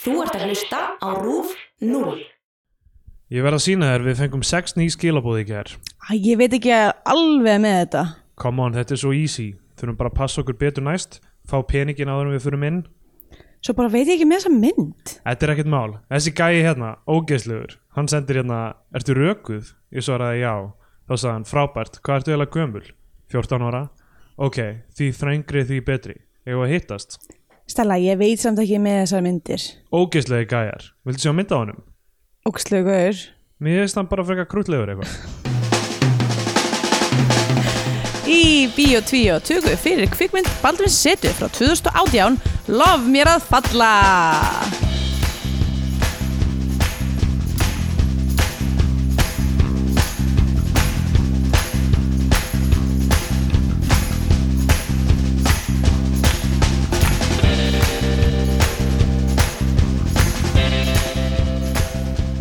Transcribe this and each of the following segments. Þú ert að hlusta á RÚF 0. Ég verð að sína þér, við fengum sex ný skilabóð í gær. Æ, ég veit ekki alveg með þetta. Come on, þetta er svo easy. Þurfum bara að passa okkur betur næst, fá peningin áður en við fyrum inn. Svo bara veit ég ekki með þessa mynd. Þetta er ekkert mál. Þessi gæi hérna, ógeðslegur, hann sendir hérna, ertu rökuð? Ég svaraði já. Þá sagði hann, frábært, hvað ertu eiginlega gömul? 14 ára? Ok, því þrengri því betri. Ég var að hittast. Stella, ég veit samt ekki með þessar myndir. Ógeðslegi gæjar. Viltu sjá mynda á honum? Ógslaugur. Mér finnst hann bara frekar krútlegur eitthvað. Í Bíó 2 tökum við fyrir kvikmynd Baldurins setu frá 2018 Lof mér að falla!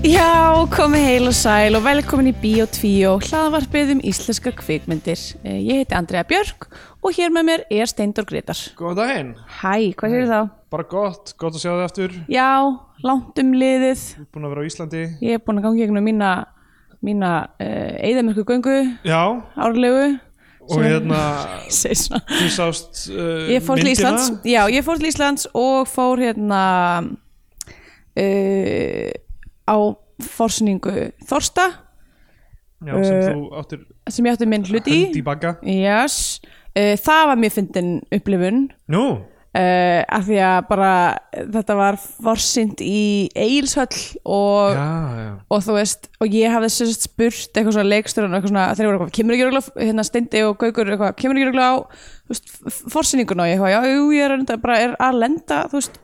Já, komið heil og sæl og velkomin í Bíó 2 hlaðvarpið um íslenska kvikmyndir. Eh, Ég heiti Andrea Björk og hér með mér er Steindor Gretar. Góðan daginn. Hæ, hvað séu þá? Bara gott, gott að sjá þig aftur. Já, langt um liðið. Búin að vera á Íslandi. Ég er búin að ganga í gegnum mína, mína uh, eðamörku göngu Já, árlegu. og hérna, Segir svona. þú sást uh, Ég fór til myndina. Íslands, já, ég fór til Íslands og fór hérna uh, á forsningu Þorsta Já, sem Uh, þú áttir sem ég átti minn hlut í. hund í bagga. Yes. Uh, það var mér fyndin upplifun. Nú, Uh, af því að bara þetta var forsynt í Egilshöll og já, já. og þú veist, og ég hafði sem sagt spurt eitthvað svona leiksturinn og eitthvað svona þeir voru eitthvað, kemur ekki röglega, hérna Steindi og Gaukur eitthvað, kemur ekki röglega á þú veist, forsynninguna og ég eitthvað, já, jú, ég er enda, bara er að lenda, þú veist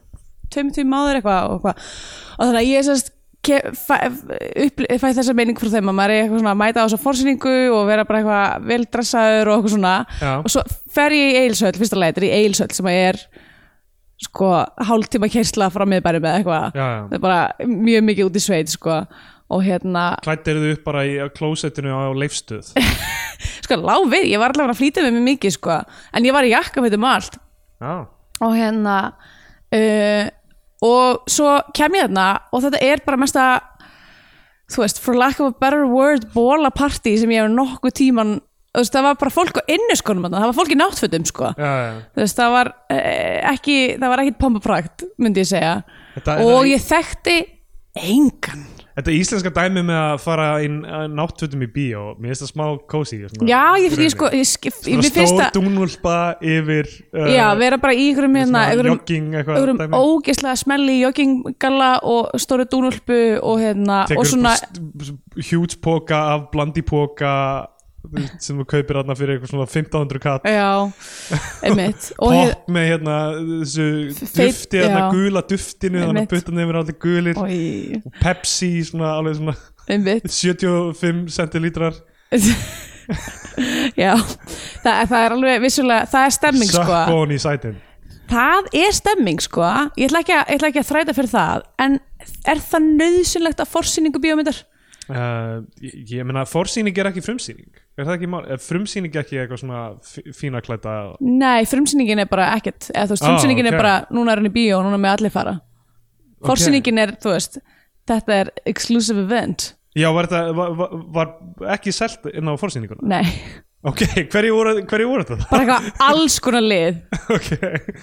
tveim tveim áður eitthvað og eitthvað og þannig að ég sem sagt ke- fæ- uppli- fæ þessa meining frá þeim að maður er eitthvað svona að mæta á þessa forsyningu og vera bara eitthvað vel dressaður og eitthvað svona Já. og svo fer ég í Eilsöld, fyrsta leið, þetta er í Eilsöld sem að er sko hálftíma kersla frá miðbærum eða Já, eitthvað já. það er bara mjög mikið út í sveit sko og hérna, Klættir þau upp bara í á klósettinu á leifstuð. sko lág við ég var allavega að flýta með mig mikið sko en ég var í jakkafötum og allt Já, og hérna uh, og svo kem ég þarna og þetta er bara mesta þú veist, for lack of a better word bóla party sem ég hef nokkuð tíman þú veist, það var bara fólk á innuskonum þarna, það var fólk í náttfötum sko já, já. þú veist, það var uh, ekki það var ekkit pompaprakt, myndi ég segja Þetta- og þetta- ég þekkti engan Þetta íslenska dæmi með að fara í náttfötum í bíó, mér finnst það smá kósi. Já, ég, ég sko, ég, ég, ég, Svona mér finnst stór að dúnulpa yfir uh, Já, vera bara í einhverjum hérna, svona einhverjum, jogging eitthvað einhverjum dæmi. ógeðslega smelli jogginggalla og stóru dúnulpu og hérna, Tekur og svona hjúts póka af blandi póka sem þú kaupir aðna fyrir eitthvað svona 1500 katt Já, einmitt og, hef, Popp með hérna þessu Feit- dufti, hérna já. gula duftinu þannig Einmitt. að buttan yfir allir gulir og, og Pepsi svona alveg svona einmitt 75 centilítrar Já, það, það er alveg vissulega, það er stemming sko sökkbón í sætin Það er stemming sko Ég ætla ekki að, ég ætla ekki að þræta fyrir það en er það nöðsynlegt að forsýningu bíómyndar? uh, ég, ég meina forsýning er ekki frumsýning er það ekki mál, er frumsýning ekki eitthvað svona fí- fína klæta Nei, frumsýningin er bara ekkert eða þú veist, Ah, frumsýningin ok. er bara, núna er hann í bíó og núna með allir fara Forsýningin er, þú veist, þetta er exclusive event já var þetta, var, var, var ekki selt inn á forsýninguna Nei, ok, hverju voru, hverju voru þetta bara eitthvað alls konar lið ok, uh,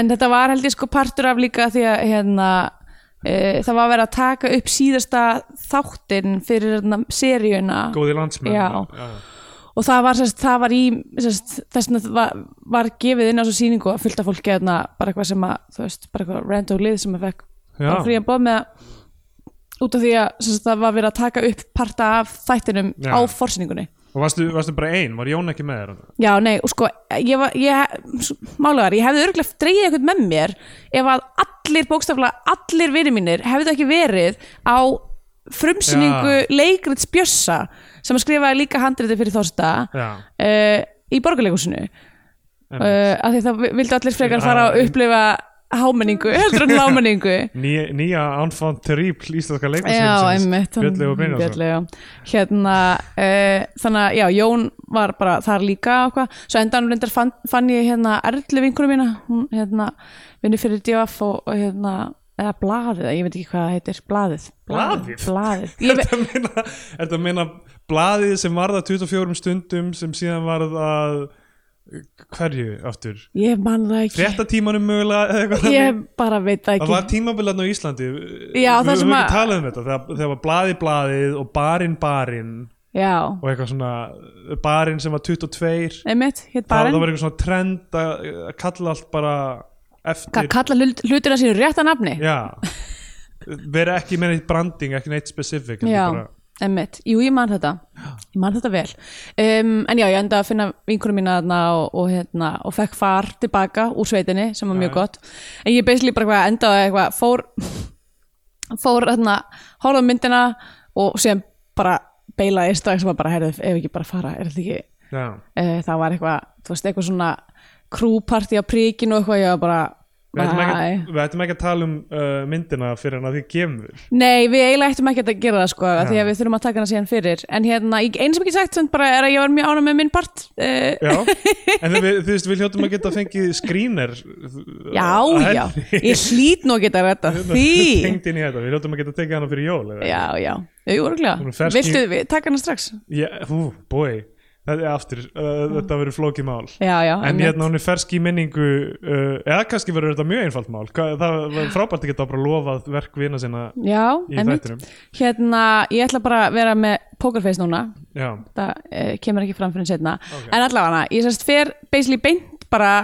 En þetta var held ég sko partur af líka því að hérna uh, það var að vera að taka upp síðasta þáttinn fyrir hérna, seríuna góði landsmenn Já. og það var, sérst, það var í sérst, þessna var, var gefið inn á svo sýningu að fylgta fólki hérna, bara eitthvað sem að þú veist, bara eitthvað random lið sem að fekk Já. bara frían bóð með að- út af því að sérst, það var verið að taka upp parta af þættinum Já. á forsýningunni og varstu, varstu bara ein, var Jón ekki með þér þarna? Já, nei, og sko, ég var, ég, málegar, ég hefði örgulega dreigið eitthvað með mér ef að allir, bókstaflega allir vinir mínir hefði ekki verið á frumsýningu Já. leikrits Bjössa sem að skrifaði líka handriti fyrir Þorsta Já. uh, í borgarleikúsinu uh, af því það vi- vildu allir frekar fara að upplifa hámenningu, heldur en lámenningu Nýja, nýja anfann terrípl íslenska Já, leikvarsins einmitt hann- Björnlegu Brynjarsson Björnlegu, já. Hérna, uh, þannig að já, Jón var bara þar líka og hvað, svo endan reyndar fann, fann ég hérna Erlu vinkunum mína, hún hérna vinnur fyrir DF og, og hérna, eða blaðið, ég veit ekki hvað það heitir blaðið, Blaðið? blaðið. Ég Er veit- þetta að meina, er þetta að meina blaðið sem varða 24 stundum sem síðan varða hverju aftur? ég man það ekki Fréttatímanum mögulega eða eitthvað? þannig? ég bara veit það Það ekki var tímabilarn á Íslandi Já, Við það sem höfum að- ekki talað um þetta Þegar, þegar var blaðið blaðið og barinn barinn já, og eitthvað svona barinn sem var 22 einmitt, hétt það, það barinn var eitthvað svona trend að að kalla allt bara eftir Ka- kalla hlut- hlutina sínu rétta nafni Já Verið ekki með neitt branding, ekki neitt specific heldur Já, bara, emmitt, jú ég man þetta ég man þetta vel um, en já, ég enda að finna vinkunum mína þarna og, og, hérna, og fekk far tilbaka úr sveitinni sem var mjög gott en ég basically bara eitthvað enda að eitthvað fór, fór hérna, horfða myndina og síðan bara beilaði strax og var bara herðið ef ekki bara fara, er þetta ekki Já, uh, það var eitthvað, þú veist, eitthvað svona krúparti á príkinu og eitthvað, ég var bara Við ættum ekki, "Bye." að- við ættum ekki að tala um uh, myndina fyrir hann að því kemur Nei, við eiginlega ættum ekki að gera það sko ja. því að við þurfum að taka hana síðan fyrir en hérna, ég- eins sem ekki sagt sem bara er að ég var mjög ánæg með minn part uh, Já, en við, við, við, við hljótum að geta að fengið uh, skrýner Já, já, ég hlýt nú að geta að redda því Tengt Hérna, inn í þetta, við hljótum að geta að teka hana fyrir jól eða? Já, já, jú, Hún er örgulega fersk í- Viltu við taka hana strax? Já, hú, bói Þetta er aftur, uh, þetta verður flókið mál Já, já, En hérna hún er fersk í minningu uh, eða kannski verður þetta mjög einfalt mál Hva, það var frábært að geta bara lofað verk vina sinna já, í einmitt. þættinum Hérna, ég ætla bara að vera með pokerface núna Já, það uh, kemur ekki fram fyrir setna en allavega, ég sérst fer basically beint bara,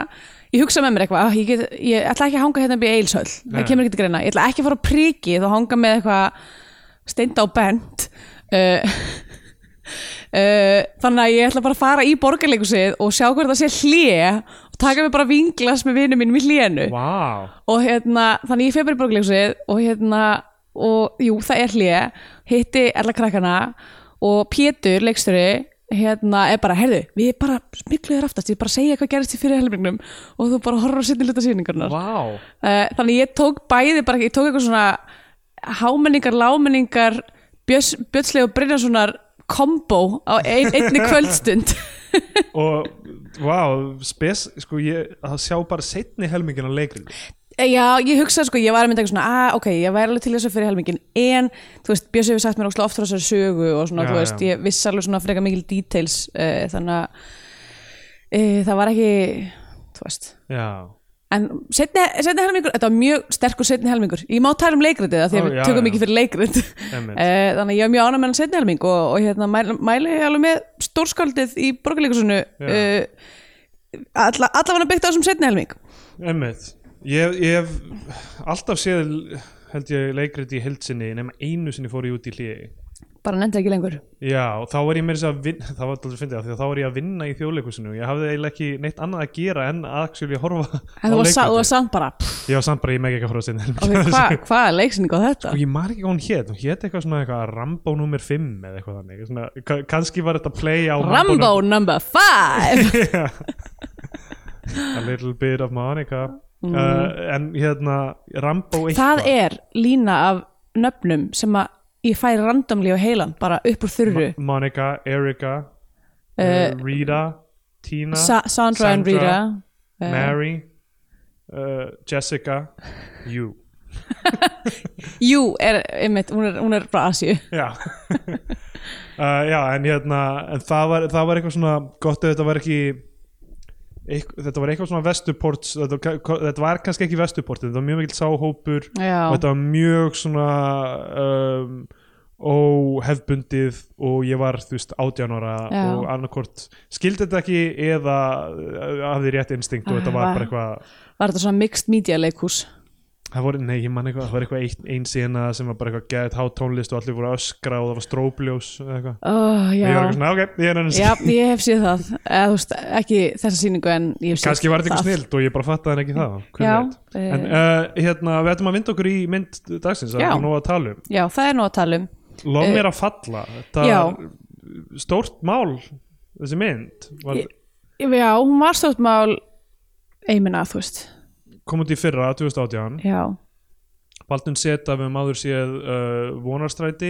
ég hugsa með mér eitthvað "Ah, ég, get, ég ætla ekki að hanga hérna upp í eilshöll Nei. það kemur ekki til greina, ég ætla ekki að fara á prikið og hanga með eitthvað steinda og bent uh, uh, þannig að ég ætla bara að fara í borgarleikusið og sjá hvort það sé hlje og taka mig bara vinglas með vinum mínum í hljenu vá wow. og hérna, þannig ég febri borgleiksið og hérna, og jú, það er hlje hitti alla krakkana og Pétur, leiksturi hérna, er bara, heyrðu, við bara smikluður aftast, ég bara segja hvað gerist í fyrir helmingnum og þú bara horfður á sinni hluta sýningarnar wow. uh, þannig ég tók bæði bara, ég tók eitthvað svona hámenningar, lámenningar Björnslega og Brynjarssonar kombo á ein, einni kvöldstund Og, wow, spes sko, ég, að sjá bara setni helmingin á leikrin Eh, Já, ég hugsaði sko, ég var að mynda eitthvað svona að, ok, ég væri alveg til þessu fyrir helmingin en, þú veist, Bjössi hefur sagt mér ókslega oft frá þessari sögu og svona, Já, þú veist, já. ég viss alveg svona frekar mikil details uh, þannig að uh, það var ekki, þú veist Já, en setni, setni helmingur, þetta var mjög sterkur setni helmingur, ég má tala um leikritið af Ó, því að við já, tökum já. ekki fyrir leikrit uh, Einmitt. þannig að ég var mjög ánæg með hann setni helming og, og hérna, mæli, mæli alveg með stórskáldið í borgarleikusinu Já. uh, alla, allafan að byggta þessum setni helming emmitt Ég ég hef alltaf séð held ég leikrit í heldsinni nema einu sinni fór ég út í hliði bara nefndi ekki lengur Já, og þá var ég meira þess að vinna, það var alltaf fyndið af því að þá var ég að vinna í þjóðleikusinu og ég hafði eiginlega ekki neitt annað að gera en að actually horfa á En þú var, sa, þú var leikritið. samt bara pff, Ég var samt bara, ég megi ekki að horfa sinni ok, hva, Hvað er leiksinning á þetta? Og ég man ekki hvað hún hét, hún hét eitthvað svona eitthvað Rambo nummer 5 eða eitthvað þannig svona, ka- kannski var þetta play á Rambo number five A little bit of Monica uh, En hérna, Rambo Mm. Það eitthvað er lína af nöfnum sem að ég fæ randomli á heilan bara upp úr þurru Monica, Erika, Eh, uh, Rita, Tina Sa Sandra and Rita eh. Mary uh, Jessica You Eh, Jú, er, einmitt, hún, er, hún er frá Asíu Já uh, Já, en hérna en það, var, það var eitthvað svona gott ef þetta var ekki eitthvað, þetta var eitthvað svona vesturports þetta, þetta var kannski ekki vesturport þetta var mjög mikill sáhópur Já. og þetta var mjög svona um, óhefbundið og ég var þú veist átján ára Já. og annarkort skildi þetta ekki eða uh, hafði rétt instinkt og þetta var bara eitthvað Var þetta svona mixed media leikhús Það voru, nei, ég man eitthvað, það var eitthvað ein, ein sína sem var bara eitthvað gæðið hát tónlist og allir voru að öskra og það var strópljós eða eitthvað. oh, Ég var Já, eitthvað svona, ok, ég er ennast. Já, ég hef séð það Eða, þú veist, ekki þessa sýningu en ég hef séð Kanski var þetta eitthvað það. snild og ég bara fattaði en ekki það. hver Já, veit. eh. En uh, hérna, við ætlum að vinda okkur í mynd dagsins, það Já. er ekki nóg að tala um. Já, það er nú að tala um Lof mér að falla. Það Já. er stórt mál, þessi mynd. Var, Ég- Já, hún var stórt mál Eimina, þú veist kom út í fyrra, 2018. Já, Baldun Seta, við maður séð uh, vonarstræti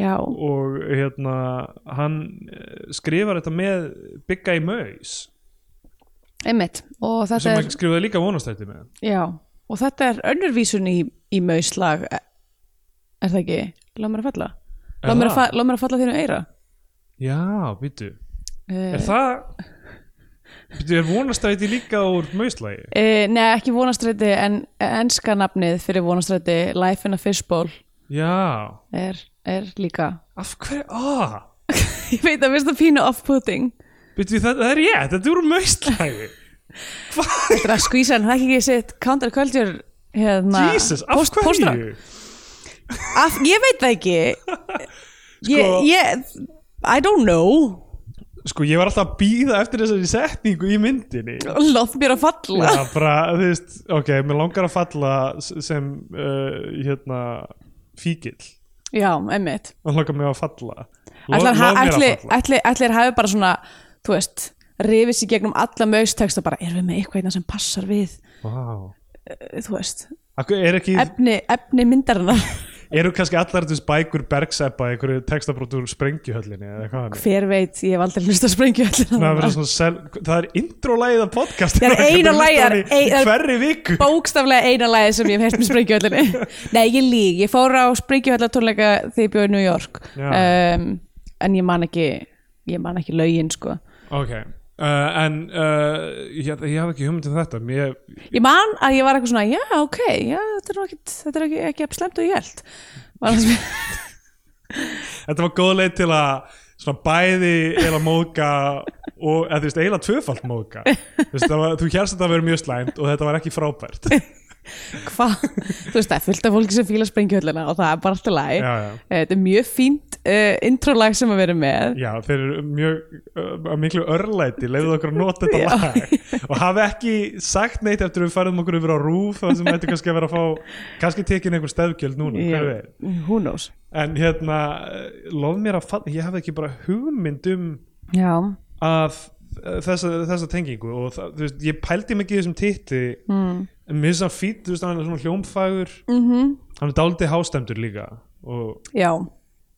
já og hérna, hann eh, skrifar þetta með Bigga í Möys. Einmitt, og þetta sem er, er... skrifaði líka vonastætti með já, og þetta er önnurvísun í, í mauslag e- er það ekki? Lá mér að falla Er Lá mér það? að, fa lá mér að falla þínu eira Já, býtu uh, Er það Býtu, er vonastræti líka úr mauslægi? Uh, nei, ekki vonastræti en enska nafnið fyrir vonastræti Life in a Fishbowl Já, er, er líka af hverju ah, Ég veit að finnst það pínu off-putting Býtu, það, það er ég, þetta er úr mauslægi Þetta er að skvísa en það er ekki sitt counterculture hérna, Jesus, af post- hverju? postra. af, Ég veit það ekki ég, Sko- ég, I don't know Sko, ég var alltaf að býða eftir þessari setningu í myndinni Lof mér að falla Já, bara, þú veist, ok, mér langar að falla s- sem, uh, hérna, fíkil Já, emmitt Mér langar mig að falla Lo- Ætlar, lof ha- mér að ætli, falla. ætli, ætlir hafi bara svona, þú veist rifið sér gegnum alla mögsteksta bara, erum við með eitthvað hérna sem passar við Vá. eh, þú veist, Af hverju Er ekki, efni, efni myndarinnar eru kannski allar þessu bækur bergseppa einhverju textabrótur úr sprengjuhöllinni eða hvað hann er? hver veit, ég hef aldrei hlust að sprengja Það, er verið allir svona sel, það er intro-lægið af podcast Það er eina lagið, það er ein- það er- Hverri viku bókstaflega eina lagið sem ég hef heyrt með sprengjuhöllinni nei, ég lík, ég fór á sprengjuhöllartónleika þegar ég bjóði í New York Já. um, en ég man ekki ég man ekki lögin, sko Ok, uh, en uh, ég, ég hafði ekki hugmynd um þetta Mér, ég man að ég var eitthvað svona, já, ok já, þetta er, nú ekkit, þetta er ekki, ekki jafn slemt og ég held var það sem Þetta var góð leið til að svona bæði eila móðga og eða þú veist, eila tvöfalt móðga þú, veist, það var, þú hérst að þetta verið mjög slæmt og þetta var ekki frábært já, hvað, þú veist það er fullt af fólki sem fíla sprengjuhöllina og það er bara alltaf lagi Eh, já. þetta er mjög fínt uh, intro-lag sem að vera með já, þeir eru mjög uh, miklu örlæti, leiðu okkur að nota Já. þetta lag og hafi ekki sagt neitt eftir við færðum okkur yfir á rúf það sem ætti kannski að vera að fá kannski tekin einhver stefgjöld núna, hver veit who knows en hérna, eh, lof mér að falla ég hafði ekki bara hugmynd um já, að eh, þessa, þessa tengingu og það, þú veist, ég pældi mikið í þessum titti mm. en mér finnst það fýtt, þú veist, hann er svona hljómfægur -hmm. hann er dálítið hástemdur líka og Mhm, já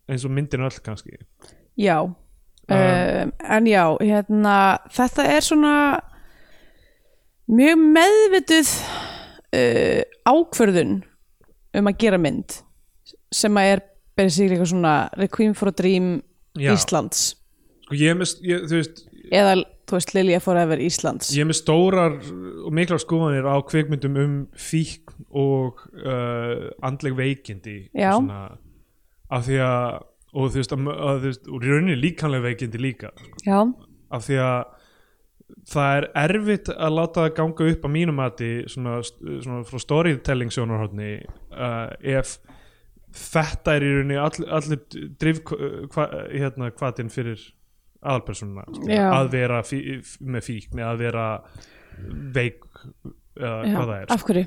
eins og myndin öll kannski Já, um, en já, hérna, þetta er svona mjög meðvituð uh, ákvörðun um að gera mynd sem að er basically eitthvað svona Requiem for a Dream Já. Íslands sko, ég er með, ég, þú veist, eða, þú veist, Lilja Forever Íslands ég er með stórar og miklar skoðanir á kvikmyndum um fík og uh, andleg veikindi Já. og svona, af því að og þú veist, að, að, þú veist og í rauninni líkanlega veikindi líka Já, af því að það er erfitt að láta það ganga upp að mínum mati svona, svona frá storytelling sjónarhóttni uh, ef þetta er í rauninni all, allir drif hva, hérna, hvatin fyrir aðalpersonuna skilur, Já. að vera fí, f- með fíkn eða að vera veik eða já. hvað það er af hverju?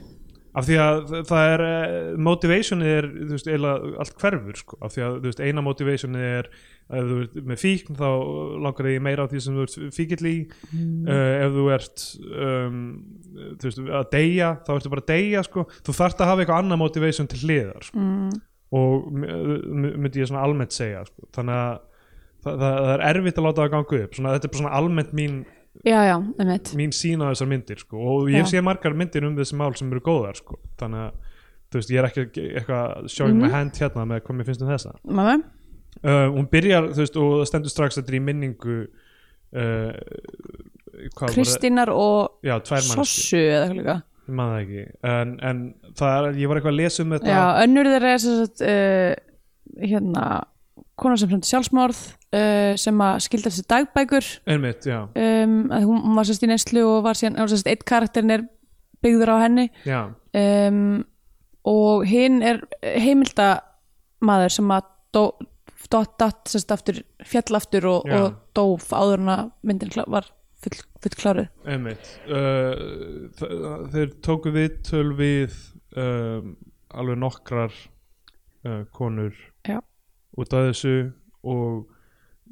af því að þa- það er eh, motivationið er þú veist, eiginlega allt hverfur sko. af því að þú veist, eina motivationið er ef þú ert með fíkn þá langar þig í meira af því sem þú ert fíkill í uh, ef þú ert um, þú veist, að deyja þá ertu bara að deyja sko. þú þarft að hafa eitthvað annað motivation til hliðar sko. Mm. og m- m- myndi ég svona almennt segja sko. þannig að það, það, það er erfitt að láta það ganga upp svona, þetta er bara svona almennt mín, Já, já, einmitt mín sína þessar myndir sko. og ég Já. sé margar myndir um þessi mál sem eru góðar sko. þannig að þú veist, ég er ekki ekki- eitthvað showing Mhm. my hand hérna með hvað mér finnst um þessa Mamma? uh, hún byrjar þú veist, og það stendur strax þetta er í minningu uh, hvað Kristínar og var það já, tvær mannski, Sossu eða eitthvað líka ég maður það ekki en, en það er, ég var eitthvað að lesa um þetta Já, önnur þeirra er sem sagt, uh, hérna, konar sem fremdi sjálfsmorð uh, sem að skildar sér dagbækur einmitt, já, um, að hún, hún var sérst í neslu og var síðan, hún sérst eitt karakterin er byggður á henni já, um, og hinn er heimildamaður sem að dó, dot, dot, sérst aftur fjall aftur og, Já. og dóf áður en að myndin klá, var full, full kláruð einmitt uh, þ- þeir tóku viðtöl við um, alveg nokkrar uh, konur Já. út af þessu og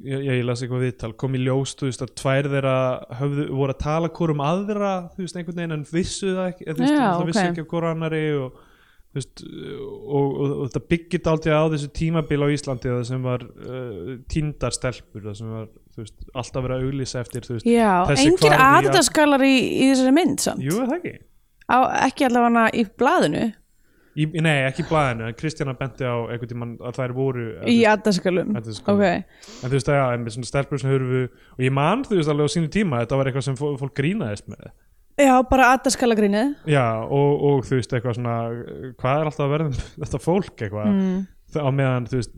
ég, ég, ég las eitthvað viðtal kom í ljós, þú veist, að tvær þeirra höfðu, voru að tala hvort um aðra þú veist, einhvern veginn en vissu það ekki eða þú veist, Já, það vissu ok. ekki af hvort annari og þú veist, og, og, og þetta byggir dálítið á þessu tímabil á Íslandi það sem var uh, tíndar stelpur það sem var, þú veist, alltaf verið að auglýsa eftir, þú veist, Já, Þessi engin hvarf í að- aðdataskalar í, í þessari mynd samt jú, er það ekki á, ekki allavega hana í blaðinu Í, nei, ekki í blaðinu, en Kristjana benti á einhvern tímann að þær voru í addaskalum Addaskalum. okay. en þú veist að já, einmitt svona stelpur sem hurfu og ég man þú veist alveg á sínu tíma að þetta var eitthvað sem fó- fólk grínaðist með já, bara addaskalagrínið já, og, og þú veist eitthvað svona eh, hvað er alltaf að verða um þetta fólk eitthvað mm. Þa- á meðan þú veist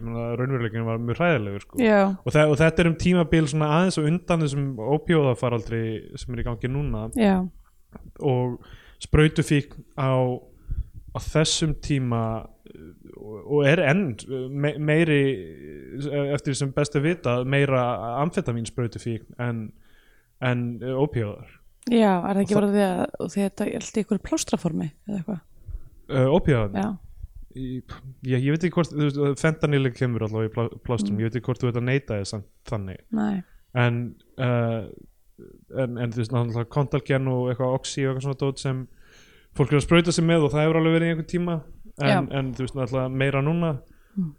ég meina raunveruleikin var mjög hræðilegur sko. já, og, þa og þetta er um tímabil svona aðeins og undan þessum ópjóðafaraldri sem er í gangi núna já, og sprautufík á, á þessum tíma uh, og og er enn uh, me meiri uh, eftir því sem best að vita meira amfetamín sprautufík en, en uh, ópíóðar já, er það ekki Og bara því að og því að þetta er alltaf ykkur plástraformi eða eitthvað, uh, ópíóðar já, ég, ég veit ekki hvort þú veist, fentanyl kemur allavega í plá, plástum ég veit ekki hvort þú veit að neyta þess þannig næ en uh, en, en þú veist náttúrulega kontalgen og eitthvað oxy og eitthvað svona dót sem fólk er að sprauta sig með og það hefur alveg verið í einhvern tíma en, en þú veist náttúrulega meira núna Mm.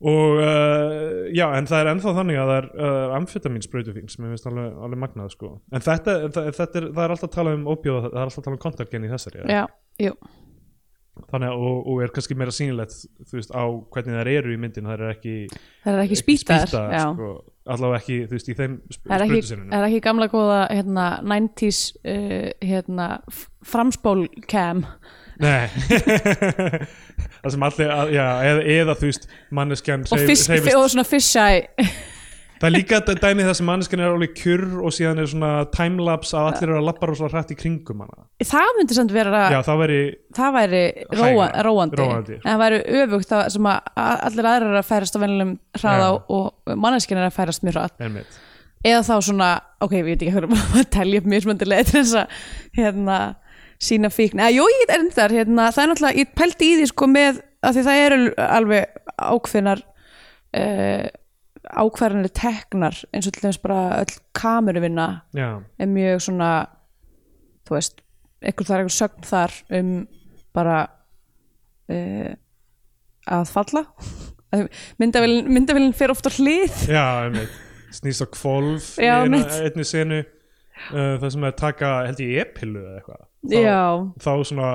og uh, já en það er ennþá þannig að það er uh, amfetamin sprautufín sem ég veist alveg, alveg magnað sko en þetta, það, þetta er, það er alltaf að tala um opjóð, það er alltaf að tala um kontalgen í þessari eða? já, jú, þannig að og, og er kannski meira sýnilegt þú veist á hvernig þær eru í myndin það er ekki, það er ekki spýtar spýtaðar, sko, allavega ekki þú veist í þeim sp Það er ekki, sprautusinnunum. það er ekki gamla góða hérna, 90s uh, hérna, f- framspól cam Nei Það sem allir, að, já, eða, eða þú veist manneskjan og, hreyf- fish, hreyfist. og svona fisheye Það er líka þetta dæmi þess að manneskjan er alveg kjurr og síðan er svona timelapse að allir eru að labba rosalega hrætt í kringum hana það myndi samt vera Já, það veri, það væri róa, Hægra, róandi, róandi. en það væri öfugt það sem að a- allir aðrir eru að færast á venlum hraða Já. og manneskinn er að færast mjög hratt einmitt eða þá svona, ok, við veit ekki hvernig maður telja upp mismöndilega til þess að hérna, sína fíkn eða, jú, ég er endar, hérna, það er náttúrulega ég pældi í því sko með, af því það eru alveg ákveðnar uh, ákvarðanir teknar eins og til þess bara öll kameruvinna Já, er mjög svona þú veist, einhver það er einhver sögn þar um bara uh, að falla myndavélinn myndavélinn fer ofta hlið já, einmitt Snýst á kvolf í Já, eina- einmitt. einni senu uh, það sem er að taka, held ég, e-pillu eða eitthvað Þá- já, Þá svona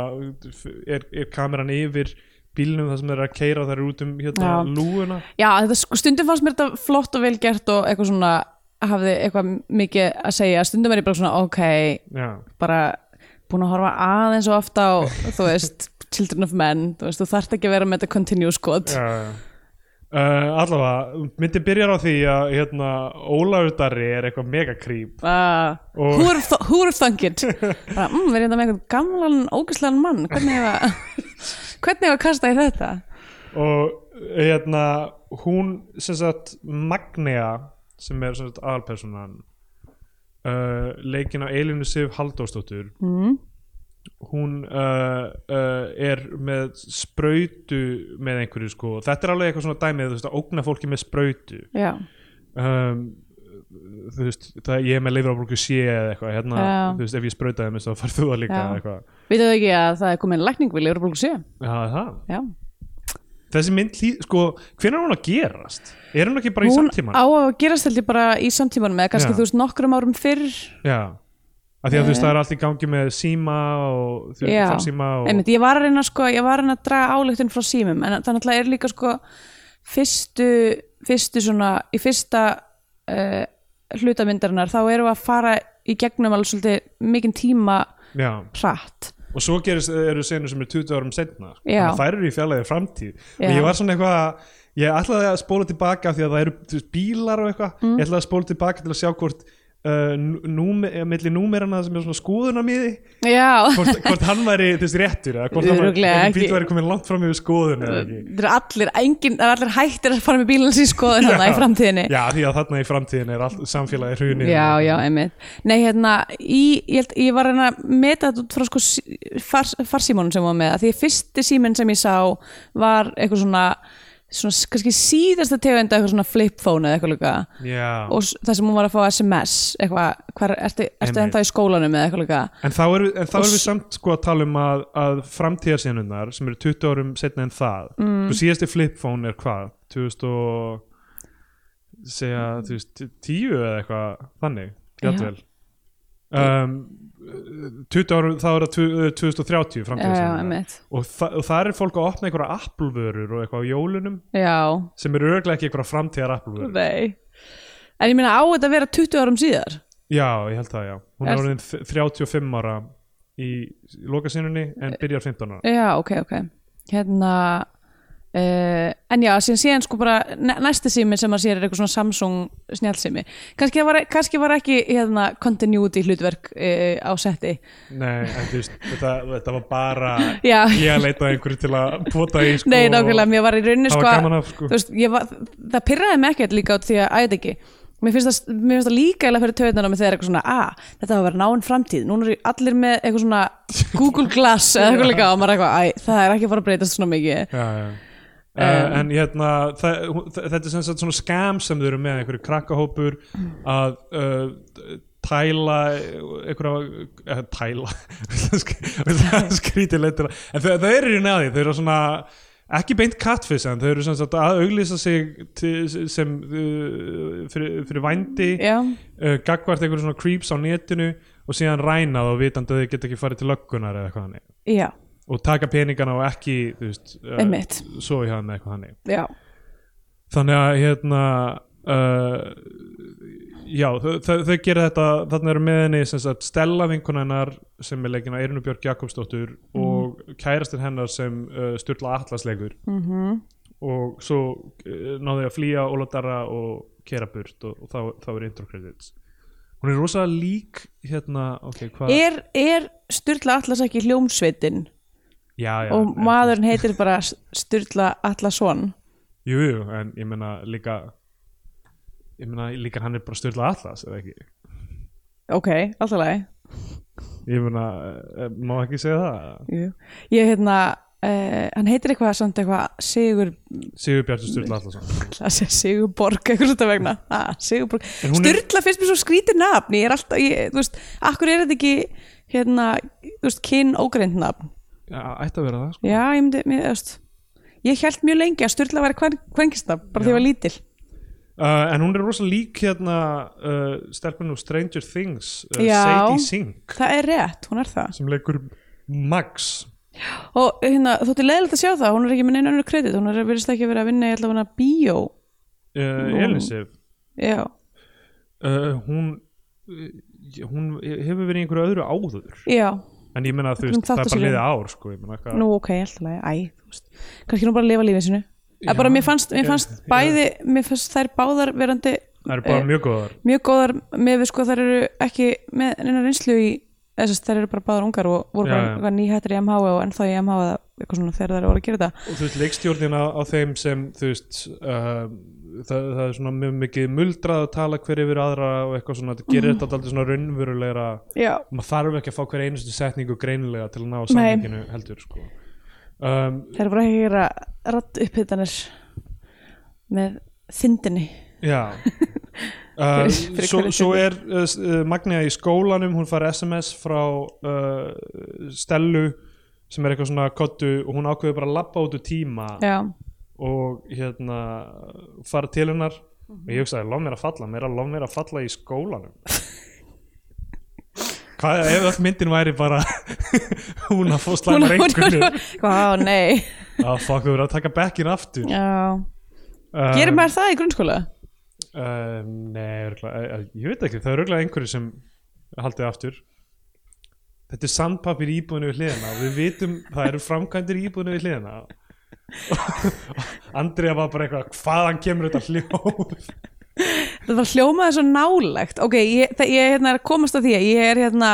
er, er kameran yfir bílnum þar sem er að keira þær út um hérna Já. lúuna já, þetta sko stundum fannst mér þetta flott og vel gert og eitthvað svona hafði eitthvað mikið að segja stundum er ég bara svona, ok Já, bara búin að horfa aðeins og oft á, þú veist, Children of Men þú veist, þú þarft ekki að vera með þetta continue skot Já, já. Uh, allavega, myndin byrjar á því að hérna, Ólafur Darri er eitthvað megakrýp Uh, Og- who would have- who would have thunk it bara, mm, verið þetta með einhvern gamlan ógæslegan mann, hvernig hefa hvernig hefa kastað í þetta og hérna, hún sem sagt Magnea sem er sem sagt aðalpersonan uh, leikin á Elinu Sif Halldórsdóttur mm. hún uh, uh, er með sprautu með einhverju sko þetta er alveg eitthvað svona dæmið, þú veist, að ógna fólki með sprautu já, um, þú veist, það, ég er með leifur á brúku sé eða eitthvað, hérna, Já. þú veist, ef ég sprautaði mig þá farð þú það líka Já. eða eitthvað vitið þau ekki að það er komin lækning við lefur búin að sé Já, það. já. Þessi mynd, hlý- sko, hvernig er hún að gerast? Er hún ekki bara í hún samtíman? á að gerast held ég bara í samtímanum eða Já. kannski þú veist nokkrum árum fyrr Já, af því að þú veist, það er allt í gangi með síma og þú Eh. Já. veist, síma og... Einmitt, ég var að reyna sko, ég var að reyna að draga áleiktun frá símum en það náttúrulega er líka sko fyrstu, fyrstu svona í fyrsta uh, hlutamyndarinnar þá erum við að fara í gegnum alveg svolítið mikinn tíma Já, hratt og svo gerist, eru senur sem er 20 árum setna, Já. þannig að þær eru í fjarlæði framtíð Já. og ég var svona eitthvað, ég ætlaði að spóla tilbaka af því að það eru þú veist, bílar og eitthvað, Mm. ég ætlaði að spóla tilbaka til að sjá hvort uh, nú- númer, eh, milli númerana sem er svona skoðunarmiði Já, hvort, hvort hann væri þessi réttur eða hvort hann væri, Örugglega hvort bíl ekki. væri komin langt fram yfir skoðun eða ekki það er allir, engin, það er allir hættir að fara með bílans í skoðun hana í framtíðinni Já, því að þarna í framtíðin er allt samfélagi hrunið Já, já, einmitt Nei, hérna, í, ég, held, ég var að reyna að meta þetta út frá sko sí- fars, farsímónum sem var með að því að fyrsti síminn sem ég sá var eitthvað svona, svona s- kannski síðasta tegunda eitthvað svona flip phone eða eitthvað líka Já. og s- það sem hún var að fá SMS eitthvað, hvar, ertu, ertu Einmitt. ennþá í skólanum eða eitthvað líka En þá erum við, en þá Og erum við s- samt sko að tala um að, að framtíðarsinunnar sem eru 20 árum setna en það mm. Sko síðasti flipphone er hvað? 2000 og segja, þú veist, 10 eða eitthvað þannig, Já. játvel um, 20 árum, þá er það tvu- eh, 2030 já, já, framtíðarsýn einmitt. og, þa og það er fólk að opna einhverja applvörur og eitthvað á jólunum já, sem eru örglega ekki einhverja framtíðar applvörur nei en ég meina á þetta að vera 20 árum síðar Já, ég held það, já. Hún Er- er orðin þ- 35 ára í lokasinunni Eh. en byrjar 15 ára. já, ok, ok hérna Uh, en já, síðan síðan sko bara næ- næsti sími sem að sér er eitthvað svona Samsung snjálsími, kannski var, e, kannski var ekki hérna continuity hlutverk uh, á setti Nei, en þú veist, þetta, þetta var bara Já. ég að leita að einhverju til að pota í sko. Nei, nákvæmlega, mér var í rauninni Það sko, var gaman af, sko. þú veist, ég var, það pirraði mig ekkert líka út því að æði ekki Mér finnst það, mér finnst það líka eða fyrir töðunar með þeir eitthvað svona, að, þetta var að vera náinn framtíð Núna eru allir með eitthvað svona Google Glass eða eitthvað líka og maður er eitthvað, æ, það er ekki að fara að breytast svona mikið Já, já. Um. Uh, en hérna, það, hún- þ- þetta er sem sagt svona skam sem þau eru með, einhverju krakkahópur að uh, tæla einhverja, eh, tæla skrítið leitur en þau, þau eru í neði, þau eru svona ekki beint catfish en þau eru sem sagt að auglýsa sig til, sem uh, fyrir, fyrir vændi Já, uh, gagvart einhverju svona creeps á netinu og síðan rænað og vitandi að þau geta ekki farið til löggunar eða eitthvað hannig já, og taka peningana og ekki þú veist, eh, Einmitt. svo í hann eitthvað hannig já, þannig að hérna uh, já, þau, þau, þau gera þetta þarna eru með henni sem sagt Stella vinkunennar sem er leikin að Eirinu Björk Jakobsdóttur og kærastinn hennar sem uh, Sturla Atlas leikur -hmm. og svo uh, náðu ég að flýja Óladara og kera burt og, og þá, þá er intro credits hún er rosa lík hérna, ok, hvað er, er Sturla Atlas ekki hljómsveitin já, já, og en- maðurinn heitir bara Sturla Atlasson Jú, jú, en ég meina líka ég meina líka hann er bara styrla allas eða ekki Ok, alltaf lagi ég meina, eh, má ekki segja það Jú. Ég hérna, uh, hann heitir eitthvað samt eitthvað Sigur, Sigur Bjartur Sturla Allarsson að segja Sigurborg eitthvað svona vegna, ah, Sigurborg En hún er- Sturla finnst mér svo skrítið nafn ég er alltaf, ég, þú veist, akkur er þetta ekki hérna, þú veist, kyn ógreind nafn, ætti að vera það sko. já, ég myndi, mér, þú veist ég held mjög lengi að Sturla væri hvern, kvenkistnafn, bara því ég var lítil uh, en hún er rosa lík hérna uh, stelpunum úr Stranger Things uh, Já. Sadie Sink það er rétt, hún er það sem leikur Max og hérna, þótti leðilegt að sjá það, hún er ekki með neina önnur kredit, hún er verðist ekki verið að vinna í allavega bíó, uh, Elinsif já uh, hún eh, hún hefur verið í einhverju öðru áður já, en ég meina þú Hún veist, það er þáttaseríu. bara liðið ár sko, ég meina hvað nú ok, alltaf leið, æ, þú veist kannski hún bara að lifa lífið sinu Já, já, bara, mér fannst, mér ok, fannst já. bæði, mér fannst þær báðar verandi það eru bara eh, mjög góðar mjög góðar með við sko þær eru ekki með neina reynslu í þess að þær eru bara báðar ungar og voru Já, bara já. eitthvað nýhættir í MH og ennþá í MH eða eitthvað svona þegar þær voru að gera þetta og þú veist leikstjórnin á, á þeim sem þú veist uh, það, það er svona mjög mikið muldrað að tala hver yfir aðra og eitthvað svona þetta gerir þetta aldrei svona raunverulegra já, maður þarf ekki að fá hver einustu setningu greinilega til að ná samlinginu heldur sko. um, þær eru bara ekki að gera ratt upphittanir með þindinni Já Uh, Fyrir- fyrir svo, hverja svo tilvik. er uh, s- uh, Magnea í skólanum hún fær SMS frá uh, Stellu sem er eitthvað svona kottu og hún ákveður bara að labba út úr tíma já, og hérna fara til hennar og ég hugsaði, lof mér að falla, mér er að lof mér að falla í skólanum hvað ef öll myndin væri bara hún að fá slæma Ah, reyngunni hvað, nei að fokk þú verður að taka bekkin aftur já, um, gerir maður það í grunnskóla? um, nei, örgla, ég veit ekki, það er örgulega einhverju sem haldið aftur þetta er sandpapir íbúinu við hliðina við vitum, það eru framkvæmdir íbúinu við hliðina Andrea var bara eitthvað hvaðan kemur þetta hljóð Það var hljómaði svo nálægt Ok, ég, það, ég hérna, er að komast að því að ég er hérna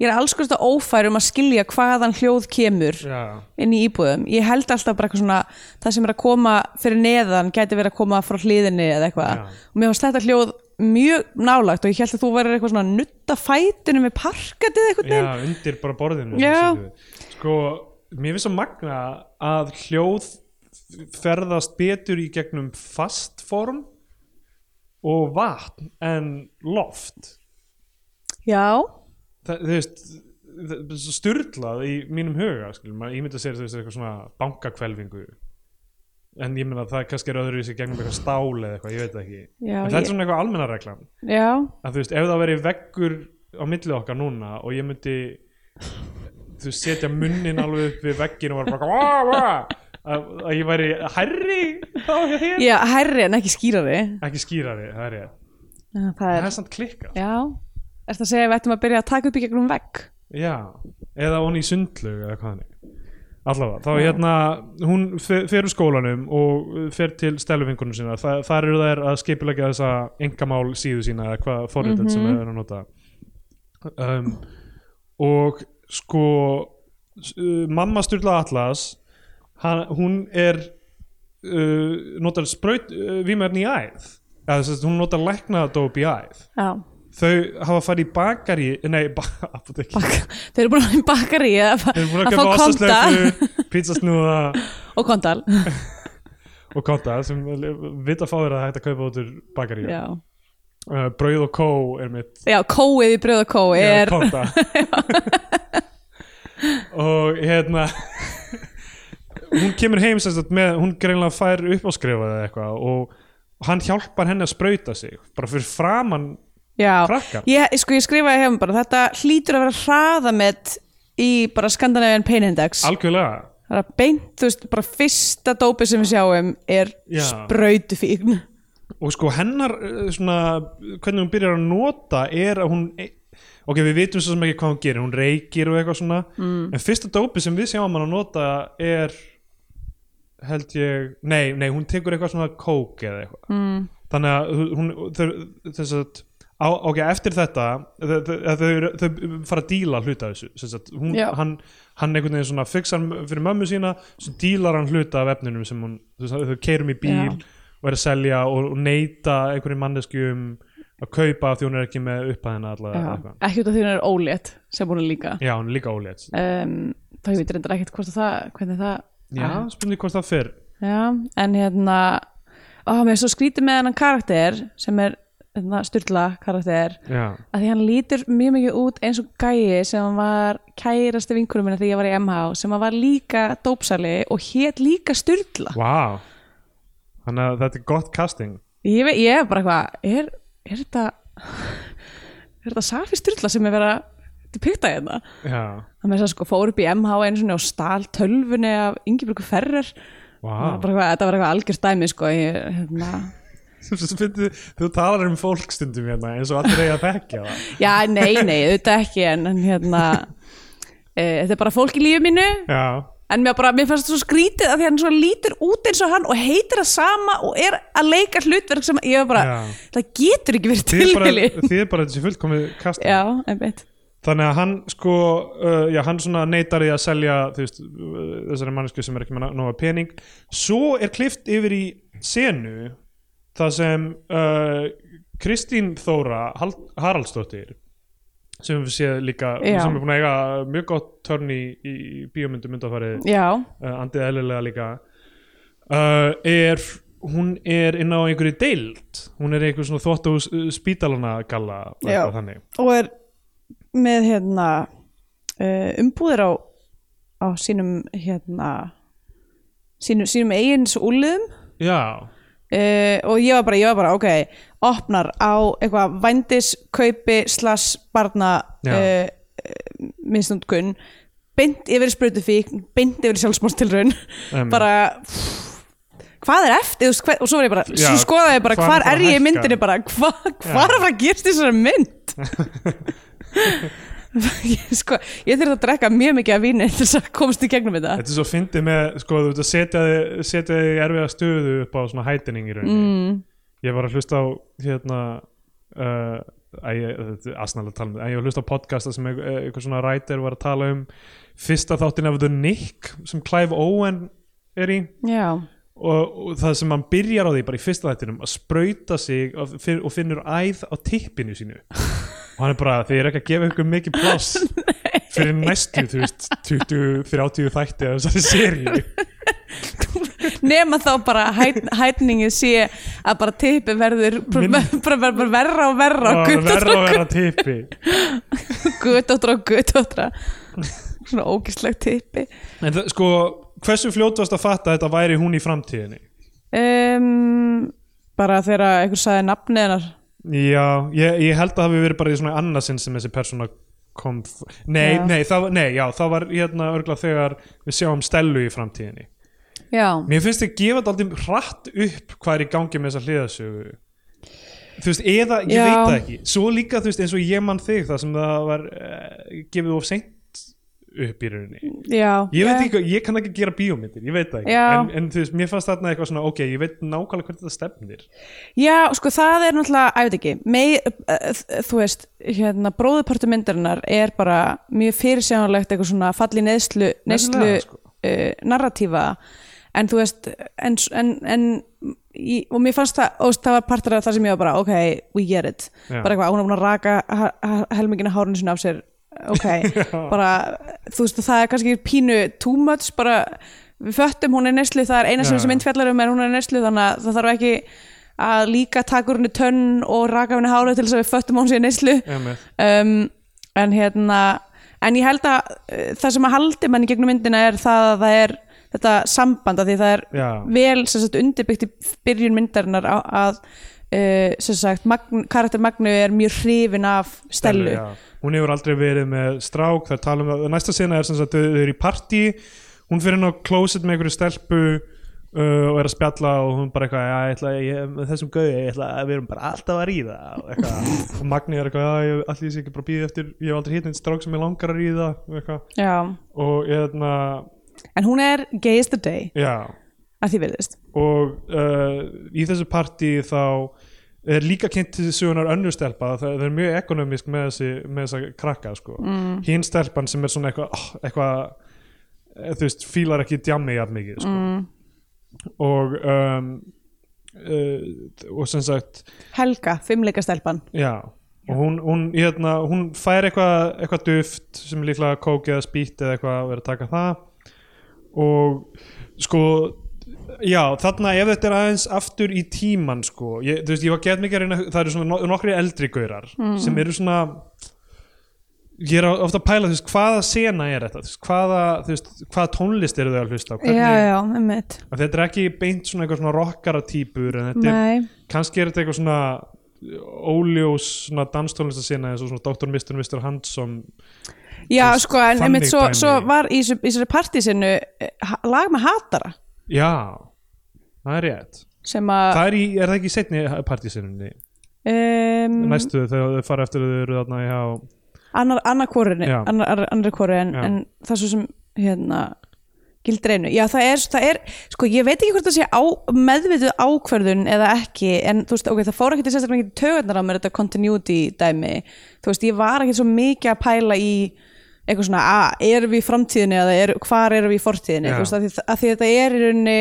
Ég er alls kosta ófær um að skilja hvaðan hljóð kemur Já, inn í íbúðum. Ég held alltaf bara eitthvað svona það sem er að koma fyrir neðan gæti verið að koma frá hliðinni eða eitthvað. Já. Og mér fannst þetta hljóð mjög nálægt og ég held að þú værir eitthvað svona að nutta fætunum við parkatið eitthvað já, undir bara borðinu sem Já. situr við. Sko, mér finnst að magna að hljóð ferðast betur í gegnum fast form og vatn en loft Já, Þa, þú veist það- það er svo sturlað í mínum huga skilur, maður ímynda sér þú veist eitthvað svona bankakvelfingu en ég meina að það kannski er öðru í sig gegnum eitthvað stál eða eitthvað, ég veit það ekki Já, en þetta ég- er svona eitthvað almenna reglan já, að þú veist, ef það veri veggur á milli okkar núna og ég myndi þú veist, setja munnin alveg upp við veggin og var bara "Vá, vá", að, að ég væri herri þá hér Já, hærri en ekki skýrari ekki skýrari, það er ég Það það er, er samt klikkað já Ertu að segja að við ættum að byrja að taka upp í gegnum vegg já, eða hon í sundlug eða hvað hann allavega, þá hérna hún fer fer úr skólanum og fer til stelvingunum sína, Þa, þar eru þær að skipilegja þessa engamál síðu sína eða hvað forritin sem þær eru að nota um, og sko s- uh, mamma Sturla Atlas hann, hún er uh, notar spraut uh, vímörn í æð eða þess að hún notar læknadóp í æð Já þau hafa farið í bakari nei, ba apotek Bak, Þeir eru búin að bakari að, þau eru búin að að fá köpa konta ostasleifu pizzasnúða og kontal og konta sem vita fáir að hægt að kaupa út úr bakari Já, uh, brauð og kó er mitt já kóið í bröð og kó er konta og hérna hún kemur heim sem sagt með, hún greinlega fær upp á skrifað eða eitthvað og hann hjálpar henni að sprauta sig bara fyrir framann Já, Krakkar. ég, sko ég skrifaði hefum bara þetta hlýtur að vera hraðamett í bara Scandinavian Pain Index algjörlega það er að beint, þú veist, bara fyrsta dópi sem við sjáum er Já. sprautufíkn og sko hennar eh, svona, hvernig hún byrjar að nota er að hún eh, ok, við vitum svo sem ekki hvað hún gerir, hún reykir og eitthvað svona, mm. en fyrsta dópi sem við sjáum hann að nota er held ég, nei, nei hún tekur eitthvað svona kók eða eitthvað mm. þannig að hún þau- þess að Á, ok, eftir þetta þau, þau, þau, þau fara að díla hluta af þessu sem sagt, hún, Já. hann, hann einhvern veginn svona fixar fyrir mömmu sína svo dílar hann hluta af efninum sem hún þau, þau keirum í bíl Já. og er að selja og, og neyta einhverjum mannesku um að kaupa af því hún er ekki með upphæðina allavega já. ekki út af því hún er ólétt sem hún er líka já, hún er líka ólétt um, þá ég veit reyndar ekkert hvort að það hvernig það já, spurning hvort það fyrr já en hérna ó, mér er svo skrítið með hennan karakter sem er hérna, styrla karakter já, að því hann lítur mjög mikið út eins og gæi sem hann var kærasti vinkurum minna þegar ég var í MH sem hann var líka dópsali og hét líka styrla wow þannig að þetta er gott casting ég, vei, ég er bara eitthvað er, er þetta er þetta Safi Sturla sem er verið að depikta hérna já, það með þess að sko fór upp í MH einu sinni og stál tölvunni af Ingeborgu Ferrer wow ah. bara, eitthvað- þetta var eitthvað algjörst dæmi sko ég, hérna. Fyndi, þú talar um fólk stundum hérna eins og allir eiga að þekkja það já nei nei auðvitað ekki en, en hérna e, þetta er bara fólk í lífi mínu já, en mér, bara, mér fannst þetta svo skrítið að því að hann svo lítur út eins og hann og heitir það sama og er að leika hlutverk sem ég var bara, Já. það getur ekki verið þið er bara, tilvili þið er bara þessi fullkomið casting já, einmitt þannig að hann sko uh, já, hann svona neytar í að selja þú veist, uh, þessari mannesku sem er ekki með nóga pening svo er klift yfir í senu þar sem uh, Kristín Þóra Hal Haraldsdóttir sem við séð líka, Já. sem er búin að eiga mjög gott törn í, í bíómyndu myndafarið já, uh, andið eðlilega líka uh, er hún er inn á einhverju deild hún er í einhverju svona þvott og spítalana galla og Já. eitthvað þannig og er með hérna uh, umbúðir á, á sínum hérna sínum, sínum eigin úliðum já, uh, og ég var bara, ég var bara, ok opnar á eitthvað vændis kaupi slass barna Já. uh, minnstundkun beint yfir sprautufík beint yfir sjálfsmórstilraun Einmitt. bara pff, hvað er eftir, þú veist, hver, og svo var ég bara Já, svo skoðaði ég bara, hvað er að hvar fara er ég í að hækka? myndinni bara, hva, hvað er að fara að gerst í þessari mynd ég, sko, ég þurfti að drekka mjög mikið af víni til þess að komast í gegnum þetta Þetta er svo fyndið með, sko, þú veit að setja þig, setja þig í erfiða stöðu upp á svona hætining í rauninni. mm, Ég var að hlusta á, hérna, uh, að ég, þetta er asnalega að tala um þetta, en ég var að hlusta á podcasta sem einhver, eh, einhver svona rætir var að tala um fyrsta þáttin af The Nick sem Clive Owen er í já, og, og það sem hann byrjar á því bara í fyrsta þættinum að sprauta sig og, finn, og finnur æð á tippinu sínu og hann er bara, þið er ekki að gefa ykkur mikið pláss fyrir næstu, þú veist, 20-30 þætti af þessari seríu nema þá bara hæt- hætningið sé að bara tippi verður bara, Minn- bara, bara, bara verra og verra og og verður að guttóttra vera tippi og guttóttra og guttóttra svona ógislegt tippi en það, sko, hversu fljótt varst að fatta að þetta væri hún í framtíðinni um, bara þegar einhver saði nafni hennar Já, ég, ég held að það hafi verið bara í svona annarsinn sem þessi persóna kom f- Nei, Já. nei, það, nei, já, það var hérna örgla þegar við sjáum Stellu í framtíðinni já, Mér finnst þið gefa þetta aldrei hratt upp hvað er í gangi með þessa hliðasögu Þú veist, eða, ég Já. veit það ekki Svo líka, þú veist, eins og ég mann þig það sem það var uh, gefið of seint upp í rauninni já Ég veit ekki, ég kann ekki gera bíómyndir, ég veit það ekki Já. en, en þú veist, mér fannst þarna eitthvað svona, ok, ég veit nákvæmlega hvert þetta stefnir Já, sko það er náttúrulega, að ég veit ekki mei, uh, þú veist hérna, bróðupartu myndarinnar er bara mjög fyrirsjánlegt eitthvað svona falli neðslu, neðslu Nefnilega, sko. uh, narratífa en þú veist en, en, en í, og mér fannst það, og það var partur af það sem ég var bara ok, we get it, Já. bara eitthvað hún er búin að raka helmingina hárinu sinna af sér ok, bara þú veist það er kannski pínu too much bara við föttum hún er neslu það er eina sem Já, þessi já. mynd fjallar um er hún er neslu þannig að það þarf ekki að líka taka úr henni tönn og raka henni hárið til þess að við föttum að hún sé neslu Emmett. um, en hérna en ég held að uh, það sem að haldi manni gegnum myndina er það að það er þetta samband að því það er Já. vel sem sagt undirbyggt í byrjun myndarinnar á, að uh, sem sagt magn, karakter Magnu er mjög hrifin af Stellu já. hún hefur aldrei verið með strák þær tala um það, næsta sena er sem sagt þau þau eru í partí, hún fyrir inn á closet með einhverju stelpu uh, og er að spjalla og hún bara eitthvað "Já, ég ætla, ég, með þessum gauði, ég ætla að við erum bara alltaf að ríða og, eitthvað. og Magni er eitthvað, "Já, ég allir sé ekki bara býði eftir ég hef aldrei hitt einn strák sem ég langar að ríða og, eitthvað. Já. og ég er en hún er gay as the day já að því verðist og uh, í þessu partí þá er líka kynnt til sögunar önnur stelpa það, það er mjög ekonomisk með, þessi, með þessa krakka sko. mm. hinn stelpan sem er svona eitthvað oh, eitthvað, eh, þú veist, fílar ekki djammi jafn mikið sko. og um, uh, og sem sagt Helga, fimmleikastelpan já og hún, hún, hérna, hún fær eitthvað eitthvað duft sem er líklega kók eða spýtt eða eitthvað og er að taka það og sko já, þarna ef þetta er aðeins aftur í tíman sko, ég, þú veist, ég var gett mikið að reyna það eru svona no- nokkri eldri gaurar Mm. sem eru svona ég er ofta að pæla, þú veist, hvaða sena er þetta, þú veist, hvaða, þú veist, hvaða tónlist eru þau að hlusta á, hvernig já, já, einmitt að þetta er ekki beint svona eitthvað svona rockara típur en þetta er Nei, kannski er þetta eitthvað svona óljós svona danstónlistasena eins og svona Dr. Mr. Mr. Handsome já þú veist, sko, en þannig einmitt svo, dæmi. svo var í þessu- í þessari partísinu eh, lag með hatara já, það er rétt sem að það er, í, er það ekki í seinni partísinunni um, næstu þegar þau fara eftir að þau eru þarna hjá annar, annar kórinni Já. annar, annar kóri en, Já. en það svo sem hérna gildir einu, já það er, það er sko ég veit ekki hvort það sé á, meðvituð ákverðun eða ekki, en þú veist ok, það fór ekki til sérstaklega ekki tögurnar á mér þetta continuity dæmi, þú veist ég var ekki svo mikið að pæla í eitthvað svona, að erum við í framtíðinni eða er, hvar erum við í fortíðinni, Já. þú veist að því, að því þetta er í rauninni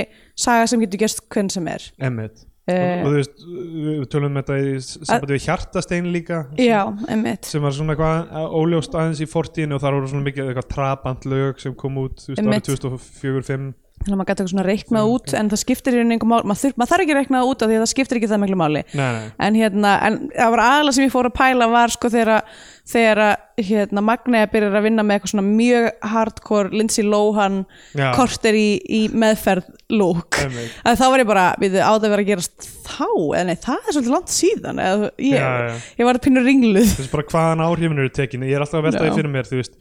saga sem getur gerst hvern sem er Emmitt Eh. og, og þú veist, við tölum um þetta í sambandi við hjartastein líka já, emmitt sem var svona eitthvað óljóst aðeins í fortíðinu og þar voru svona mikið eitthvað trabant lög sem kom út þú veist, Einmitt. árið 2004-2005 þannig að maður gæti eitthvað svona reiknað út en það skiptir í rauninni engum máli, maður, þurf, maður þarf ekki að reikna það út af því að það skiptir ekki það miklu máli Nei, nei. en hérna, en það var aðalega sem ég fór að pæla var sko þegar að- þegar að, hérna, Magnea byrjar að vinna með eitthvað svona mjög hardcore Lindsay Lohan Já. korter í, í meðferð lúk Einmitt. að þá var ég bara, við á það að vera að gerast þá, eða nei, það er svolítið langt síðan eða, ég, Já, já. ég var að pínu ringluð þú veist bara hvaðan áhrifin eru tekin ég er alltaf að velta Já. því fyrir mér þú veist,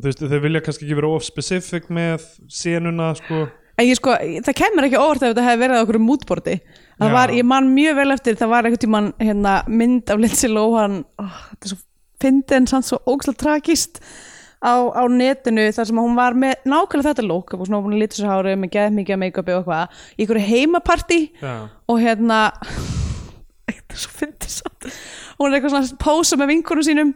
þú veist, þau vilja kannski ekki vera of specific með senuna sko. En ég sko, það kemur ekki óvart ef þetta hefði verið á okkur mútborti. Það Já. var, ég man mjög vel eftir, það var einhvern tímann hérna, mynd af Lindsay Lohan, oh, þetta er svo fyndið en samt svo ógslag tragist á, á netinu þar sem hún var með nákvæmlega þetta lók, og svona hún lítur sér hárið með geðið mikið make-upi og eitthvað, í einhverju heimapartí Já. og hérna, þetta er svo fyndið samt, hún er eitthvað svona að pósa með vinkunum sínum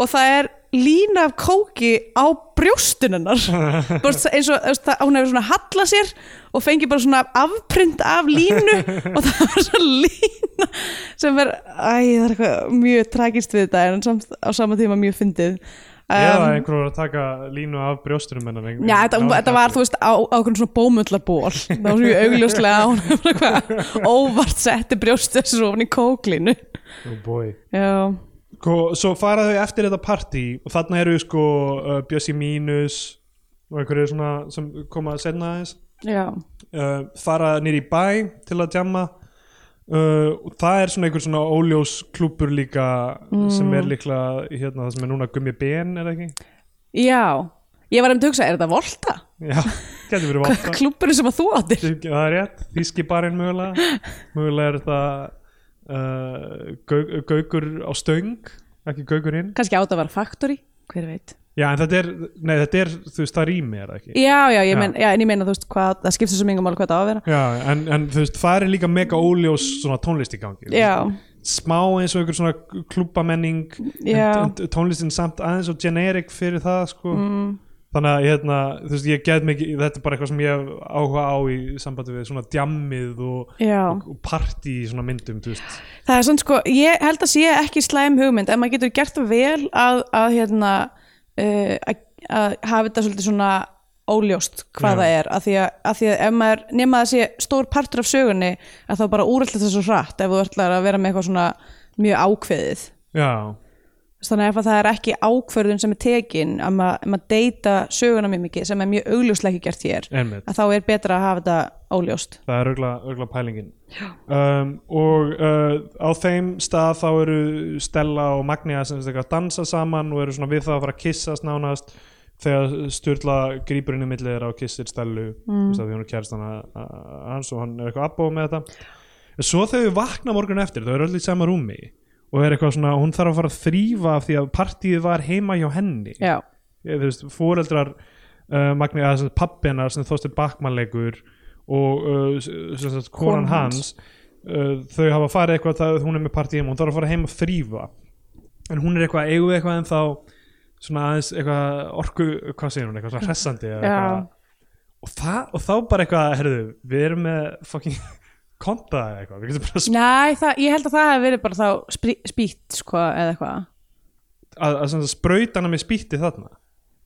og það er lína af kóki á brjóstunennar eins og þú veist, það, hún hefur svona hallað sér og fengi bara svona afprint af línu og það var svona lína sem er, æ, það er eitthvað mjög tragist við þetta en samt, á sama tíma mjög fyndið eða um, einhver var að taka línu af brjóstunum hennar einhver- Já, þetta, þetta var, þú veist, á, á okkur svona bómullaból það var mjög augljóslega að hún hefur eitthvað óvart setti brjóstu þessu ofan í kóklínu oh boy. Já, Sko, svo fara þau eftir þetta partí og þarna eru sko uh, Bjössi Mínus og einhverju svona sem koma að senna aðeins já uh, fara nýr í bæ til að djamma Uh, og það er svona einhver svona óljós klúpur líka sem Mm. er líklega hérna það sem er núna gummi ben er það ekki? Já, ég var um til að hugsa, er þetta Volta? Já, getur verið valda Klúburinn sem að þú áttir Það er rétt, þýskibarinn mögulega mögulega er það uh, gaug, gaugur á stöng ekki gaugur inn Kannski átt að vera Factory, hver veit Já, en þetta er, nei þetta er, þú veist, það rými er það ekki Já, já, ég Já. Men, já en ég meina, þú veist, hvað, það skiptir svo mingum alveg hvað það á að vera Já, en, en þú veist, það er líka mega óljós svona tónlist í gangi Já, smá eins og einhver svona klúbamenning Já. en, en tónlistin samt aðeins og generic fyrir það sko mm. þannig að hérna, þú veist, ég get mikið þetta er bara eitthvað sem ég hef áhuga á í sambandi við svona djammið og, já og, og partí í svona myndum, þú veist Það er svona sko, ég held að sé ekki slæm hugmynd en maður getur gert það vel að, að hérna uh, að, að hafa þetta svolítið svona óljóst hvað Já. það er að því að, að því að ef maður nema að sé stór partur af sögunni að þá bara úrallt þetta svo hratt ef þú ætlar að vera með eitthvað svona mjög ákveðið Já, þannig að ef að það er ekki ákvörðun sem er tekin að ma- að maður deyta söguna mjög mikið sem er mjög augljóslega ekki gert hér einmitt að þá er betra að hafa þetta óljóst það er örgla, örgla pælingin um, og uh, á þeim stað þá eru Stella og Magnia sem sagt eitthvað að dansa saman og eru svona við það að fara að kyssast nánast þegar Sturla grípur inn í millið þeirra og kissir Stellu mm. því hún er kærstan hans og hann er eitthvað abbó með þetta en svo þegar við vakna morgun eftir þau eru öll í sama rúmi og er eitthvað svona, hún þarf að fara að þrýfa af því að partíið var heima hjá henni já, ég, Eh, þú veist, fóreldrar uh, Magni, að pappinar sem þóstir bakmannleikur og uh, s- sem sagt, konan Konan hans uh, þau hafa farið eitthvað það, hún er með partí heima, hún þarf að fara heim að þrýfa en hún er eitthvað að eigu eitthvað en þá svona aðeins eitthvað orku, hvað segir hún, eitthvað svona hressandi eða Já. eitthvað. og, það, og þá bara eitthvað, herðu, við erum með fucking konta eða eitthvað við getum bara sp- næ, það, ég held að það hef verið bara þá sprí, spýtt sko eða eitthvað að, að, að sprautana með spýtti þarna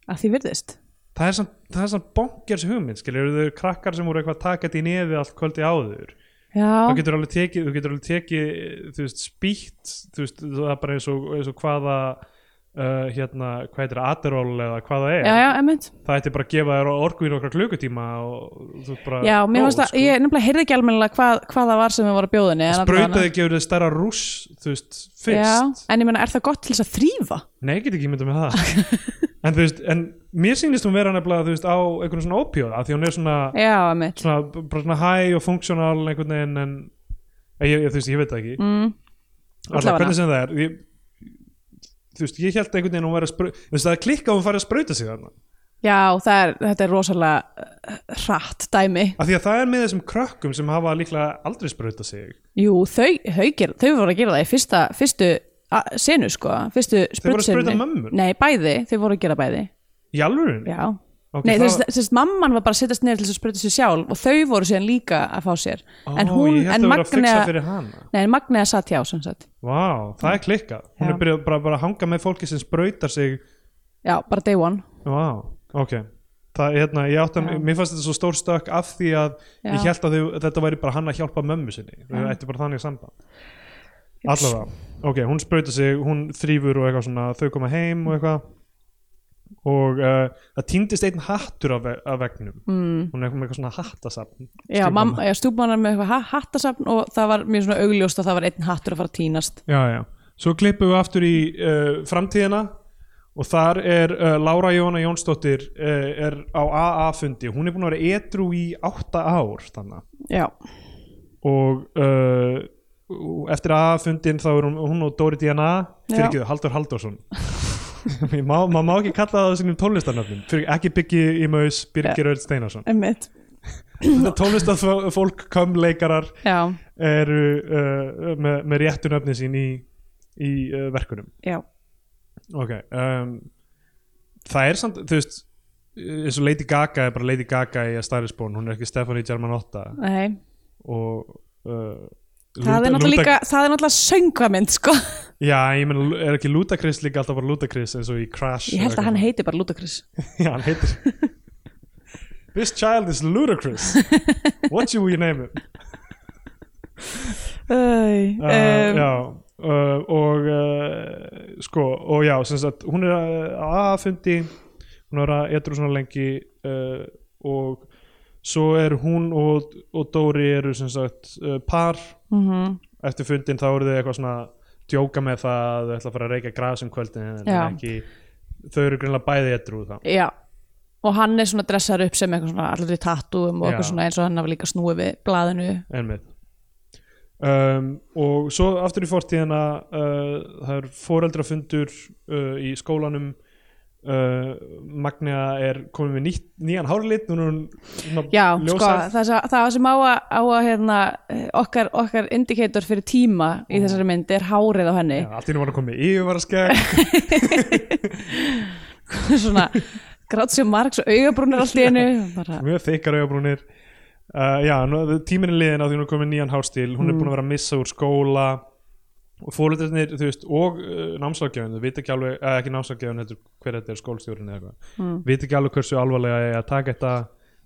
að því virðist það er samt, það er samt bonkers hugmynd skilur, þau eru krakkar sem voru eitthvað að taka þetta í nefi allt kvöldi áður já, þá getur alveg tekið, þú getur alveg tekið þú veist, spýtt þú veist, það er bara eins og, eins og hvaða uh, hérna, hvað heitir það, Adderall eða hvað það er, já, já, emmitt það ætti bara að gefa þér orgu í nokkra klukkutíma og þú veist bara já, mér góð, sko. finnst að, ég nefnilega heyrði ekki almennilega hvað, hvað það var sem við voru að bjóðinni sprautaði gefur þið stærra rúss þú veist, fyrst, já, en ég meina, er það gott til þess að þrýfa? nei, ég get ekki myndað með það en þú veist, en mér sýnist hún vera nefnilega, þú veist, á einhvern svona ópíóða því hún er svona, já, emmitt svona, bara svona hæ og funksjónal einhvern veginn en eh, ég, ég, þú veist, ég veit það ekki mm, Alla, Allavega. hvernig sem það er ég, þú veist, ég held einhvern veginn að hún væri að sprauta þú veist, það er klikka að hún fari að sprauta sig þarna já, það er, þetta er rosalega uh, hratt dæmi af því að það er með þessum krökkum sem hafa líklega aldrei sprauta sig Jú, þau, þau, ger, þau voru að gera það í fyrsta, fyrstu a- senu sko, fyrstu Þau voru að sprutsenunni. sprauta mömmur? Nei, bæði, þau voru að gera bæði í alvörun Já Ok, Nei, það þess, var- þess, mamman var bara að setjast niður til þess að spruta sér sjálf og þau voru síðan líka að fá sér en hún, ég held en að vera að fixa Magnea fyrir hana Nei, en Magnea satt hjá sem sagt Vá, það er klikkað hún Já. er byrjað bara, bara að hanga með fólki sem sprautar sig Já, bara day one Vá, ok Það, er hérna, ég átti að, Já. mér fannst þetta svo stór stökk af því að Já. ég held að þau, þetta væri bara hann að hjálpa mömmu sinni, þau ætti bara þannig samband allavega, ok, hún sprauta sig hún þrýfur og eitthvað svona þau koma heim og eitthvað og uh, það týndist einn hattur af, ve- af vegnum, mm. hún er eitthvað með eitthvað svona hattasafn Já, Stjúpmamma. mamma- já stúpmannar með eitthvað ha- hattasafn og það var mjög svona augljóst að það var einn hattur að fara að týnast já, já, svo klippum við aftur í uh, framtíðina og þar er uh, Lára Jóna Jónsdóttir uh, er á AA-fundi hún er búin að vera edru í átta ár þannig Já, og uh, eftir A-fundin þá er hún, hún og Dóri DNA fyrir Já. ekki þau, Haldur Haldursson maður má, má ekki kalla það á sínum tónlistarnöfnum fyrir ekki Biggi í Maus, Birgir Örn Steinarsson emmitt tónlistarfólk kom leikarar Já, eru uh, með, með réttu nöfni sín í, í uh, verkunum já, ok um, það er samt, þú veist eins og Lady Gaga er bara Lady Gaga í að stærisbón, hún er ekki Stephanie Germanotta nei og uh, Það er náttúrulega líka, það er náttúrulega söngvamynd sko. Já, ég meina, er ekki Ludacris líka alltaf bara Ludacris eins og í Crash Ég held eða að hann eitthvað? heiti bara Ludacris Já, hann heitir This child is Ludacris What should we name him? Æ, Uh, já, uh, og uh, sko, og já, sem sagt hún er að aðfundi hún er að eitthvað svona lengi uh, eh, og svo er hún og, og Dóri eru sem sagt uh, par Mhm. eftir fundin þá eru þau eitthvað svona djóka með það að þau ætla að fara að reykja gras um kvöldin en Já. ekki, þau eru greinlega bæði etru þá Já, og hann er svona dressar upp sem eitthvað svona allir í tattúum og eitthvað Já. svona eins og hann hafa líka snúið við blaðinu Einmitt. Um, og svo aftur í fortíðina uh, það er foreldrafundur uh, í skólanum uh, Magnea er komin með nýtt, nýjan hárlit núna er hún svona Já, sko, ljóshærð. það, sem- það sem á að, á að hérna, okkar, okkar indikator fyrir tíma í þessari mynd er hárið á henni Já, allt í nú var að koma með yfirvaraskegg svona grátt sér margs og augabrúnir allt í einu bara, mjög þykkar augabrúnir uh, já, nú, tíminn er liðin á því hún er komin nýjan hárstíl hún Mm. er búin að vera að missa úr skóla og fóreldrarnir, þú veist, og uh, námslákjöfun, þau vita ekki alveg, eða ekki námslákjöfun heldur hver þetta er skólstjórinn eða eitthvað mm. vita ekki alveg hversu alvarlega ég að taka þetta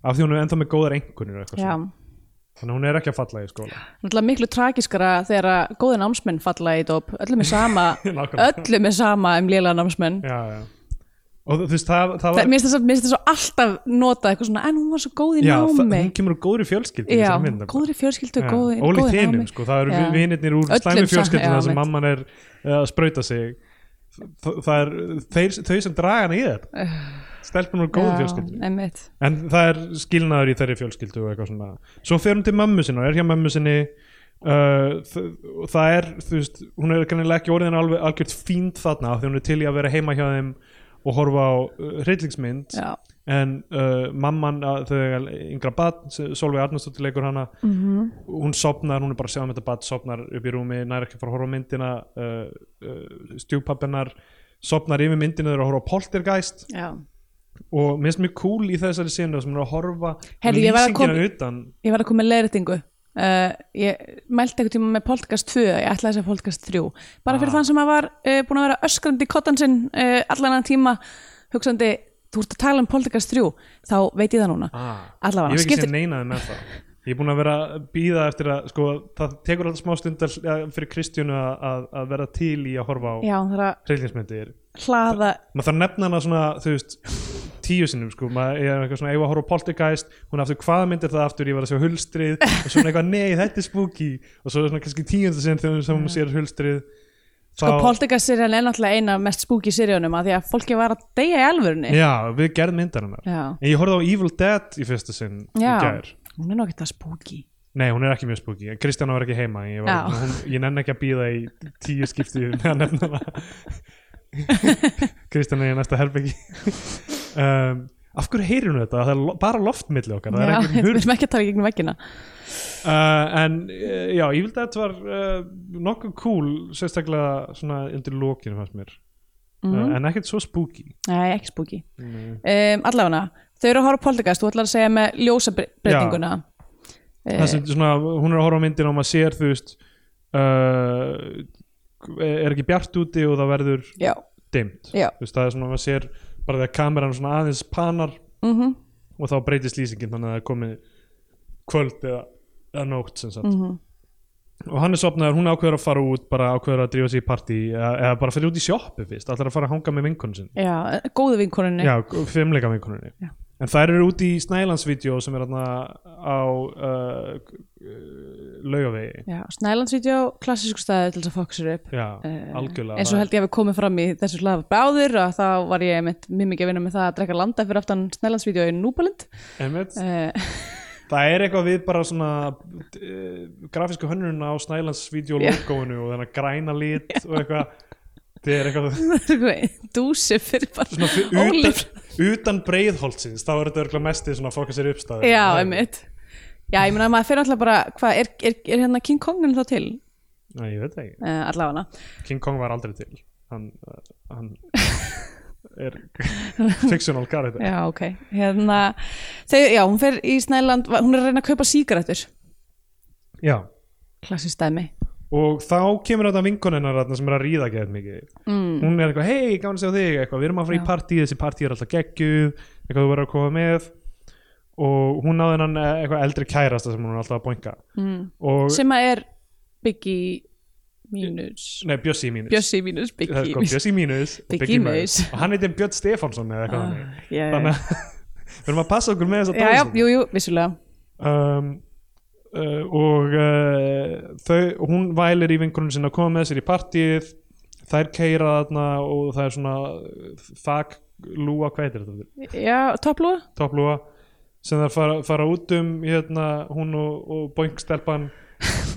af því hún er ennþá með góðar einkunir og eitthvað já, svona. þannig að hún er ekki að falla í skóla náttúrulega miklu tragiskara þegar að góði námsmenn falla í dóp öllum er sama, Nákvæmlega. öllum er sama um lélega námsmenn já, já. og þú veist, það, það Það, var mér finnst þess að- mér finnst þess að alltaf nota eitthvað svona, en hún var svo góð í já, það, námi hún kemur úr góðri fjölskyldi í Já, þessari mynd, góðri fjölskyldu, góði, Óli góði þínum námi. sko, það eru Já. vinirnir úr Öllum slæmi sa- fjölskyldina já, þar sem mitt. mamman er eh, að sprauta sig Þ- það er þeir, þau sem draga hana í þetta stelpun úr góðu Já, fjölskyldinu einmitt. en það er skilnaður í þeirri fjölskyldu og eitthvað svona, svo fer hún til mömmu sinna og er hjá mömmu sinni uh, þ- og það er, þú veist, hún er kannilega ekki orðin alveg algjört fínt þarna af því hún er til í að vera heima hjá þeim og horfa á uh, hryllingsmynd Já, en uh, mamman að þau eiga yngra badn, Solveig Arnarsdóttir leikur hana Mhm. hún sopnar, hún er bara að sjá um þetta badn sopnar upp í rúmi, nær ekki að fara að horfa á myndina uh, uh, stjúpappennar sopnar yfir myndina þegar að horfa á poltergeist já. og mér finnst mjög cool í þessari senu sem hún er að horfa Heyrðu, ég var að lýsingina utan Ég var að koma með leiðrætingu. Uh, ég mælti eitthvað tíma með podcast 2, ég ætlaði þess að podcast 3. Bara Ah. fyrir þann sem að var uh, búin að vera öskrandi í kottan sinn uh, allan að tíma, hugsandi, þú ert að tala um podcast 3, þá veit ég það núna. ah, Allavega, ég hef ekki skiptir- sem neinaði með það ég er búin að vera að býða eftir að sko, það tekur alltaf smá stund að- að- fyrir Kristjánu að, að, að vera til í að horfa á Já, það er að hryllingsmyndir hlaða, maður þarf að nefna hana svona þú veist, tíu sinnum sko maður er eitthvað svona, eigum við að horfa á poltergeist hún er aftur, hvaða mynd er það aftur, ég var að sjá hulstrið og svona eitthvað, nei, þetta er spooky og svo er svona kannski tíundu sinn þegar sem hún sér hulstrið þá, sko, Poltegaserjan er náttúrulega eina af mest spúki serjónum að því að fólki var að deyja í alvörunni. já, við gerðum myndar hennar Já. en ég horfði á Evil Dead í fyrsta sinn í gær, hún er nokkuð það spúki. nei, hún er ekki mjög spooky Kristján var ekki heima, ég, var, Já. hún, ég nenn ekki að býða í tíu skipti með að nefna hana Kristján er í næsta herbyggi um, af hverju heyrir hún þetta? Það er lo bara loftmilli okkar, það Já, er ekki við erum ekki að tala í gegnum veggina. uh, en uh, já, Evil Dead var uh, nokkuð cool sérstaklega svona undir lókinu fannst mér Mhm. uh, en ekkert svo spooky Nei, ekki spooky um, Allafana, þau eru að horfa á poltergeist Þú ætlar að segja með ljósabreitinguna Eh, það sem svona, hún er að horfa á myndina og maður sér þú veist uh, er ekki bjart úti og það verður Já, dimmt Já. þú veist, það er svona, maður sér bara þegar kameran svona aðeins panar mm og þá breytist lýsingin þannig að það er komið kvöld eða, eða nótt sem sagt Mhm. og hann er sopnaður, hún ákveður að fara út bara ákveður að drífa sig í partí eða, eða bara fyrir út í sjoppu fyrst, allar að fara að hanga með vinkonun sinni já góðu vinkoninni já, fimmleika vinkonunni Já. en þær eru út í Snælandsvídeó sem er þarna á uh, laugavegi já Snælandsvídeó, klassísku staði til þess að fokka sér upp já, algjörlega Eh, eins og held ég að við komum fram í þessu hlaða báður og þá var ég með mjög mikið að vinna með það að drekka landa fyrir aftan Snælandsvídeó í Núbalind Einmitt, uh, það er eitthvað við bara svona uh, grafísku hönnun á Snælandsvídeó logoinu og þennan græna lit og eitthvað þetta er eitthvað dúsi fyrir svona bara fyrir ólíf utan, utan breiðholtsins þá er þetta örgulega mestið svona fókast sér uppstæð Já, einmitt Já, ég meina að maður fyrir alltaf bara hvað, er, er, er hérna King Kongin þá til? Nei, ég veit það ekki, Uh, allafana King Kong var aldrei til hann, uh, hann er fictional character Já, ok. Hérna, þau, já, hún fer í Snæland, hún er að reyna að kaupa sígarettur. já, Klassist dæmi. og þá kemur þetta vinkonennar þarna sem er að ríða gett mikið mm. hún er eitthvað, hei, gaman að sjá þig eitthvað, við erum að fara í partí, þessi partí er alltaf geggjuð eitthvað þú verður að koma með og hún náði hennan eh, eitthvað eldri kærasta sem hún er alltaf að boinga mm. og, Sem að er Biggie mínus, nei, Bjössi mínus Bjössi mínus það er Biggie sko mínus. Bjössi Mínus og Biggi Biggi Maus. Maus og hann heitir Björn Stefánsson eða eitthvað Ah, þannig já, já. þannig að við erum að passa okkur með þess að já, já, jú, jú, vissulega um, uh, og uh, þau, hún vælir í vinkunum sinna að koma með sér í partíið þær keira þarna og það er svona þak lúa, hvað heitir þetta? já, topplúa topplúa sem þær fara, fara út um hérna, hún og, og boingstelpan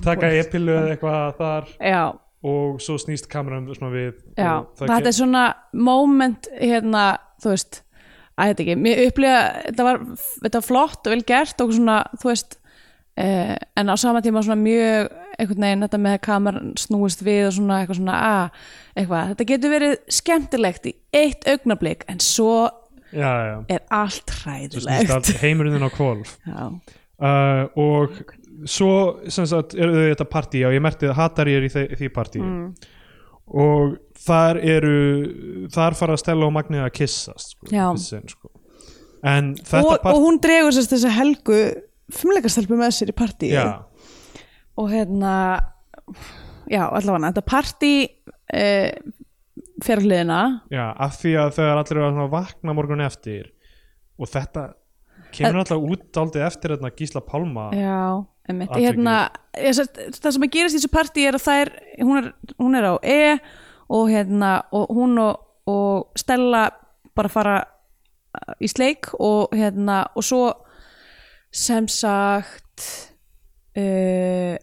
taka epilu eða eitthvað þar já, og svo snýst kameran svona við já, og það þetta er svona moment hérna, þú veist að þetta ekki, mér upplifa þetta var, þetta var flott og vel gert og svona, þú veist eh, en á sama tíma svona mjög einhvern veginn þetta með að kameran snúist við og svona eitthvað svona, að, eitthvað þetta getur verið skemmtilegt í eitt augnablík en svo já, já, er allt svo snýst hræðilegt allt heimurinn á kvolf já, uh, og svo sem sagt eru þau í þetta partí og ég merti að hatar ég er í þe því partí Mm. og þar eru þar fara Stella og Magni að kyssast sko, Já. kissin, sko. en og, þetta og partí hún dregur sérst þessa helgu fumleikastelpu með sér í partí já, og hérna já, allavega, þetta partí uh, fer á hliðina já, af því að þegar allir eru að svona vakna morgun eftir og þetta kemur alltaf út aldrei eftir þetta Gísla Pálma já, einmitt Atvikið. hérna, ég, sérst, það sem að gerist í þessu partí er að þær, hún er, hún er á E og hérna og hún og, og Stella bara fara eh, í sleik og hérna og svo sem sagt uh,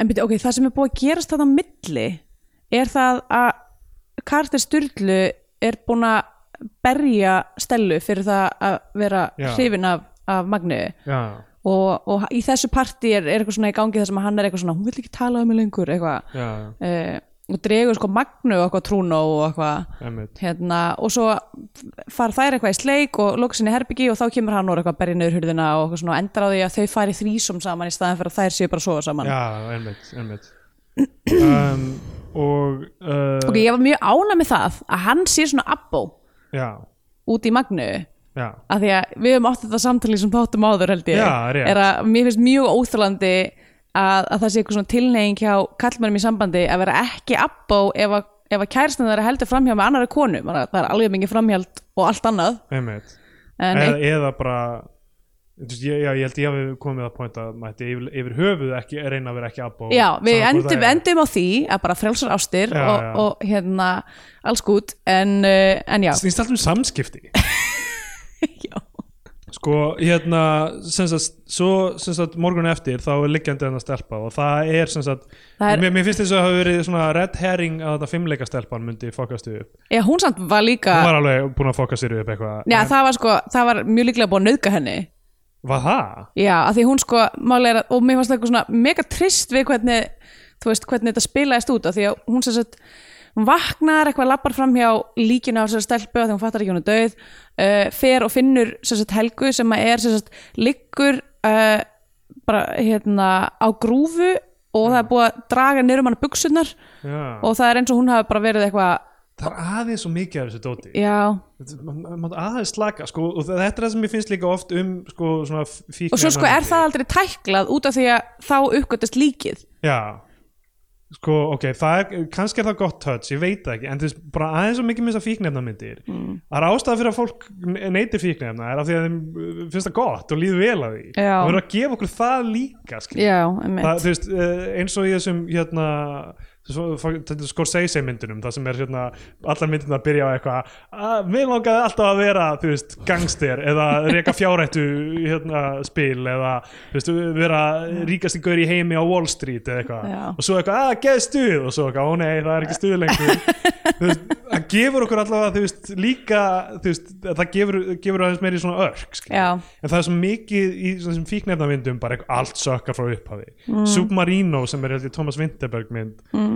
en byrja, ok, það sem er búið að gerast þarna á milli er það að Carter Sturlu er búin að berja Stellu fyrir það að vera Já. hrifin af, af Magnu já, og, og í þessu partí er, er eitthvað svona í gangi þar sem að hann er eitthvað svona hún vil ekki tala um mig lengur eitthvað já, uh, og dregur sko Magnu og eitthvað trúna og eitthvað emmitt hérna, og svo fara þær eitthvað í sleik og loka sinni herbyggi og þá kemur hann og er eitthvað berið niður hurðina og eitthvað svona og endar á því að þau fari þrísum saman í staðan fyrir að þær séu bara að sofa saman já, emmitt, emmitt um, og uh, ok, ég var mjög ána með það að hann sé svona abbo já, út í Magnu já af því að við höfum átt þetta samtali sem þáttum áður held ég Já, rétt. er að mér finnst mjög óþalandi að, að það sé eitthvað svona tilneying hjá kallmennum í sambandi að vera ekki abbó ef að, ef að kærastan þeirra heldur framhjá með annara konu Bara, það er alveg mikið framhjald og allt annað einmitt eða, en ein, eða bara þú veist, ég, já, ég held ég hafi komið að pointa að mætti yfir, yfir höfuð ekki reyna að vera ekki abbó já, við endum, endum á því að bara frelsar ástir Já, og, já. og hérna alls gút en, uh, en já, snýst allt um samskipti já sko hérna sem sagt, svo sem sagt, morgun eftir þá er liggjandi hennar stelpa og það er sem sagt Það er- mér, mér finnst þess að hafa verið svona red herring að þetta fimmleika stelpan myndi fokast þau upp Já, hún samt var líka hún var alveg búin að fokast þér upp eitthvað Já, það var sko, það var mjög líklega búin að nauðga henni var það? Já, af því hún sko málega, og mér fannst það eitthvað svona mega trist við hvernig, þú veist, hvernig þetta spilaðist út af því að hún sem sagt hún vaknar, eitthvað lappar fram hjá líkinu á þessari stelpu af því hún fattar ekki hún er döið uh, fer og finnur sem sagt helgu sem að er sem sagt liggur uh, bara hérna á grúfu og það er búið að draga niður um hann buksunar Já. og það er eins og hún hafi bara verið eitthvað það er aðeins svo mikið af þessu dóti já, Þetta- ma- ma- maður aðeins slaka sko, og þa- þetta er það sem ég finnst líka oft um sko, svona f- fíkniefnavandi. og svo sko er það aldrei tæklað út af því að þá uppgötast líkið já sko ok, það er, kannski er það gott touch ég veit það ekki, en þú veist bara aðeins svo mikið með þessar fíknefnamyndir mm. það er ástæða fyrir að fólk ne- neytir fíknefna er af því að þeim uh, finnst það gott og líður vel að því Já. það verður að gefa okkur það líka skilur. já, það, emmitt þú veist, eh, eins og í þessum hérna svo- fó- þetta er Scorsese myndunum það sem er hérna, allar myndina byrja á eitthvað að mér langaði alltaf að vera þú veist, gangster eða reka fjárættu hérna, spil eða þú veist, vera ríkasti gaur í heimi á Wall Street eða Já. eitthvað og svo eitthvað, að geð stuð og svo eitthvað, ó nei, það er ekki stuð lengur Þú veist, það gefur okkur allavega þú veist, líka, þú veist, það gefur, gefur aðeins meiri svona örk skilur. Já. en það er svo mikið í svona þessum fíknefnavindum bara eitthvað allt sökkar frá upphafi Submarino sem er held ég Thomas Winterberg mynd mm.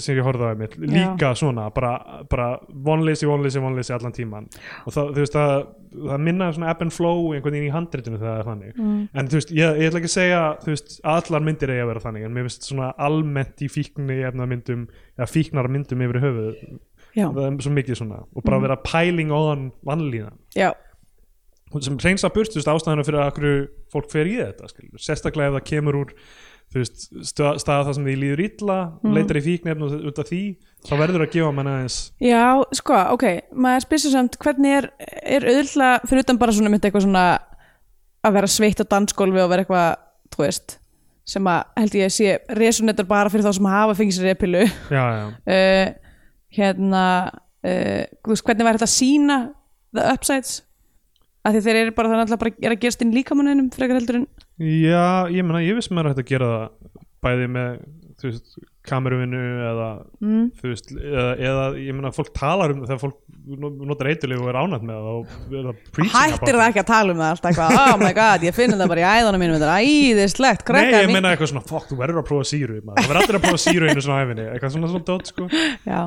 sem ég horfði á einmitt líka svona, bara, bara vonleysi, vonleysi, vonleysi allan tíman og það, þú veist, það, það minna svona ebb and flow einhvern veginn í handritinu þegar það er þannig mm. en þú veist, ég, ég ætla ekki að segja þú veist, allar myndir eiga að vera þannig en mér finnst svona almennt í fíkni efnamyndum eða fíknar myndum yfir höfuð já, það er svo mikið svona og bara vera pæling á þann vannlíðan já, sem reynsa burtust ástæðina fyrir að hverju fólk fer í þetta skilur. sérstaklega ef það kemur úr þú þú veist, stöð- staða það sem því líður illa leitar í fíknefn og út af því þá verður að gefa mann aðeins Já, sko, ok, maður spyr sér samt hvernig er, er auðvitað fyrir utan bara svona mitt eitthvað svona að vera sveitt á dansgólfi og vera eitthvað, þú veist sem að held ég að sé resonator bara fyrir þá sem hafa fengið sér epilu já, já, uh, hérna uh, þú veist, hvernig væri þetta að sína the upsides að því þeir eru bara þannig að bara er að gerast inn líkamanninum frekar heldur en já, ég meina ég viss maður hægt að gera það bæði með þú veist, kameruvinu eða mm. þú veist, eða, eða ég meina fólk talar um þegar fólk no- notar eitthulíf og er ánætt með það og er að preaching hættir það about ekki að tala um það alltaf eitthvað, oh my god, ég finn þetta bara í æðunum mínum þetta er æðislegt, Nei, krakkar ég mín meina eitthvað svona, fokk, þú verður að prófa síru maður. það verður allir að prófa síru einu svona á æfinni eitthvað svona svona dót, sko Já.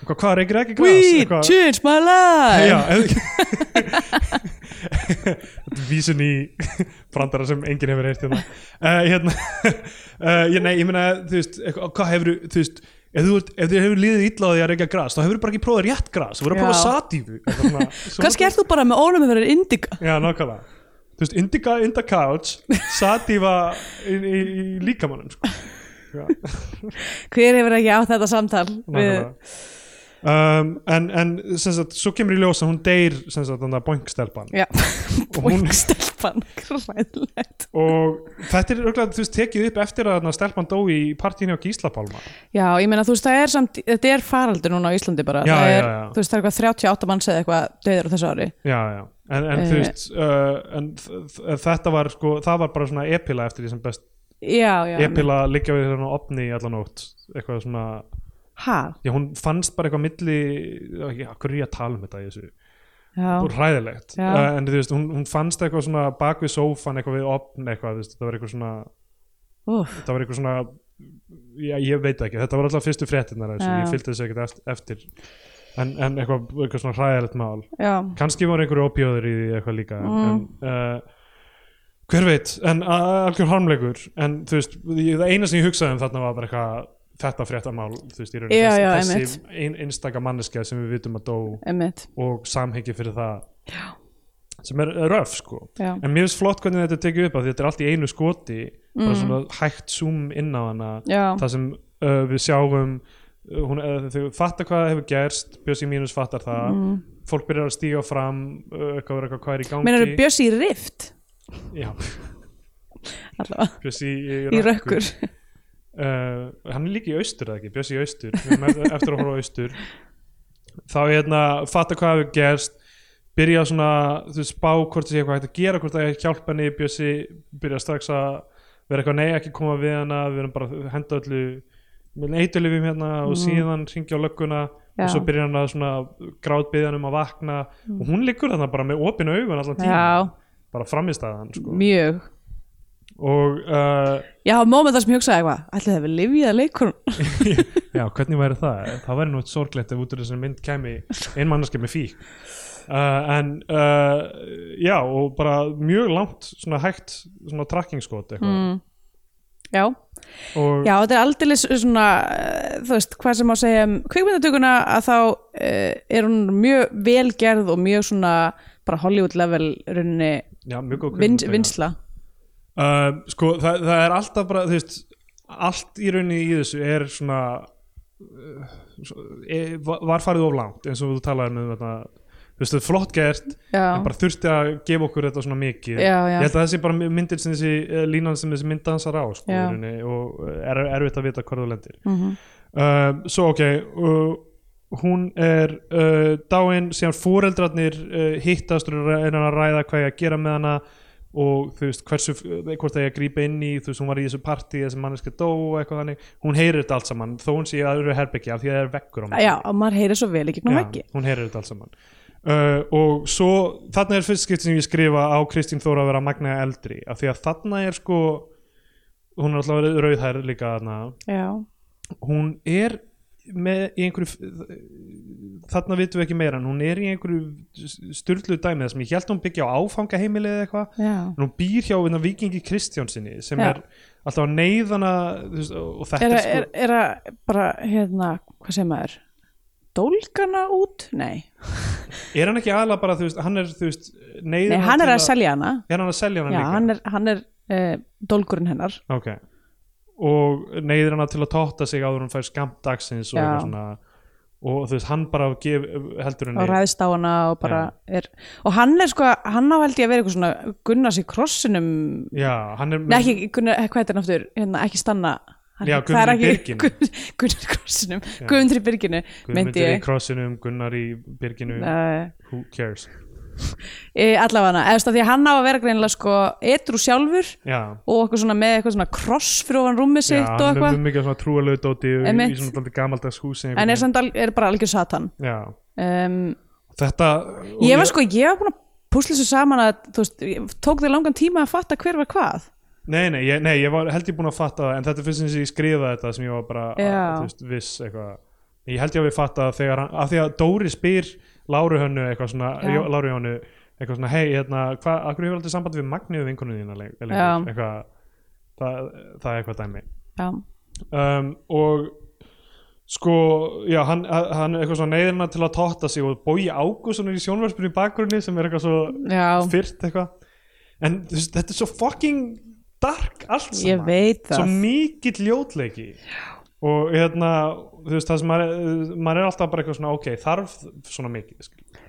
Hvað, hvað reykir ekki glas? We Eitthvað- changed my life Já, eða Vísun í brandara sem enginn hefur heyrt hérna uh, Hérna uh, ég, Nei, ég meina, þú veist, eitthvað- hvað hefur þú veist, ef þú, ert, ef þú hefur liðið illa á því að reykja gras, þá hefur bara ekki prófað rétt gras þú verður að prófa Já. satífu eitthvað svona- svona- kannski ert þú bara með ónum að vera indiga Já, nákvæmlega Þú veist, indica in the couch satífa í, í, í líkamannum sko. hver hefur ekki á þetta samtal við, Nákvæmlega. um, En, en sem sagt, svo kemur í ljós að hún deyr sem sagt, þannig að boingstelpan já, Og hún- bókstelpan hræðilegt og þetta er örugglega, þú veist, tekið upp eftir að þarna stelpan dó í partíinu á Gísla Pálma já, ég meina þú veist, það er samt þetta er faraldur núna á Íslandi bara Já, það já, er, já. þú veist, það er eitthvað 38 manns eða eitthvað döður á þessu ári já, já. en, en Eh. þú veist uh, en þ- þ- þetta var sko, það var bara svona epila eftir því sem best já, já, epila liggja við hérna opni í allan ótt eitthvað svona, ha, já hún fannst bara eitthvað milli, já, hverju er ég að tala um þetta í þessu, já, og ræðilegt Já. uh, en þú veist, hún, hún fannst eitthvað svona bak við sófan, eitthvað við opn eitthvað, þú veist, það var eitthvað svona úf, þetta var eitthvað svona já, ég veit ekki, þetta var alltaf fyrstu fréttinnar þessu, Já. ég fylgdi þessu ekkert eft- eftir en, en eitthvað, eitthvað svona hræðilegt mál já kannski voru einhverju opióður í því eitthvað líka Mm. en uh, hver veit en a- algjör harmleikur en þú veist, ég, það eina sem ég hugsaði um þarna var bara eitthvað þetta fréttamál, þú veist, í rauninni Já, þessi- já, þessi ein, einstaka manneskja sem við vitum að dó einmitt, og samhengi fyrir það já. sem er, er röf sko já, en mér finnst flott hvernig þetta er tekið upp af því þetta er allt í einu skoti bara Mm. svona hægt zoom inn á hana já það sem uh, við sjáum uh, hún, uh, þau fattar hvað hefur gerst Bjössi mínus fattar það mm. fólk byrjar að stíga fram uh, hvað, er, eitthvað, hvað er í gangi meina eru bjössi í rift Já, allavega, Bjössi í, í rökkur uh, hann er líka í austur eða ekki, Bjössi í austur Við erum eft- eftir að horfa á austur þá hérna, fatta hvað hefur gerst byrja svona, þú veist, spá hvort það sé eitthvað hægt að gera, hvort það er hjálpa henni Bjössi byrja strax að vera eitthvað nei, ekki koma við hana, við erum bara að henda öllu með eitulifum hérna og Mm. síðan hringja á lögguna Já. Mm. og svo byrja hann að svona grátbyðja hann um að vakna og hún liggur þarna bara með opin augun allan tíma, já, bara framist að hann sko. mjög og uh, Já, moment þar sem ég hugsaði eitthvað, ætlaði það við lifið að leikur Já, hvernig væri það? Það væri nú sorglegt ef út úr þessari mynd kemi einmannaskja með fík uh, En uh, já, og bara mjög langt svona hægt svona trakkingskot eitthvað Já, og Mm. já, þetta er aldrei svona, eh, þú veist, hvað sem má segja um kvikmyndatökuna að þá uh, er hún mjög velgerð og mjög svona bara Hollywood level runni já, mjög góð vin, kvikmynd, vinsla uh, Sko, það, það er alltaf bara, þú veist allt í rauninni í þessu er svona uh, er, var farið of langt eins og þú talaðir með þetta þú veist, það er flott gert Já, en bara þurfti að gefa okkur þetta svona mikið Já, já. ég held að þessi bara myndir sem þessi eh, línan sem þessi mynd dansar á sko, í Já. rauninni, og eh, er erfitt að vita hvar þú lendir mm uh, svo ok uh, hún er uh, dáin síðan fóreldrarnir uh, hittast og er að ræða hvað ég að gera með hana og þú veist hversu eh, hvort það ég að grípa inn í, þú veist hún var í þessu partí þessi manneska dó og eitthvað þannig hún heyrir þetta allt saman, þó hún sé að öðru herbyggja af því að það er vekkur á milli. já og maður heyri svo vel í gegnum Já, ekki hún heyrir þetta allt saman uh, og svo þarna er fyrst skipt sem ég skrifa á Kristín Þóra að vera magna eldri af því að þarna er sko hún er alltaf verið rauðhær líka þarna Já, hún er með í einhverju þarna vitum við ekki meira en hún er í einhverju styrlu dæmið sem ég held að hún byggja á áfangaheimilið eða eitthvað já en hún býr hjá hérna, vikingi Kristjánsinni sem Já. er alltaf að neyðana og þetta er, Er, að- sko er, er að bara, hérna, hvað segir maður, dólgana út? Nei, er hann ekki aðla bara, þú veist, hann er þú veist, Nei neyðana hann er til að selja hana er hann að selja hana Já, líka hann er, hann er uh, dólgurinn hennar Ok, og neyðir hana til að totta sig áður en hún fær skamt dagsins og, Já. eitthvað svona, og þú veist, hann bara gef, heldur henni og ræðist á hana og bara er og hann er sko, hann á held ég að vera eitthvað svona Gunnars í krossinum já, hann er nei ekki, Gunnar, eh, hvað heitir hann aftur hérna, ekki stanna hann, Já, það er Guðmundur í ekki- Gun- Gunnar í krossinum, Guðmundur í byrginu myndi Guðmundur í ég krossinum, Gunnar í byrginu uh, who cares eh, allavega, eða þú veist að því að hann á að vera greinilega sko etru sjálfur já, og eitthvað svona með eitthvað svona kross fyrir ofan rúmið já sitt og hann er eitthvað mikið svona trúalöðu dóti í Einmitt. svona dálítið gamaldags húsi en er, samt, al- er bara algjör satan já, um, þetta ég var sko, ég var búin að púsla þessu saman að þú veist, ég- tók þér langan tíma að fatta hver var hvað Nei, nei, ég, nei, ég var held ég búin að fatta það en þetta er fyrst sem ég skrifaði þetta sem ég var bara að, Já. þú veist, viss eitthvað ég held ég að við fatta það þegar hann, af því að Dóri spyr Láru hönnu eitthvað svona Já. Jó, Láru hönnu eitthvað svona, hei, hérna, hvað, akkur hefur aldrei samband við Magniðu vinkonu þína le- lengur, Já. eitthvað það, það er eitthvað dæmi já, um, og sko, já, hann, hann eitthvað svona neyðirna til að totta sig og bói Ágússon er í sjónvarspinu í bakgrunni sem er eitthvað svo já fyrt eitthvað en þú veist, þetta er svo fucking dark allt saman ég veit svo það mikill ljótleiki og hérna þú veist það sem maður, maður er alltaf bara eitthvað svona ok, þarf svona mikið skil.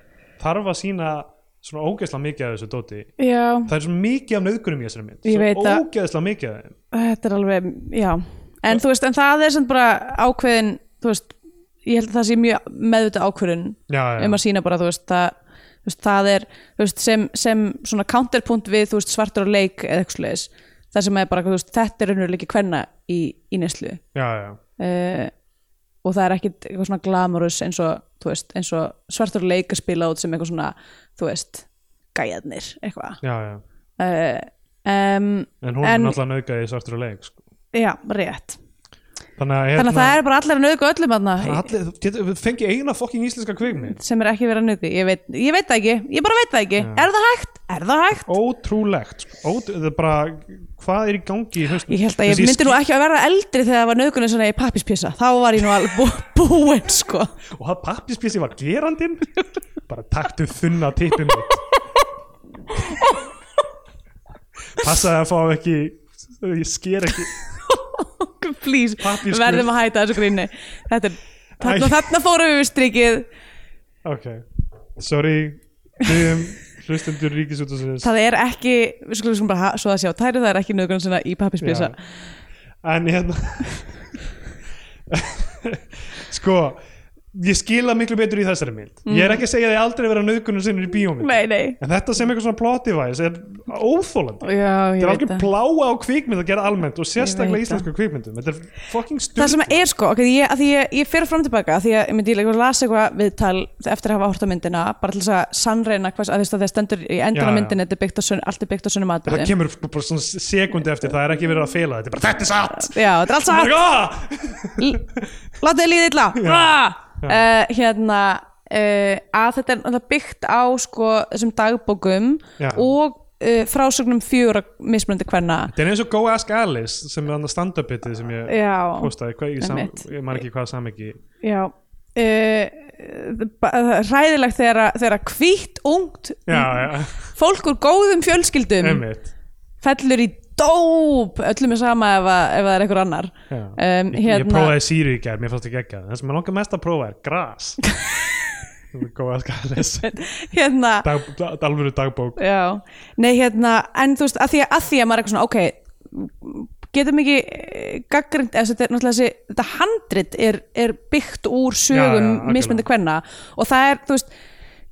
þarf að sína svona ógeðslega mikið af þessu dóti já, það er svo mikið af nöðgurum í þessari mynd Ég veit svo það. ógeðslega mikið af þeim þetta er alveg, já en þú veist, en það er sem bara ákveðin þú veist, ég held að það sé mjög meðvita ákveðin já, já, um að sína bara, þú veist, það þú veist, það er, þú veist, sem, sem svona counterpunkt við, þú veist, svartur og leik eða eitthvað sliðis, það sem er bara, þú veist, þetta er raunveruleiki kvenna í, í neslu já, já. uh, og það er ekkit eitthvað svona glamurus eins og, þú veist, eins og svartur og leik að spila út sem eitthvað svona, þú veist gæjarnir, eitthvað Já, já. uh, um, en hún En- er náttúrulega nöðgæði svartur og leik sko. já, rétt þannig að, hérna, þannig að það er bara allar að nauðga öllum aðna allir, getur, við fengið eina fucking íslenska kvikmynd sem er ekki verið að nauðga, ég veit, ég veit það ekki ég bara veit það ekki, er það hægt? er það hægt? ótrúlegt sko. Ótrú- þetta er bara, hvað er í gangi í hausnum? Ég held að ég Þessi myndi nú ekki að vera eldri þegar það var nöðgunni svona í pappispjösa þá var ég nú alveg bú, búin sko og það pappispjessi var gerandinn bara taktu þunna tippin mitt passaði að fá ekki ég sker ekki please, Pappírsgull. verðum að hætta þessu gríni þetta er, Æ. þarna, þarna fórum við við strikið ok, sorry hlutum hlustendur ríkisútasins það er ekki, við skulum svona bara ha- svo það sé á tæru, það er ekki nöðgunni svona í pappispjösa en hérna sko ég skila miklu betur í þessari mynd ég er ekki að segja því aldrei vera nöðgunum sinnur í bíómynd Mm. nei, nei, en þetta sem eitthvað svona plot-device er óþólandi já, Þetta ég er veit algjör það pláa á kvikmynd að gera almennt og sérstaklega veit það. íslensku kvikmyndum Þetta er fucking stund það sem er sko, ok, ég, að því ég, ég fer fram og tilbaka að því að ég myndi líka að lasa eitthvað viðtal eftir að hafa horta myndina, bara til þess að sannreina hvað, að þess að það stendur í Já, endan á já. myndinni, þetta er byggt á sönn, allt er byggt á sönnum Það atbyrðum kemur sko bara svona sekundi eftir Það er ekki verið að fela þetta, bara þetta er satt já, þetta er allt satt satt látið líðið illa Ah! uh, hérna uh, að þetta er náttúrulega byggt á sko, þessum dagbókum Já. og uh, frásögnum fjögur mismunandi hverna Þetta er eins og Go Ask Alice sem er annað stand-up-bitið sem ég já, postaði, hvað, ég, sam, Einmitt. ég man ekki hvað samhengi já uh, ba- það er hræðilegt þegar að- þegar að hvítt ungt Já, já, fólk úr góðum fjölskyldum einmitt fellur í dóp öllum er sama ef, að, ef það er einhver annar Já. Um, Ég, ég hérna- prófaði síru í gær, mér fannst ekki ekki að það sem ég langar mest að prófa er gras Go Ask Alice hérna, Dag, dag, alvöru dagbók Já, nei hérna en þú veist, að því að, að, því að maður er eitthvað svona ok, getum ekki gaggrind, eða þetta er náttúrulega þessi þetta handrit er, er byggt Já, úr já, sögum algjörlega. mismyndi kvenna og það er, þú veist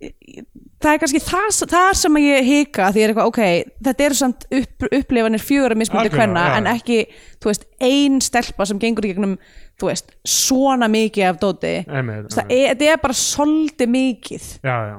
það er kannski það, það sem að ég hika því er eitthvað, ok, þetta eru samt upp, upplefanir fjögur að mismyndi Algjörlega, kvenna já. en ekki, þú veist, ein stelpa sem gengur í gegnum, þú veist, svona mikið af dóti, Einmitt, Þú veist, það er, þetta er bara svolítið mikið já, já.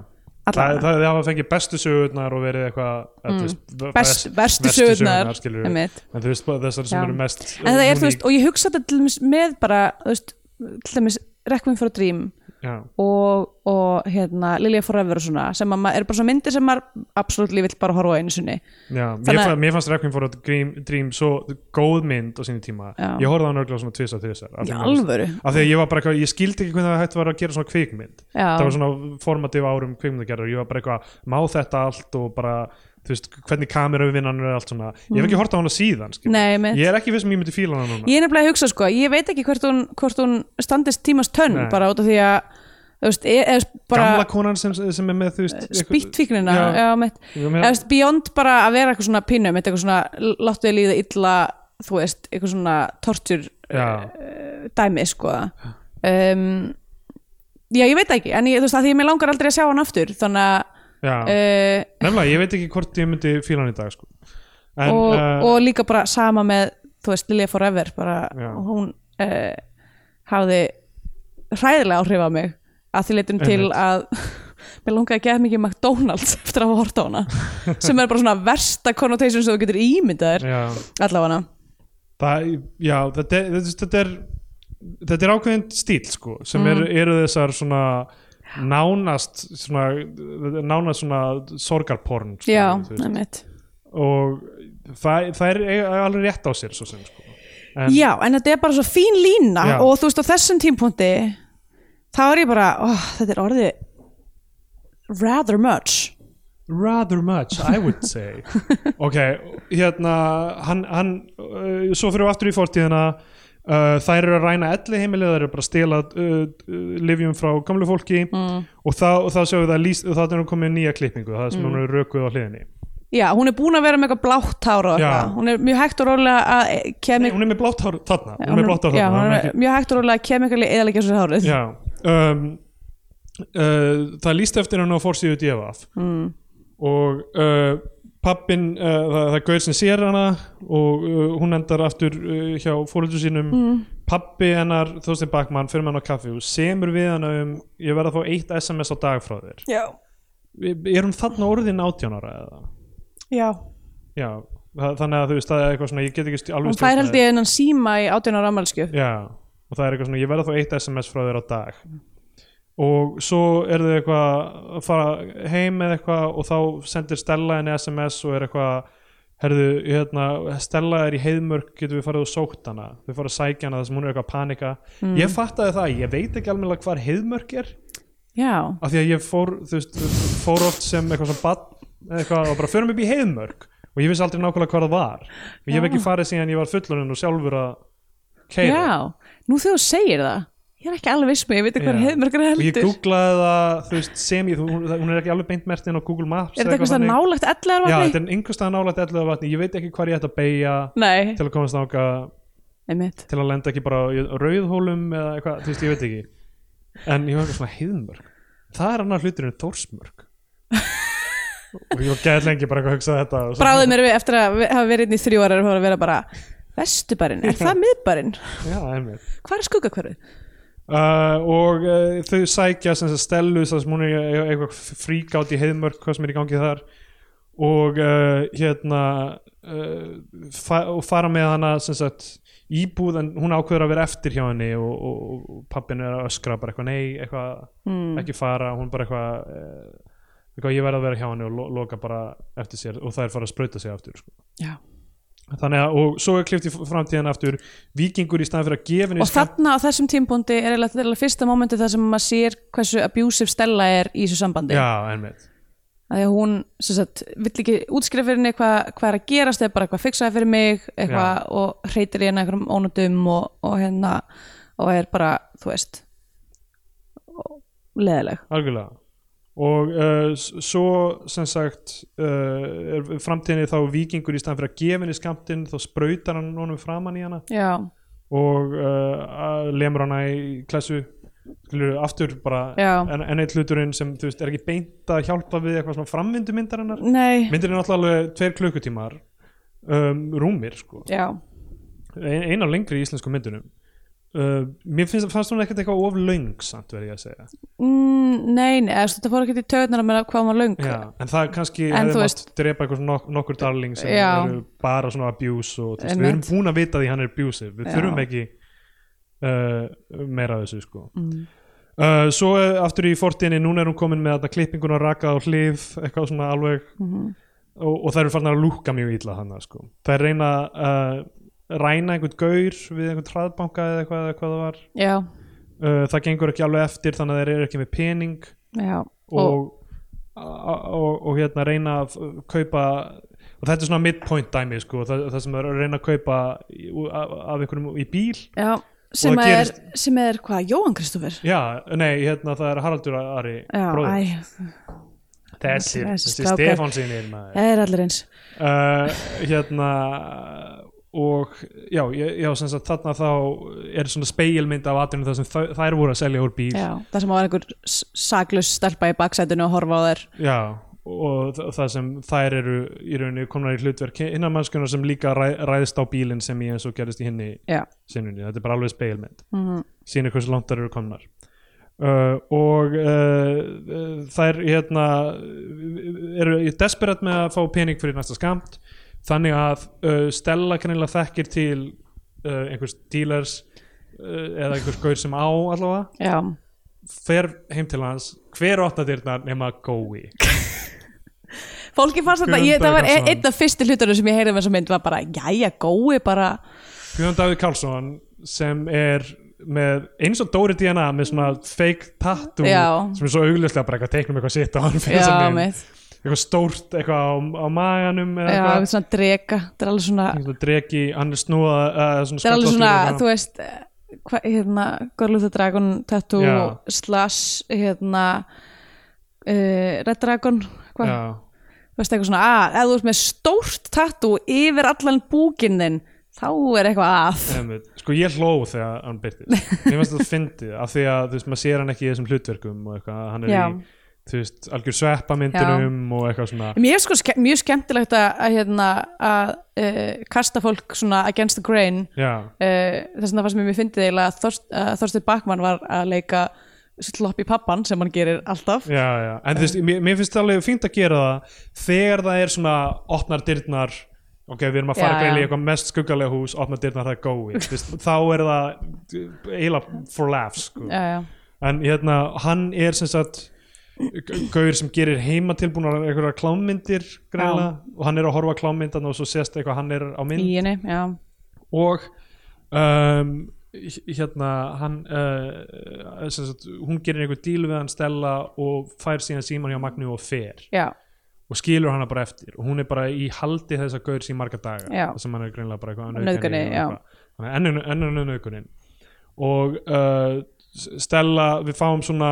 Það, Allavega. Mm. það, það hafa fengið bestu sögurnar og verið eitthvað eða, þú veist, v- Best- best- verstu sögurnar, skilurðu. einmitt. en þú veist bara þessar sem Já. eru mest eh, en það er, þú veist, og ég hugsa þetta til dæmis með bara, þú veist, til dæmis Requiem for a Dream já, og, og hérna, Lilja Forever og svona, sem að maður er bara svona myndir sem maður absolutt vill bara horfa á einu sinni já. Þannig Ég, að- fann, mér fannst Requiem for a Dream, Dream svo góð mynd á sínu tíma Já. ég horfði á hann örgulega svona tvisar tvisar af í því að- alvöru af því að ég var bara eitthvað, ég skildi ekki hvernig það hægt var að gera svona kvikmynd Já. það var svona formativ árum kvikmyndagerðar, ég var bara eitthvað má þetta allt og bara þú veist, hvernig kameravinnan er allt svona ég hef ekki hort á hana síðan skilur. Mm. Nei, einmitt. ég er ekki viss sem ég myndi fíla hana núna Ég er nefnilega að hugsa sko, ég veit ekki hvort hún, hvort hún standist tímast tönn Nei. bara út af því að þú veist, e, e, gamla bara konan sem, sem er með þú veist eitthvað- spýttfíknina Já. já, mitt. Ég Eða, meina- þú veist, beyond bara að vera eitthvað svona pínum eitthvað svona, láttu þið líða illa þú veist, eitthvað svona tortur Já. dæmi sko um, já, ég veit ekki en ég, þú veist, að því ég mig langar aldrei að sjá hann aftur þannig að Já. uh, nefnilega, ég veit ekki hvort ég myndi fíla hann í dag sko. en, og, eh, og líka bara sama með þú veist, Lilja Forever bara, Já. hún uh, hafði hræðilega áhrif á mig að því leitum Einmitt. til að mér langaði að geða mikið McDonalds eftir að hafa horta á hana sem er bara svona versta connotation sem þú getur ímyndaðir já, allavega það, já þetta, er- þetta, þetta er þetta er ákveðin stíl sko, sem er, Mm. eru þessar svona nánast svona, nánast svona sorgarporn sko, já, þú veist. einmitt og það, það er eiga alveg rétt á sér svo sem sko. en, já, en þetta er bara svo fín lína Já. og þú veist á þessum tímpunkti þá er ég bara, oh, þetta er orðið rather much rather much I would say ok, hérna hann, hann uh, svo fyrir við aftur í fórtíðina uh, þær eru að ræna elli heimilið þær eru bara að stela uh, uh, livjum frá gamlu fólki mm. og þá, og þá sjáum við það líst, og þá er hún komið nýja klippingu það sem mm. hún er rökuð á hliðinni Já, hún er búin að vera með eitthvað blátt hára og Já. eitthvað. Hún er mjög hægt og rólega að eh, Nei, kemik... hún er með blátt hár þarna hún er með blátt hár Já, þarna hún hún er er ekki- mjög hægt og rólega að kemikali eða leggja svo hárið. Já, um, uh, það líst eftir hann á fórsíðu djöfaf mm. og uh, pappin, uh, það, það er gauð sem sér hana og uh, hún endar aftur uh, hjá fóröldur sínum mm. pappi hennar, Þorstein Bakmann, fyrir með hann á kaffi og semur við hana um ég verð að fá eitt sms á dag frá þér Já. er hún þarna orðin 18 ára eða? Já. Já, það, þannig að þú veist það er eitthvað svona, ég get ekki st- alveg Hún fær stjórnað held ég innan síma í 18 ára ammælskjöf. Já, og það er eitthvað svona, ég verða þá eitt sms frá þér á dag og svo er þau eitthvað að fara heim með eitthvað og þá sendir Stella henni sms og er eitthvað herðu, hérna, Stella er í heiðmörk getum við farið og sótt hana þau fara að sækja hana þar sem hún er eitthvað að panika ég fattaði það, ég veit ekki alveg hvar heiðmörk er Já. af því að ég fór, þú veist, fór oft sem eitthvað sem bann eitthvað og bara förum upp í heiðmörk og ég vissi aldrei nákvæmlega hvað það var og ég hef ekki farið síðan ég var fullorinn og sjálfur að keira Já. Nú þegar þú segir það, ég er ekki alveg viss með, ég veit ekki hvað Já. hefðmörgur og ég heldur. googlaði það þú veist, sem ég, þú- hún, hún er ekki alveg beint mertin á Google Maps Er þetta eða eitthvað svona þannig. nálagt já, þetta ellarvarni? er einhverstaðar nálægt elluða vatni ég veit ekki hvað ég ætti að beigja Nei, til að komast náka einmitt. til að lenda ekki bara á í rauðhólum eða eitthvað, þú veist, ég veit ekki en ég var eitthvað svona heiðmörk það er annar hlutur en þórsmörk og ég var gæð lengi bara eitthvað að hugsa þetta og svo- Bráðið mér við eftir að hafa verið inn í þrjú ára og vera bara, vestubarinn, er það miðbarinn? já, einmitt Hvað er skuggakverfið? Uh, og uh, þau sækja sem sagt Stellu þar sem hún er e- eitthvað frík átt í heiðmörk hvað sem er í gangi þar og uh, hérna uh, fa og fara með hana sem sagt íbúð en hún ákveður að vera eftir hjá henni og, og, og- og pappin er að öskra bara eitthvað nei, eitthvað Hmm. ekki fara hún bara eitthvað, uh, eitthvað ég verð að vera hjá henni og lo loka bara eftir sér og það er fara að sprauta sig aftur sko. Já. þannig að og svo er klift í framtíðan aftur vikingur í staðan fyrir að gefa henni og þarna á þessum tímpúndi er eiginlega þetta er eiginlega fyrsta mómenti þar sem maður sér hversu abusive Stella er í þessu sambandi já, einmitt að því að hún sem sagt, vill ekki útskrifa fyrir henni hvað hvað er að gerast eða bara eitthvað fixaði fyrir mig eitthvað, Já. og hreytir í henni einhverjum ónudum og, og hérna og er bara, þú veist leðileg algjörlega og uh, s- svo sem sagt uh, er framtíðinni þá vikingur í staðan fyrir að gefa henni skamtinn þá sprautar hann honum framan í hana já, og uh, að- lemur hana í klessu skilur aftur bara Já. en, enn eitt hluturinn sem þú veist er ekki beint að hjálpa við eitthvað svona framvindu myndarinnar nei myndir er náttúrulega alveg tveir klukkutímar um, rúmir sko já, ein, eina lengri í íslensku myndunum uh, mér finnst, fannst hún ekkert eitthvað of löng samt verði ég að segja mm, nei, nei eða, þú veist, þetta fór ekki til töðnar að mér hvað hún var löng Já, en það er kannski En hefði þú mátt drepa eitthvað svona nok nokkur darling sem Já. eru bara svona abuse og þú veist, við erum Einmitt. búin að vita því hann er abusive við Já. þurfum ekki uh, meira af þessu sko uh, svo eh, aftur í fortinni núna er hún komin með þetta klippinguna rakað á hlið eitthvað svona alveg Mhm. og, og það eru farnar að lúka mjög illa þannig sko. það er reyna að uh, ræna einhvern gaur við einhvern hraðbanka eða eitthvað, eða hvað það var já, uh, það gengur ekki alveg eftir þannig að þeir eru ekki með pening já og, og, og, og, og hérna reyna að f- kaupa og þetta er svona midpoint dæmi sko, það, það sem er að reyna að kaupa í- ú- af af einhverjum í bíl já, sem, það er, gerist- sem er hvað, Jóhann Kristoffer já, nei, hérna það er Haraldur Ari já, bróðir, æ, þessi, þessi þessi strákar. Stefán sinni maður það er allir eins uh, hérna og já, já, já sem sagt þarna þá er svona speilmynd af atrinu það sem þa- þær voru að selja úr bíl já, það sem var einhver s- saklaus stelpa í baksætinu og horfa á þær Já, og þa- það sem þær eru í rauninni komnar í hlutverk hinnar mannskunar sem líka ræ, ræðist á bílinn sem ég eins og gerist í henni já, sinnunni, þetta er bara alveg speilmynd mm -hmm. sýnir hversu langt þær eru komnar uh, og uh, uh, þær hérna eru í desperat með að fá pening fyrir næsta skamt þannig að uh, Stella kannilega þekkir til uh, einhvers dealers uh, eða einhvers gaur sem á allavega já, fer heim til hans hver opna dyrnar nema gói fólki fannst þetta, Guðjón ég, það var e- Bergmannsson. einn af fyrstu hlutunum sem ég heyrði með þessa mynd var bara, jæja, gói bara Guðjón Davíð Karlsson sem er með eins og Dóri DNA með svona fake tattoo Já. sem er svo augljóslega bara eitthvað teiknum eitthvað sitt á hann fyrir þessa já, mynd. með, eitthvað stórt eitthvað á, á maganum eða já, eitthvað með svona drega það er alveg svona, Eitthvað dreki, hann er snúa uh, svona það er alveg svona skollóttur þú veist, eh, hva, hérna Gorlúta Dragon Tattoo Já. slash, hérna uh, Red Dragon og- hvað, Já. þú veist eitthvað svona að, ef þú veist með stórt tattoo yfir allan búkinn þinn þá er eitthvað að Einmitt. Sko ég hló þegar hann byrtist Mér finnst þetta fyndið af því að þú veist maður sér hann ekki í þessum hlutverkum og eitthvað hann er Já. í þú veist algjör sveppamyndunum og eitthvað svona Mér er sko ske mjög skemmtilegt að, að, hérna, að uh, kasta fólk svona against the grain Já, uh, þess að það sem ég mér fyndið eiginlega að Þorst, uh, Þorsteinn Bakman var að leika slopp í pappan sem hann gerir alltaf já, já En þú veist, mér, mér finnst það alveg fínt að gera það þegar það er svona opnar dyrnar ok, við erum að fara Já, að greila í já. eitthvað mest skuggalega hús opnar dyrnar það er gói Þú veist, þá er það eiginlega for laughs sko. já, já. en hérna, hann er sem sagt g- gaur sem gerir heima tilbúnar einhverjar klámmyndir greinlega, og hann er að horfa á klámmyndan og svo sést eitthvað hann er á mynd í henni já. og um, h- hérna hann uh, sem sagt, hún gerir einhver díl við hann Stella og fær síðan síman hjá Magnu og fer Já, og skilur hana bara eftir og hún er bara í haldi þess að gaur sín marga daga Já. þar sem hann er greinlega bara eitthvað Nauðgani, já. ennun, ennun nöðgunin og uh, Stella, við fáum svona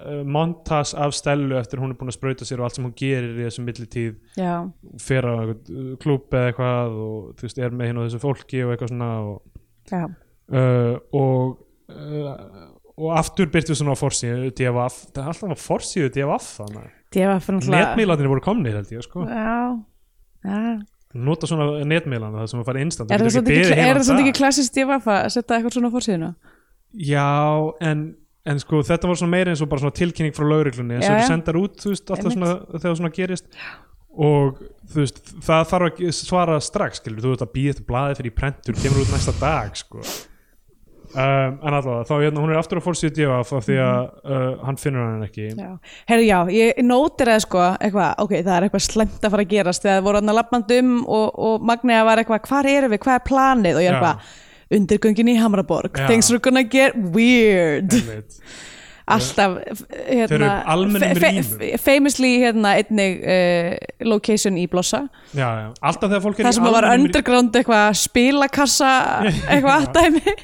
uh, montas af Stellu eftir hún er búin að sprauta sér og allt sem hún gerir í þessum millitíð já, fer á einhvern klúb eða eitthvað og þú veist, er með hinn og þessu fólki og eitthvað svona og já, uh, og uh, og aftur byrtu svona á forsíðu DFF, það er alltaf á forsíðu DFF þannig, ég var fyrir náttúrulega netmiðlarnir voru komnir held ég sko Já, já nota svona netmiðlana það sem að fara instant þú Er það getur samt ekki, beðið er heilan það samt dag. ekki klassist ég var að setja eitthvað svona á fórsíðuna? já en, en sko þetta var svona meira eins og bara svona tilkynning frá lauruglunni eins Já, og þú já. sendar út þú veist alltaf Einmitt. svona þegar svona gerist og þú veist það þarf að ge- svara strax skilur þú veist að býða þetta blaði fyrir í prentur kemur út næsta dag sko um, en allavega þá hérna hún er aftur að fórsýðu djöf af því að uh, hann finnur hann ekki Já, herru já, ég nótiraði sko eitthvað, ok, það er eitthvað slemt að fara að gerast þegar það voru hann að labband um og, og Magnea var eitthvað, hvar erum við, hvað er planið og ég Já. er eitthvað, undirgöngin í Hamraborg Já. things are gonna get weird Einmitt. alltaf Þeir eru hérna, í almennum fe- fe- rýmum. famously hérna einnig uh, location í Blossa já, já. alltaf þegar fólk er það í sem að var almennum- underground eitthvað spilakassa eitthvað allt dæmi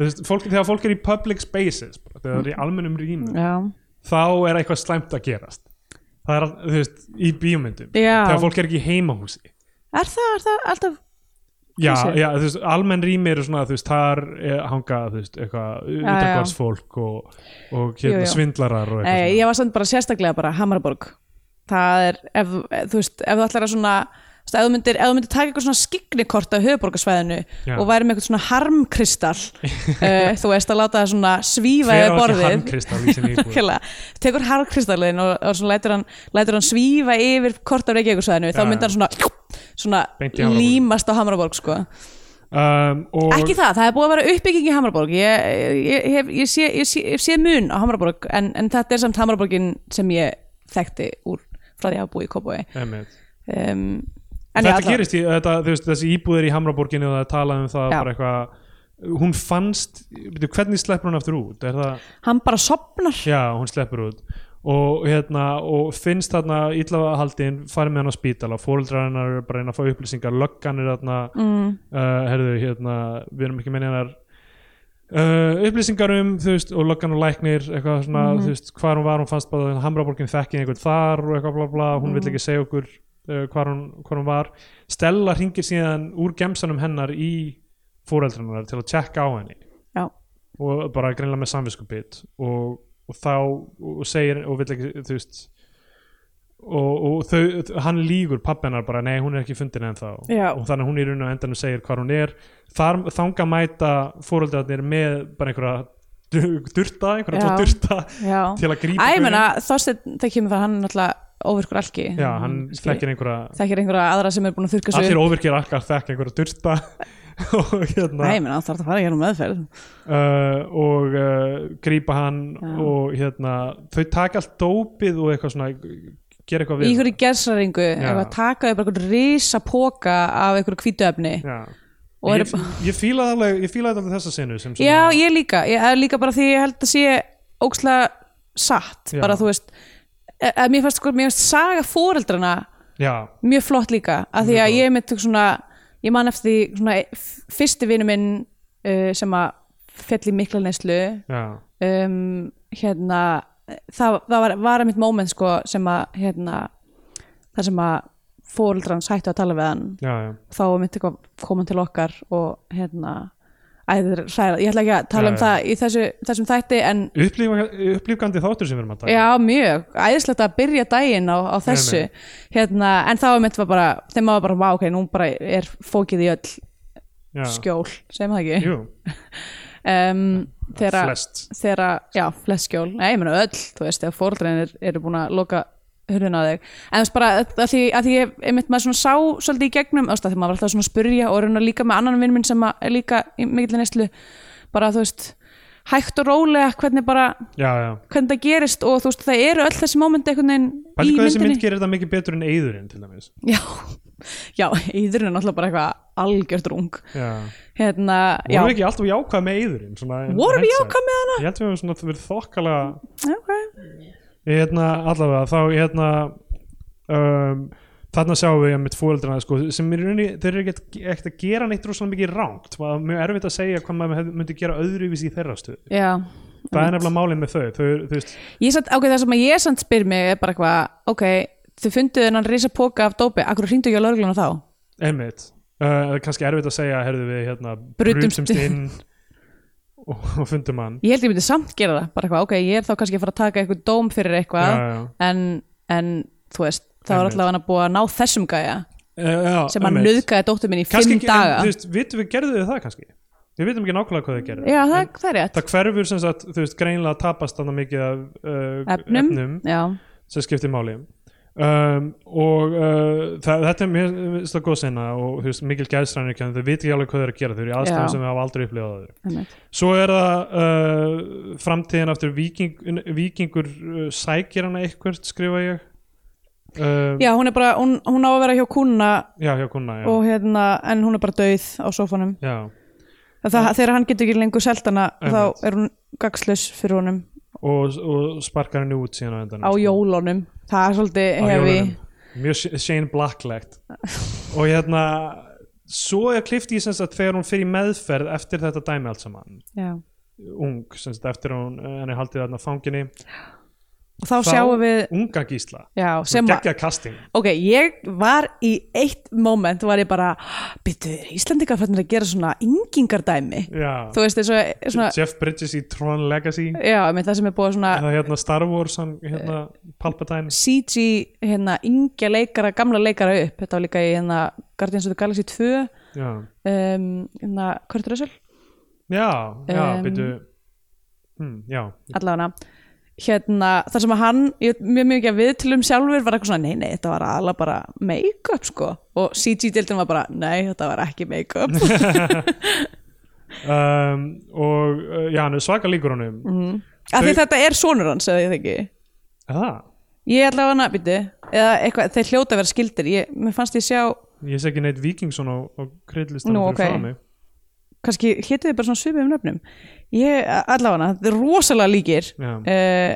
Þú veist, fólk, þegar fólk er í public spaces bara, þegar það er í almennum rýmum já, þá er eitthvað slæmt að gerast það er, þú veist, í bíómyndum Já. þegar fólk er ekki í heimahúsi er það, er það alltaf já, Húsi. já, þú veist, almenn rými eru svona, þú veist, þar eh, hanga, þú veist, eitthvað utangvarsfólk og, og Jú, hérna jú. svindlarar og Nei, eitthvað ég var samt bara sérstaklega bara Hammarborg það er, ef, þú veist, ef þú ætlar að svona þú veist, ef þú myndir, ef þú myndir taka eitthvað svona skiknikort af höfuborgarsvæðinu Já. og væri með eitthvað svona harmkristall uh, þú veist að láta það svona svífa Hver á yfir ekki borðið harmkristall í sinni íbúð? Nákvæmlega. tekur harmkristallin og, og svona lætur hann, lætur hann svífa yfir kort af Reykjavíkursvæðinu þá Já, myndar hann svona, svona Beint í Hamraborg. límast á Hammarborg sko. um, og ekki það, það er búið að vera uppbygging í Hamraborg ég, ég, ég, hef- ég, sé, ég, sé, ég sé mun á Hamraborg en, en þetta er samt Hamraborgin sem ég þekkti úr frá því að hafa búið í Kópói einmitt. um, þetta gerist, í, þetta, þú veist, þessi íbúðir í Hamraborginni og það er talað um það Já. bara eitthvað hún fannst, veitu, hvernig sleppur hún aftur út, er það hann bara sopnar Já, hún sleppur út og, hérna, og finnst þarna illahaldin, farið með hann á spítala fóreldrar hennar eru bara að reyna að fá upplýsingar löggan er þarna mm. uh, herðu, hérna, við erum ekki meina hennar Uh, upplýsingar um, þú veist, og löggan og læknir eitthvað svona, Mhm. þú veist, hvar hún var hún fannst bara að Hamraborgin þekkið einhvern þar og eitthvað bla bla, hún vill ekki segja okkur uh, hvar, hún, hvar hún var Stella hringir síðan úr gemsanum hennar í fóreldrannar til að tjekka á henni Já. og bara greinlega með samviskupið og, og þá, og segir og vill ekki, þú veist og, og þau, hann lýgur pappennar bara, nei, hún er ekki fundin ennþá Já. og þannig að hún í raun og endanum segir hvar hún er þar, þanga mæta fóröldarnir með bara einhverja du- durta, einhverja tvo Já. durta já til að grípa Æ, ég gaurinn. menna, Þorsteinn, það kemur það hann er náttúrulega óvirkur alki já, hann mm, þekkir einhverja þekkir einhverja aðra sem er búin að þurka svo allir óvirkir alkar þekk einhverja durta og hérna Æ, ég menna, það þarf að fara í hérna meðferð uh, og uh, grípa hann Já. og hérna þau taka allt dópið og eitthvað svona gera eitthvað í við einhverju gersaringu, Já. eitthvað takaði bara einhverju risa póka af einhverju kvítuefni já. Og ég, eru- ég fílaði alveg, ég fílaði alveg þessa sinu sem svona- Já, ég líka, ég er líka bara því ég held að sé óksla satt, Já. bara þú veist e- að mér fannst, sko, mér fannst saga foreldrana já, mjög flott líka, af því að ég mitt svona, ég man eftir því svona, e, f- fyrsti vinur minn uh, sem að fell í mikla neyslu já, um, hérna það, það var, var mitt moment sko sem að hérna, það sem að fóreldrarn sættu að tala við hann já, já. þá var mitt eitthvað komin til okkar og hérna æður hræða, ég ætla ekki að Já, tala um já. það í þessu, þessum þætti en upplýfandi, upplýfandi þáttur sem við erum að um. taka já mjög, æðislegt að byrja daginn á, á þessu nei. hérna, en þá var mitt var bara, þeim maður bara vá, ok, nú bara er fókið í öll já. skjól, segjum það ekki Jú, um, þegar að- flest þegar að, já, flest skjól nei, ég meina öll, þú veist, þegar fóreldreinir eru búin að loka hurðin á þig en þú veist bara, að því, að því ég, einmitt maður svona sá svolítið í gegnum, þú veist, að því maður var alltaf svona að spurja og raunar líka með annan vinn minn sem að er líka í mikill neslu, bara þú veist hægt og rólega hvernig bara Já, já, hvernig það gerist og þú veist, það eru öll þessi mómenti einhvern veginn bæði í hvað þessi myndinni mynd gerir þetta mikið betur en eyðurinn til dæmis já, já, íðurinn er náttúrulega bara eitthvað algjört rung Já, hérna, já, vorum við ekki alltaf jákvæð með eyðurinn svona, in vorum við hindsight? jákað með hana? Ég held við höfum svona verið þokkalega Okay. Ég hérna allavega, þá ég hérna um, þarna sjáum við mitt fóreldrana sko, sem er raunni, þeir eru ekkert ekkert að gera neitt rosalega mikið rangt það er mjög erfitt að segja hvað maður hefði- myndi gera öðruvís í þeirra stöðu Já, það er nefnilega málið með þau, þau, eru, þú veist, Ég satt, ok, það sem að ég samt spyr mig er bara eitthvað, ok, þau funduðu hennan risa póka af dópi, akkur hringdu ekki á lögregluna þá? einmitt uh, kannski erfitt að segja, herðu við hérna Brutumst inn og, og fundum hann Ég held ég myndi samt gera það, bara eitthvað, ok, ég er þá kannski að fara að taka eitthvað dóm fyrir eitthvað, Já, já. En, en þú veist, það var Einmitt. allavega hann að búa að ná þessum gæja Uh, já, sem hann einmitt. nöðgæði dóttur minn í Kannski fimm ekki- daga. en, þú veist, vitum við gerðu þau það kannski við vitum ekki nákvæmlega hvað þau gerðu Já, það, það er rétt. það hverfur sem sagt, þú veist, greinlega tapast þannig mikið af uh, Efnum, já, sem skiptir máli um, og uh, það, þetta er mér mér finnst það góð sinna og þú veist, mikil gæðsrænir kemur, þau viti ekki alveg hvað þau eru að gera þau eru í aðstæðum Já. sem þau hafa aldrei upplifað þau einmitt. svo er það uh, framtíðin aftur viking, vikingur uh, sækir hana eitthvert skrifa ég um, Já, hún er bara, hún, hún á að vera hjá kúnna já, hjá kuna já. og hérna, en hún er bara dauð á sófanum. já, Það, það, þegar hann getur ekki lengur selt hana, Einmitt. þá er hún gagslaus fyrir honum. og, og sparkar henni út síðan á endanum á sko. jólunum það er svolítið Á hefi jólunum. mjög Sh- Shane Blacklegt og hérna svo er klift í sem sagt þegar hún fyrir meðferð eftir þetta dæmi allt saman Já. ung, sem sagt eftir að hún henni er haldið þarna fanginni og þá, sjáum við unga gísla, já, sem að, geggja casting ok, ég var í eitt moment var ég bara byttu, Íslandika fannir að gera svona yngingardæmi, já, þú veist eins og svona, Jeff Bridges í Tron Legacy já, með það sem er búið svona eða hérna Star Wars hann, hérna Palpatine CG, hérna, yngja leikara gamla leikara upp, þetta var líka í hérna Guardians of the Galaxy 2 um, já, hérna, Kurt Russell já, já Em. um, byrju hm, já, allavega hérna, þar sem að hann, ég, mjög mjög ekki að viðtölum sjálfur var eitthvað svona, nei, nei, þetta var alveg bara make-up sko, og CG-dildin var bara, nei, þetta var ekki make-up um, og uh, já, hann er svaka líkur honum Mhm. mm. af því þetta er sonur hans, eða ég þekki það, ég allavega hann að býti, eða eitthvað þeir hljóta að vera skildir, ég, mér fannst ég sjá ég sé ekki neitt Vikingsson á, á kreidlistanum Nú, ok. frá mig kannski hétu þið bara svona svipið um nöfnum ég, allavega hann, þetta er rosalega líkir Já. uh,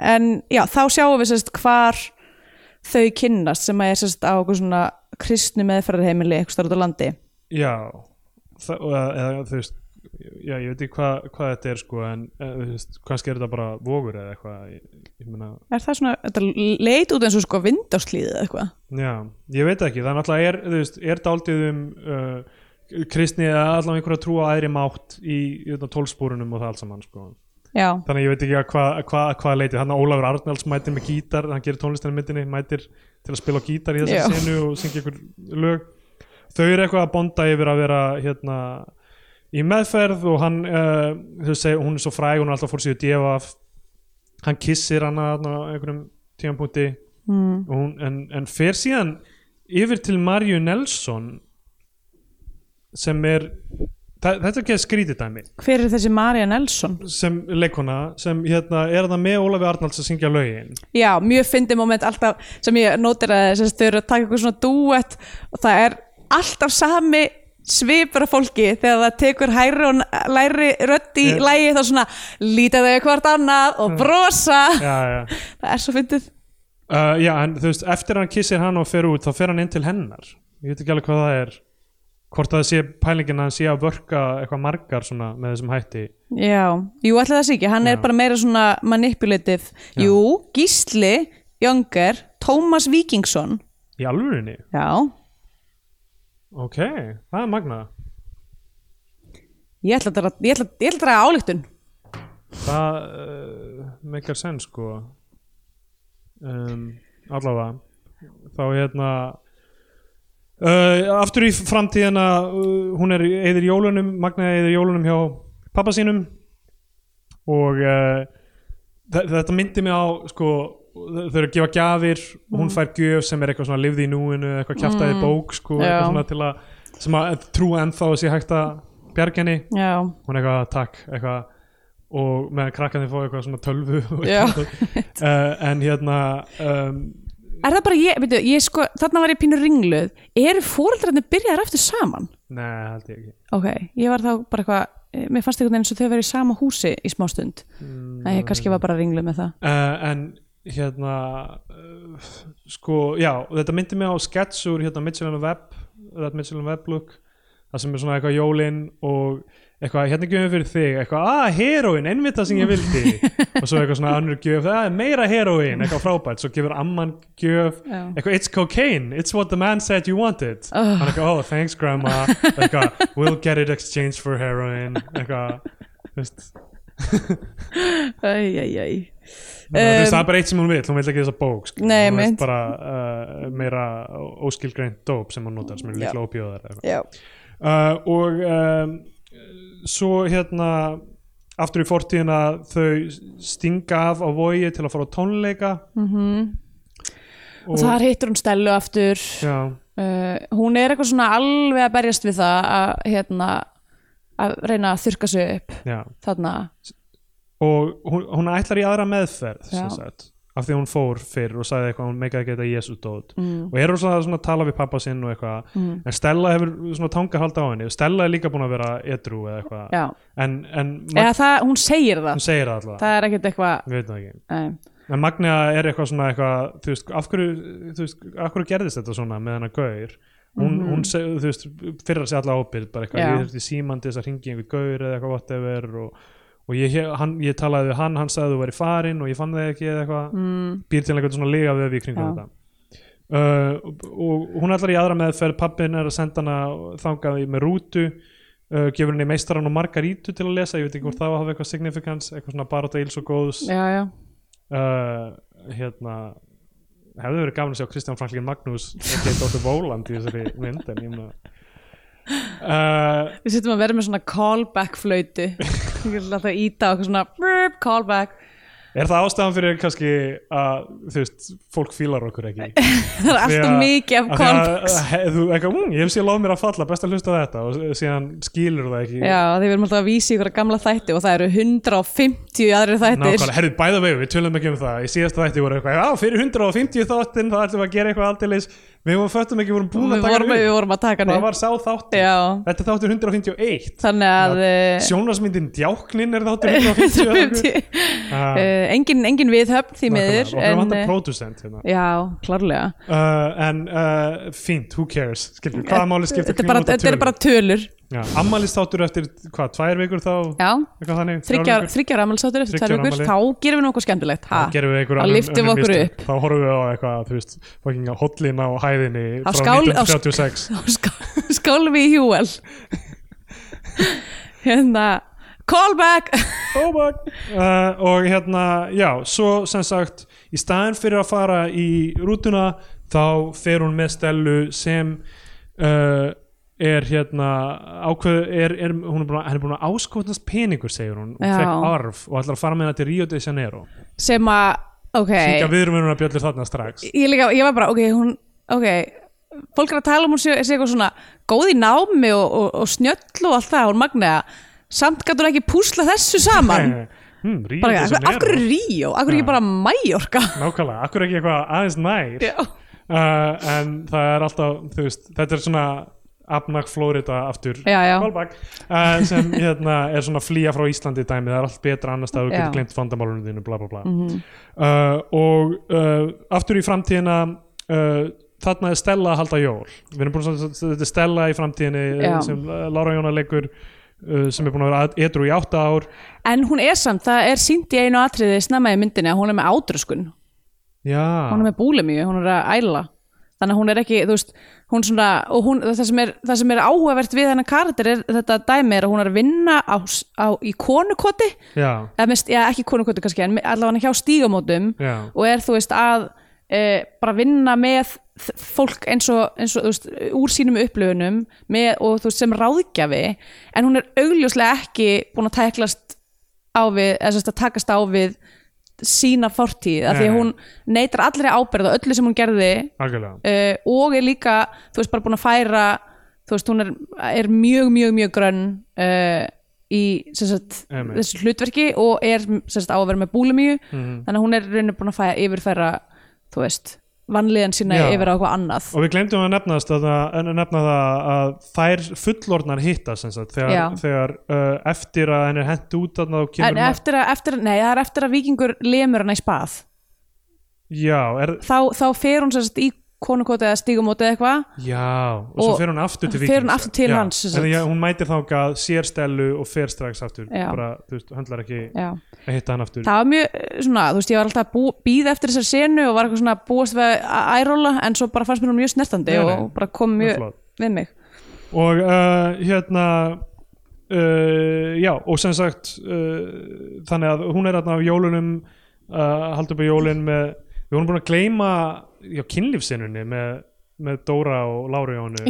en já, þá sjáum við sérst hvar þau kynnast sem að er sérst á okkur svona kristnu meðferðarheimili eitthvað starf út á landi Já það, og, eh, eða, þú veist já, ég veit ekki hvað hva þetta er sko en eða, þú veist, kannski er þetta bara vogur eða eitthvað ég, ég meina, er það svona, þetta leit út eins og sko vindáslíðið eða eitthvað já, ég veit ekki það er náttúrulega, er, þú veist, er dálítið um uh, kristni eða allavega einhverja trú á æðri mátt í, í tólspúrunum og það allt saman sko já, þannig að ég veit ekki að hvað hva, hva leiti þannig að Ólafur Arnalds mætir með gítar hann gerir tónlistina í myndinni, mætir til að spila á gítar í Já. þessari senu og syngja ykkur lög þau eru eitthvað að bonda yfir að vera hérna í meðferð og hann uh, þau segja, hún er svo fræg, hún er alltaf fór síðu djöfaf hann kissir hana þarna á einhverjum tímanpunkti mm. og hún, en, en fer síðan yfir til Marju Nelson sem er þa- þetta er ekki að skrítið dæmi hver er þessi Marja Nelson? sem leikona sem hérna, er það með Ólafi Arnalds að syngja lögin já, mjög fyndi moment alltaf sem ég nótir að sérst þau eru að taka eitthvað svona dúett og það er alltaf sami svipur af fólki þegar það tekur hæri og n- læri rödd í Já. lægi þá svona líta þau hvort annað og brosa já, já. það er svo fyndið Uh, já, en þú veist, eftir að hann kissir hann og fer út þá fer hann inn til hennar ég veit ekki alveg hvað það er hvort að það sé pælingin að hann sé að vörka eitthvað margar svona með þessum hætti Já, jú ætla það sé ekki, Já. hann er bara meira svona manipulative Jú, Gísli, Jónger, Tómas Víkingsson í alvörinni, Já, ok það er magna, ég ætla að draga- ég ætla, ég ætla að draga álíktun það uh, meikar senn sko um, allavega þá hérna uh, aftur í framtíðina uh, hún er eðir jólunum Magna eðir jólunum hjá pappa sínum og uh, þe- þetta myndi mig á sko, þau þau eru að gefa gjafir hún fær gjöf sem er eitthvað svona lifði í núinu eitthvað kjaftaði bók sko, Já. eitthvað svona til að, sem að trúa ennþá að sé hægt að bjarga henni Já, hún er eitthvað takk eitthvað og meðan krakkarnir fá eitthvað svona tölvu og Já. eitthvað. uh, en hérna um, er það bara ég, veitu, ég sko, þarna var ég pínu ringluð Eru fóreldrarnir byrjaðar aftur saman? nei, held ég ekki Ok, ég var þá bara eitthvað eh, Mér fannst einhvern veginn eins og þau verið í sama húsi í smástund Nei, ég kannski var bara ringluð með það uh, en hérna uh, sko, já, þetta myndi mig á sketch úr hérna Mitchell Web that Mitchell Web look það sem er svona eitthvað jólin og eitthvað, hérna er gjöfum fyrir þig, eitthvað, að heroin einmitt það sem ég vildi og svo eitthvað svona annur gjöf, að meira heroin eitthvað frábært, svo gefur amman gjöf Já. eitthvað, it's cocaine, it's what the man said you wanted hann er eitthvað, oh thanks grandma eitthvað, we'll get it exchanged for heroin eitthvað þú veist, þannig Æ, æ, æ að þú veist, Um, það er bara eitt sem hún vil hún vil ekki þessa bók sko. Nei, hún vil einmitt. bara uh, meira óskilgreint dóp sem hún notar sem er Já. líklega ópjóðar eitthvað Já, uh, og um, svo hérna aftur í fortíðina þau stinga af á vogi til að fara á tónleika Mhm. og þar hittur hún Stellu aftur já, uh, hún er eitthvað svona alveg að berjast við það að hérna að reyna að þurka sig upp já. þarna, og hún, hún ætlar í aðra meðferð sem Já. sagt, af því að hún fór fyrr og sagði eitthvað, hún meikaði ekki þetta jesudót mm. og er hún svona, svona að tala við pappa sinn og eitthvað Mm. en Stella hefur svona tangahald á henni og Stella er líka búin að vera edru eða eitthvað já, en, en Magna eða það, hún segir það segir það alltaf, það er ekkert eitthvað eh, við veitum það ekki nei. en Magna er eitthvað svona eitthvað, þú veist, af hverju, þú veist, af hverju gerðist þetta svona með hennar gaur hún, mm -hmm. hún seg, þú veist, fyrir að segja alla ábyrgð bara eitthvað, Mhm. Já. ég þurfti síman til þess að ringi einhver gaur eða eitthvað whatever og, og ég, he- hann, ég talaði við hann, hann sagði þú væri farin og ég fann það ekki eða eitthvað mm, býr til einhvern svona liga við í kringum Já. þetta uh, og, og hún ætlar í aðra meðferð pappin er að senda hana þangað í- með rútu uh, gefur henni meistaran og margarítu til að lesa, ég veit ekki hvort það var að hafa eitthvað significance, eitthvað svona barátta ils og góðs já, já, uh, hérna hefði verið gaman að sjá Kristján Franklin Magnús ekki Dóttur Vóland í þessari mynd en ég mun að uh, við sittum að vera með svona callback flöytu ég vil alltaf íta okkur svona brrp, callback er það ástæðan fyrir kannski að þú veist, fólk fílar okkur ekki það er Því alltaf að- mikið Af af því að, callbacks he- þú eitthvað, mmm, ég hef sér láð mér að falla best að hlusta á þetta og s- síðan skilur það ekki já, því við erum alltaf að vísi ykkur gamla þætti og það eru 150 aðri þættir Nákvæmlega, herrðu bæða vegu, við tölum ekki um það í síðasta þætti voru eitthvað, já fyrir 150 þáttinn þá ætlum við að gera eitthvað aldeilis Við vorum föttum ekki, við vorum búin að við taka vorum, hann við vorum að taka upp Það hann upp. var sá þáttur Já. Þetta er þáttur 151 þannig að eh, Sjónvarsmyndin Djáknin er þáttur 150 150 Ah, Eh, engin, engin viðhöfn því miður nákvæmlega. Okkur en, vantar eh, producent hérna já, klárlega uh, En uh, fínt, who cares Skilur, hvaða máli skiptir þetta er bara, þetta er bara tölur Ammælistáttur eftir, hvað, tvær vikur þá já, Eitthvað þannig þrjár vikur? þryggjar ammælsáttur eftir Þriggja tvær ára vikur, afmæli. þá gerum við nokkuð skemmtilegt ha? Þá gerum við einhver Þá önnur- lyftum önnur við okkur mistök. upp. Þá horfum við á eitthvað, þú veist, fucking hollin á hæðinni Á frá skál- á sk- 1936 þá skál- skálum við í hjúel hérna call back Tóbak uh, Og hérna, já, svo sem sagt í staðin fyrir að fara í rútuna þá fer hún með Stellu sem uh, er hérna ákveð, er, er, hún er búin að, henni er búin að áskotnast peningur segir hún, hún Já. fekk arf og ætlar að fara með henni til Rio de Janeiro sem að, ok Líka við erum að bjöllir þarna strax ég, líka, ég var bara, ok, hún ok, fólk er að tala um hún sé, sé eitthvað svona góð í námi og, og, og snjöll og allt það, hún magnega samt gætur ekki púsla þessu saman hmm, Rio bara, de af, af hverju Janeiro Ríó, af hverju ekki bara Mallorca Nákvæmlega, akkur ekki eitthvað aðeins nær Já. uh, en það er alltaf þú veist, þetta er svona Abnag Florida aftur Já, já. callback, uh, sem hérna, er svona flýja frá Íslandi dæmi, það er allt betra annars að þú Já. Mhm. getur glemt vandamálunum þínu bla bla bla uh, og uh, aftur í framtíðina uh, þarna er Stella að halda jól við erum búin að þetta er Stella í framtíðinni Já. uh, sem uh, Lára Jóna leikur uh, sem er búin að vera að- edru í átta ár en hún er samt, það er sínt í einu atriði snemma í myndinni að hún er með átröskun Já, hún er með búlimíu, hún er að æla þannig að hún er ekki, þú veist hún svona, og hún, það sem er, það sem er áhugavert við hennar karakter er þetta dæmi er að hún er að vinna á, s- á, í konukoti já, eða mest, já, ekki konukvöldu kannski en allavega hjá stígamótum Já. og er þú veist að e, bara vinna með þ- fólk eins og, eins og þú veist, úr sínum upplöfunum með, og þú veist sem ráðgjafi en hún er augljóslega ekki búin að tæklast á við eða sem sagt að takast á við sína fortíð af því Nei, að nei. hún neytar allri ábyrð á öllu sem hún gerði algjörlega uh, og er líka þú veist bara búin að færa þú veist hún er, er mjög mjög mjög grönn uh, í sem sagt, Einmitt. Hmm. þessu hlutverki og er sem sagt, á að vera með búlimíu Mhm. þannig að hún er reynir búin að færa yfirfæra þú veist vanlíðan sína Já. yfir á eitthvað annað Og við glemdum að nefnast að, að nefna það að þær fullorðnar hitta sem sagt, Já. þegar, þegar uh, eftir að henn er hent út þarna þá en kemur ma- eftir að, eftir að, nei það er eftir að vikingur lemur hana í spað Já, er, þá, þá fer hún sem sagt í konukoti eða stígumóti eða eitthvað já, og, svo Og- fer hún aftur til fer vikings hún aftur til já. hans, sem sagt. En já, hún mætir þangað, sér stelu og fer strax aftur Já. bara, þú veist, höndlar ekki Já. að hitta hann aftur það var mjög eh, svona, þú veist, ég var alltaf að býða eftir þessar senu og var eitthvað svona búast við að æróla en svo bara fannst mér hún mjög snertandi Nei, nei. og bara kom mjög flott. við mig og uh, hérna uh, já, og sem sagt uh, þannig að hún er þarna á jólunum uh, haldur upp á jólin með við vorum búin að gleyma já, kynlífsinnunni með, með Dóra og Láru Jónu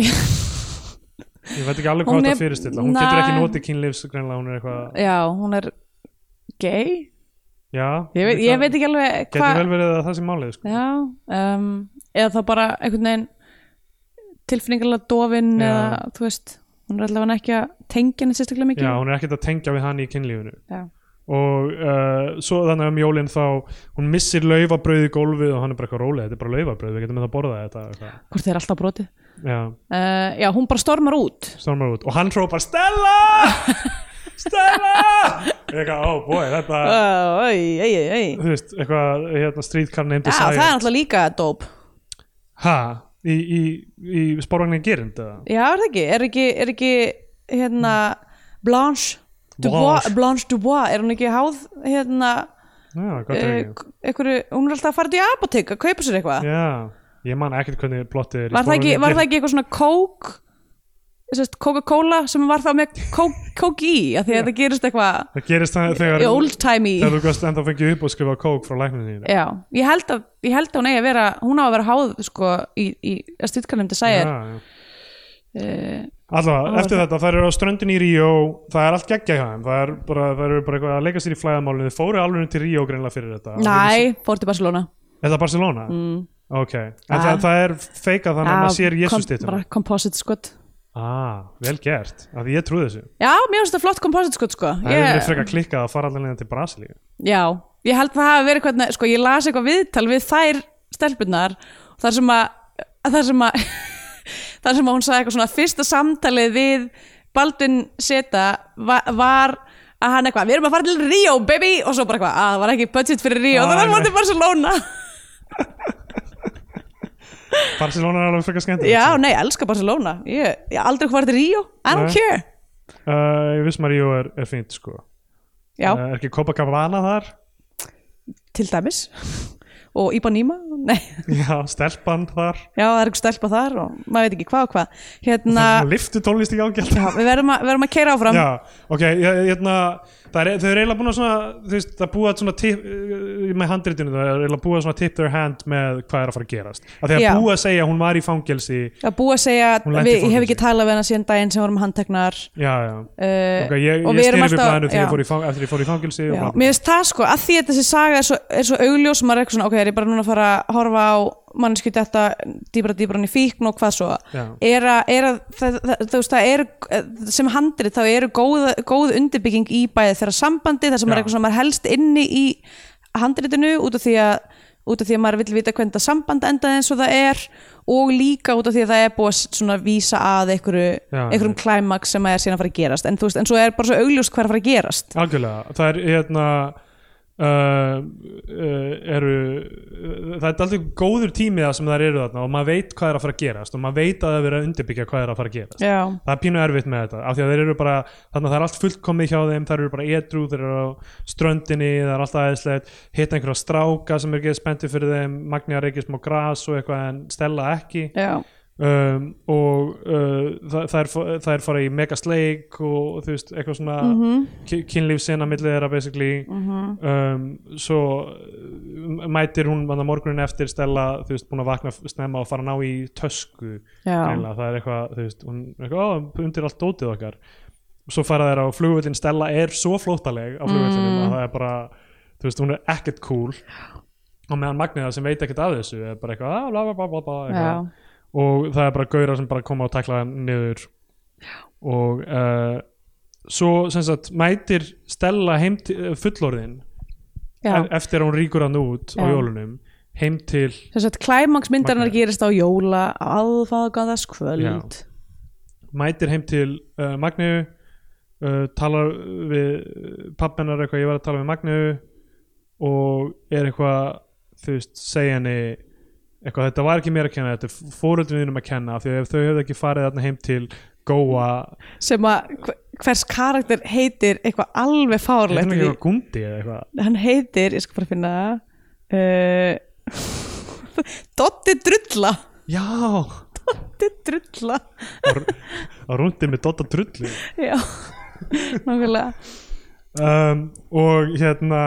ég veit ekki alveg Hún hvað er- þetta fyrirstilla hún getur Nei. ekki notið kynlífs greinlega hún er eitthvað já, hún er gay já, ég veit, ég veit ekki alveg getur hvað vel verið að það sé málið sko. já, um, eða þá bara einhvern veginn tilfinningarlega dofin Já. eða þú veist, hún er allavega ekki að tengja henni sérstaklega mikið já, hún er ekkert að tengja við hann í kynlífinu Já. og uh, svo þannig um jólin þá hún missir laufabrauð í gólfið og hann er bara eitthvað rólega, þetta er bara laufabrauð, við getum með það að borða þetta eitthvað. hvort þeir er alltaf brotið já, uh, já, hún bara stormar út stormar út og hann hrópar Stella Stella eitthvað, ó oh boy, þetta uh, ei, ei, ei, ei. þú veist, eitthvað, hérna streetcar nefndi Já, það er alltaf líka dóp ha, í, í, í spórvagnin gerind eða? Já, er það ekki? Er ekki, er ekki hérna, Blanche Dubois, Blanche. Blanche Dubois, er hún ekki háð hérna, já, gott er uh, ekki einhverju, hún er alltaf að fara til apotek að kaupa sér eitthvað já, ég man ekkert hvernig plottið er í var, það ekki, Sporvagninum var það Gerind. ekki eitthvað svona kók sérst, Coca-Cola sem var þá með kók, kók í, af því að það gerist eitthvað það gerist það þegar, old time í þegar þú gast ennþá fengið upp og skrifa kók frá lækninu þínu Já, ég held að, ég held að hún eigi að vera hún á að vera háð sko í, í að stýrkarnemndi sæðir já, já. Eh, Allavega, eftir þetta, þær eru á ströndin í Ríó það er allt geggja hjá þeim það er bara, þær eru bara eitthvað að leika sér í flæðamálinu þið fóru alveg til Ríó greinlega fyrir þetta Næ, fór til Barcelona Er það Barcelona? Mm. Ok, en Ah. það, það er feikað þannig að maður sér kom- Jesus stýttum bara Composite skot ah, Vel gert, af því ég trúi þessu Já, mér finnst þetta flott composite skot sko Það hefur verið frekar klikkað að fara allan leiðan til Brasilíu Já, ég held það hafi verið hvernig sko, ég las eitthvað viðtal við þær stelpunnar þar sem að að það sem að það sem að hún sagði eitthvað svona fyrsta samtalið við Baldvin Seta va var að hann eitthvað, við erum að fara til Ríó baby og svo bara eitthvað, að það var ekki budget fyrir Ríó Ah, það var nei. mótið Barcelona Barcelona er alveg frekar skemmt já, nei, ég elska Barcelona ég, ég aldrei hvað var til Ríó, I don't Nei. care uh, Ég viss Maríó er, er fínt sko já, uh, Er ekki Copacabana þar? til dæmis og Ipanema, nei Já, stelpan þar já, það er eitthvað stelpa þar og maður veit ekki hvað og hvað hérna, Liftu tónlist ekki ágælt já, við verðum að, verðum að keira áfram Já, ok, ég, ég, hérna, það er, þau eru eiginlega búin að svona, þú veist, það búa svona tip, eh, með handritinu, það er eiginlega búa svona tip their hand með hvað er að fara að gerast. Af því Já. að búa að segja að hún var í fangelsi, að búa að segja Hún lenti í við, ég hef ekki fangelsi. talað við hana síðan daginn sem vorum handteknar já, já, uh, ok, ég, ég styrði við blæðinu þegar ég fór í, fang- eftir ég fór í fangelsi og já, blæðinu. mér finnst það sko, að því að þessi saga er svo, er svo augljós maður er eitthvað svona, ok, er ég bara núna að fara að horfa á manneski þetta dýbra dýbra hann í fíkn og hvað svo Já. er að, er að það, það, þú veist, það eru sem handrið þá eru góð, góð undirbygging í bæði þeirra sambandi þar Já. sem maður er eitthvað svona maður helst inni í handriðinu út af því að út af því að maður vill vita hvernig það samband endaði eins og það er og líka út af því að það er búið að svona vísa að einhverju, Já, einhverjum klæmaks sem að er síðan að fara að gerast en, þú veist, en svo er bara svo augljóst hvað er að fara að gerast Algjörlega, það er hérna uh, uh, eru uh, það er alltaf góður tími það sem þær eru þarna og maður veit hvað er að fara að gerast og maður veit að það er verið að undirbyggja hvað er að fara að gerast Já. það er pínu erfitt með þetta af því að þeir eru bara, þannig að það er allt fullkomið hjá þeim þær eru bara edru, þeir eru á ströndinni það er alltaf aðeinslegt, hitta einhverja stráka sem er ekki spenntu fyrir þeim, Magni að reykja smá gras og eitthvað en stella ekki Já, um, og uh, það, það, er, fó- það er fara í megasleik og þú veist, eitthvað svona mm -hmm. kynlífsina millið þeirra basically um, svo uh, mætir hún vann að morgunin eftir stella, þú veist, búin að vakna snemma og fara að ná í tösku já, Greinlega, það er eitthvað, þú veist, hún er eitthvað, ó, undir allt dótið okkar svo fara þær á flugvöllin, Stella er svo flóttaleg á flugvöllinum Mm. að það er bara þú veist, hún er ekkert cool og meðan Magniða sem veit ekkert af þessu er bara eitthvað, "Ah, bla bla bla bla, bla já, eitthvað. og það er bara gaurar sem bara koma og takla hann niður og uh, svo sem sagt mætir Stella heim til, fullorðin já. e- eftir að hún ríkur hann út á Já. jólunum heim til Sem sagt, klæmaksmyndarinnar Magnað. gerist á jóla á aðfagadaskvöld mætir heim til uh, Magneu uh, talar við pappennar eitthvað, ég var að tala við Magneu og er eitthvað þú veist, segja henni eitthvað, þetta var ekki mér að kenna, þetta er fóröldum þínum að kenna, af því að ef þau hefðu ekki farið þarna heim til Góa, sem að hver- hvers karakter heitir eitthvað alveg þetta er fárlegt ekki í- eitthvað gundi eða eitthvað, hann heitir, ég skal bara finna það, uh, Dotti Drulla já Dotti Drulla á rúndið með Dotta Drullu já, nákvæmlega um, og hérna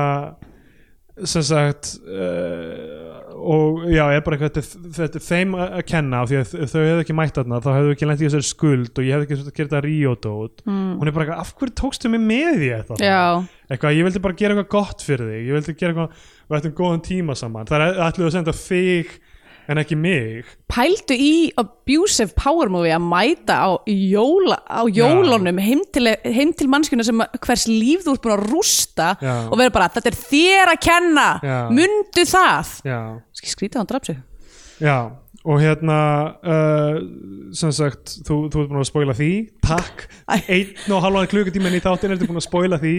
sem sagt uh, og já, er bara eitthvað þetta, er- þetta er þeim að að kenna af því að ef þau hefðu ekki mætt þarna, þá hefðu ekki lent í þessari skuld og ég hefði ekki þurft að gera þetta ríódót mm. hún er bara eitthvað, af hverju tókstu mig með því þetta já, eitthvað, ég vildi bara gera eitthvað gott fyrir þig ég vildi gera eitthvað, við ættum góðan tíma saman það er ætluðu að senda þig en ekki mig pældu í abusive power movie að mæta á, jóla, á jólunum heim til, heim til mannskjuna sem að- hvers líf þú ert búin að rústa Já. og vera bara, þetta er þér að kenna Já. mundu það já, skrítið hann draf sig Já, og hérna uh, sem sagt, þú, þú ert búin að spoila því takk, einn og halvan klukkutíma í þáttin ertu búin að spoila því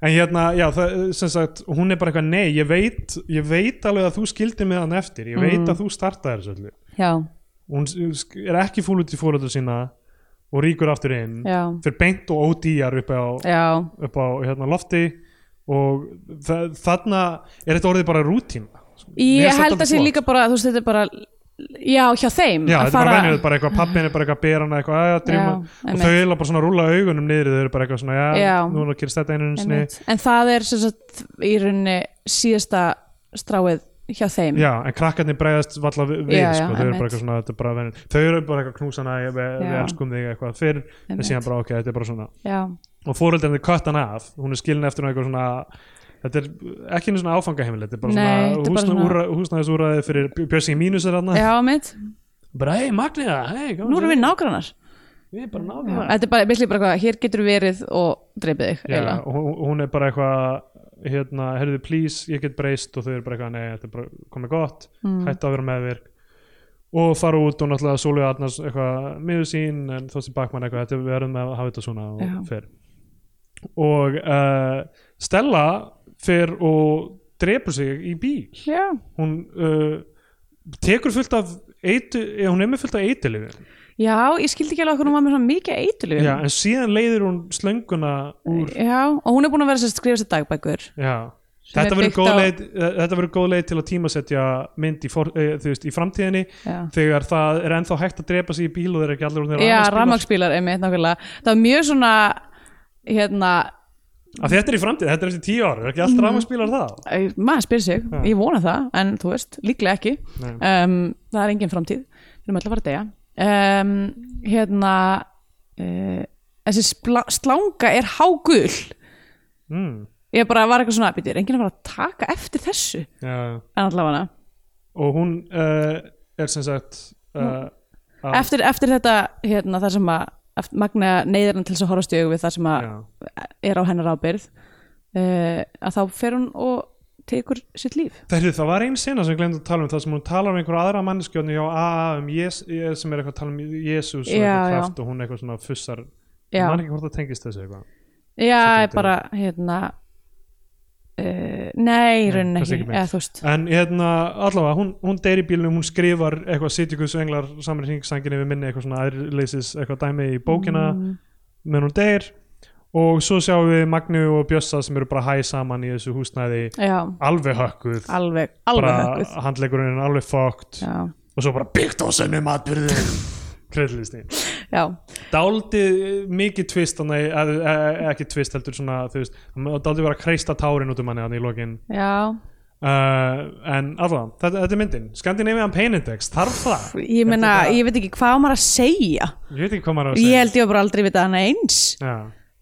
en hérna, já, það, sem sagt hún er bara eitthvað, nei, ég veit, ég veit alveg að þú skildir með hann eftir, ég Mm. veit að þú startaðir þessu öllu, já, hún sk- er ekki fúl út í fóröldu sína og rýkur aftur inn, já, fyrir beint og ódýjar upp á, já upp á hérna, lofti og það, þarna er þetta orðið bara rútíma Mér finnst ég það held dálítið að sé flott. líka bara, þú veist, þetta er bara já, hjá þeim Já, að þetta er bara venjuð, bara eitthvað, pappin er bara eitthvað að bera hana eitthvað, að dríma, Já, og einmitt. þau eiginlega bara svona rúla augunum niður, þau eru bara eitthvað svona, já, Já. nú er að kyrst þetta einu sinni, Einmitt. en það er sem sagt í rauninni síðasta stráið hjá þeim já, en krakkarnir bregðast valla við, við, Já, já, sko, þau eru einmitt. bara eitthvað svona, þetta er bara venjuð, þau eru bara eitthvað knúsana, við, við Já. elskum þig eitthvað fyrr, en Einmitt. síðan bara, ok, þetta er bara svona, já, og fóreldarnir kött hann af, hún er skilin eftir eitthvað svona, þetta er ekki einu svona áfangaheimil, þetta er bara Nei, þetta er bara svona, svona- húsna, húsnaðisúraði fyrir Björsi mínus er hann, já mitt bara, hei, Magniða, hei, nú erum við nágrannar við bara náðum Já, Þetta er bara, basically bara hvað, hér getur verið og dreipið þig, Já, eiginlega. og hún, hún er bara eitthvað hérna, Mm. herðu please, ég get breyst og þau eru bara eitthvað, nei, þetta er bara komið gott hættu að vera meðvirk og fara út og náttúrulega Sólveig Arnars eitthvað miður sín en Þorstein Bakman eitthvað þetta við erum að hafa þetta svona Já. og fer og uh, Stella fer og drepur sig í bíl já, hún uh, tekur fullt af eitu, eh, hún er með fullt af eitilifin já, ég skildi ekki alveg okkur hún var með svona mikið eitilug já, en síðan leiðir hún slönguna úr og hún er búin að vera sem sagt að skrifa sér dagbækur já Sem Þetta er verður byggt góð, á- leið- eh, þetta verður góð leið til að tímasetja mynd í, for, eh, þú veist, í framtíðinni já, þegar það er ennþá hægt að drepa sig í bíl og þeir eru ekki allir orðnir já rafmagnsbílar. rafmagsbílar einmitt nákvæmlega það var mjög svona hérna, að þetta er í framtíð, þetta er eftir tíu ára er ekki Mhm. allt rafmagnsbílar það æ, maður spyr sig Já. ég vona það, en þú veist, líklega ekki Nei. um, það er engin framtíð við erum alltaf að fara að deyja um, hérna uh, þessi spla, slanga er hágul mm, ég bara var eitthvað svona, býttu, er enginn að fara að taka eftir þessu ja. en allavega og hún uh, er sem sagt uh, Já. eftir, eftir þetta, hérna, það sem að eft- Magna neyðir hann til þess að horfast í augu við það sem að já, er á hennar ábyrð uh, að þá fer hún og tekur sitt líf það, er, það var einn sena sem ég glemd að tala um það sem hún talar um einhverja aðra manneskjóðni já, AA um Jes, eh, sem er eitthvað að tala um Jésús og Já, eitthvað já. kraft og hún eitthvað svona fussar já, mann ekki hvort það tengist þessu eitthvað já Svolítið. bara, hérna uh, nei, í rauninni kannski ekki, ekki beint. eða þú veist en hérna, allavega, hún, hún deyr í bílnum hún skrifar eitthvað sitjugus englar saman hringsangin yfir minni, eitthvað svona aðriðleysis eitthvað dæmi í bókina Mm. meðan hún deyr og svo sjáum við Magnu og Bjössa sem eru bara hæ saman í þessu húsnæði já, alveg hökkuð alveg, alveg hökkuð bara handlegurinn er alveg fókt já, og svo bara byggt á sennum atbyrðum kreðlisti já, dáldi mikið tvist þannig, eð, e, e, ekki tvist heldur svona þú veist, dáldi bara að kreista tárin út um manni þannig í lokin já uh, en allavega, þetta, þetta er myndin Scandinavian Pain Index, þarf það ég meina, Þetta er bara- ég veit ekki hvað á maður að segja ég veit ekki hvað maður á að ég segja held ég hef bara aldrei vitað hana eins Já,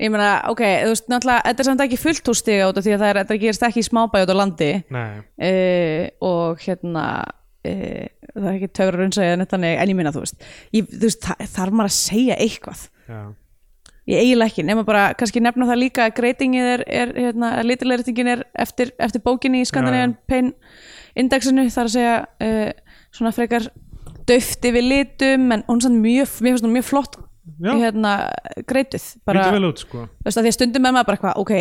ég meina, ok, þú veist, náttúrulega þetta er samt ekki fullt hús stiga út af því að það er, þetta gerist ekki í smábæ út á landi nei, uh, og hérna uh, það er ekki töfra raunsaði en þetta en ég minna, þú veist, ég, þú veist það, þarf maður að segja eitthvað já, ég eiginlega ekki, nema bara kannski nefna það líka að greitingin er, er hérna, að litilegritingin er eftir, eftir bókinni í Skandinavian Pain Indexinu þar að segja uh, svona frekar döfti við litum en hún er samt mjög, mér finnst hún mjög flott já, hérna, greituð lítur vel út sko þú veist að því að stundum með maður bara eitthvað ok,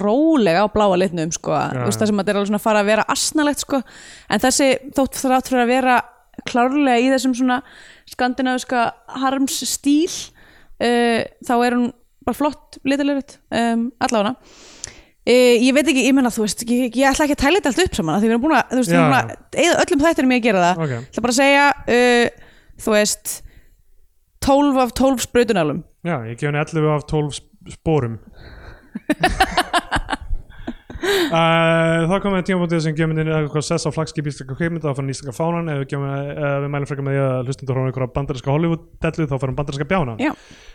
rólega á bláa litnum sko, Já, þú veist já. það sem að þetta er alveg svona að fara að vera asnalegt sko, en þessi þótt þrátt fyrir að vera klárlega í þessum svona skandinaviska harms stíl uh, þá er hún bara flott litilegrit, um, allavega Uh, ég veit ekki, ég menna þú veist ég, ég ætla ekki að tæla þetta allt upp saman af því við erum búin að, þú veist, við Já, erum búin að eyða öllum þættinum ég að gera það Ok. ég ætla bara að segja, uh, þú veist 12 af 12 sprautunálum Já, ég gef henni 11 af 12 sp- spórum uh, Þá komum við að tímabótið sem gefum henni eitthvað sess á flagskip íslenska kveikmynda þá farin íslenska fánan ef við, gefum, uh, við mælum frekar með því að hlustundur hún einhverja bandarinska Hollywood-dellu þá farin bandarinska bjána Já.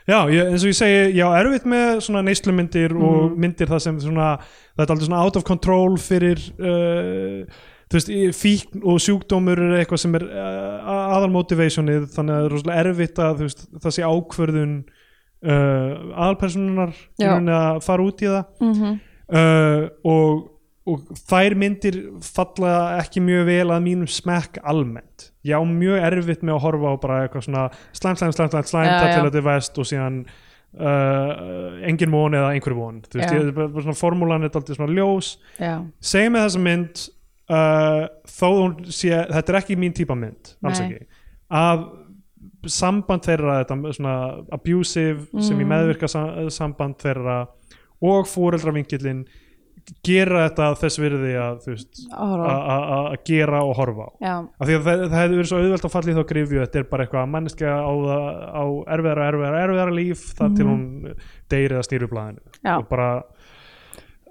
Já, ég, eins og ég segi, ég á erfitt með svona neyslumyndir og myndir það sem svona, það er aldrei svona out of control fyrir uh, þú veist, í- fíkn og sjúkdómur er eitthvað sem er uh, aðal motivationið þannig að það er rosalega erfitt að þú veist, það sé ákvörðun uh, aðalpersonunar í Já. rauninni að fara út í það mm -hmm. uh, og, og þær myndir falla ekki mjög vel að mínum smekk almennt já, mjög erfitt með að horfa á bara eitthvað svona slæm, slæm, slæm, slæm, slæm Já, það já. til að þetta er vest og síðan uh, engin von eða einhver von þú veist, Já. ég, bara, bara svona formúlan er alltaf svona ljós Já, segjum við þessa mynd uh, þó hún sé, þetta er ekki mín típa mynd, alls Nei. ekki að samband þeirra þetta svona abusive sem í meðvirka sa- samband þeirra og fóreldravinkillin gera þetta þess virði að þú veist, að horfa á. a- a- a- að gera og horfa á Já, af því að það, það hefði verið svo auðvelt að falla í þá grifju þetta er bara eitthvað að manneskja á, það- á erfiðara, erfiðara, erfiðara líf þar til hún deyri eða snýri blaðinu Já. og bara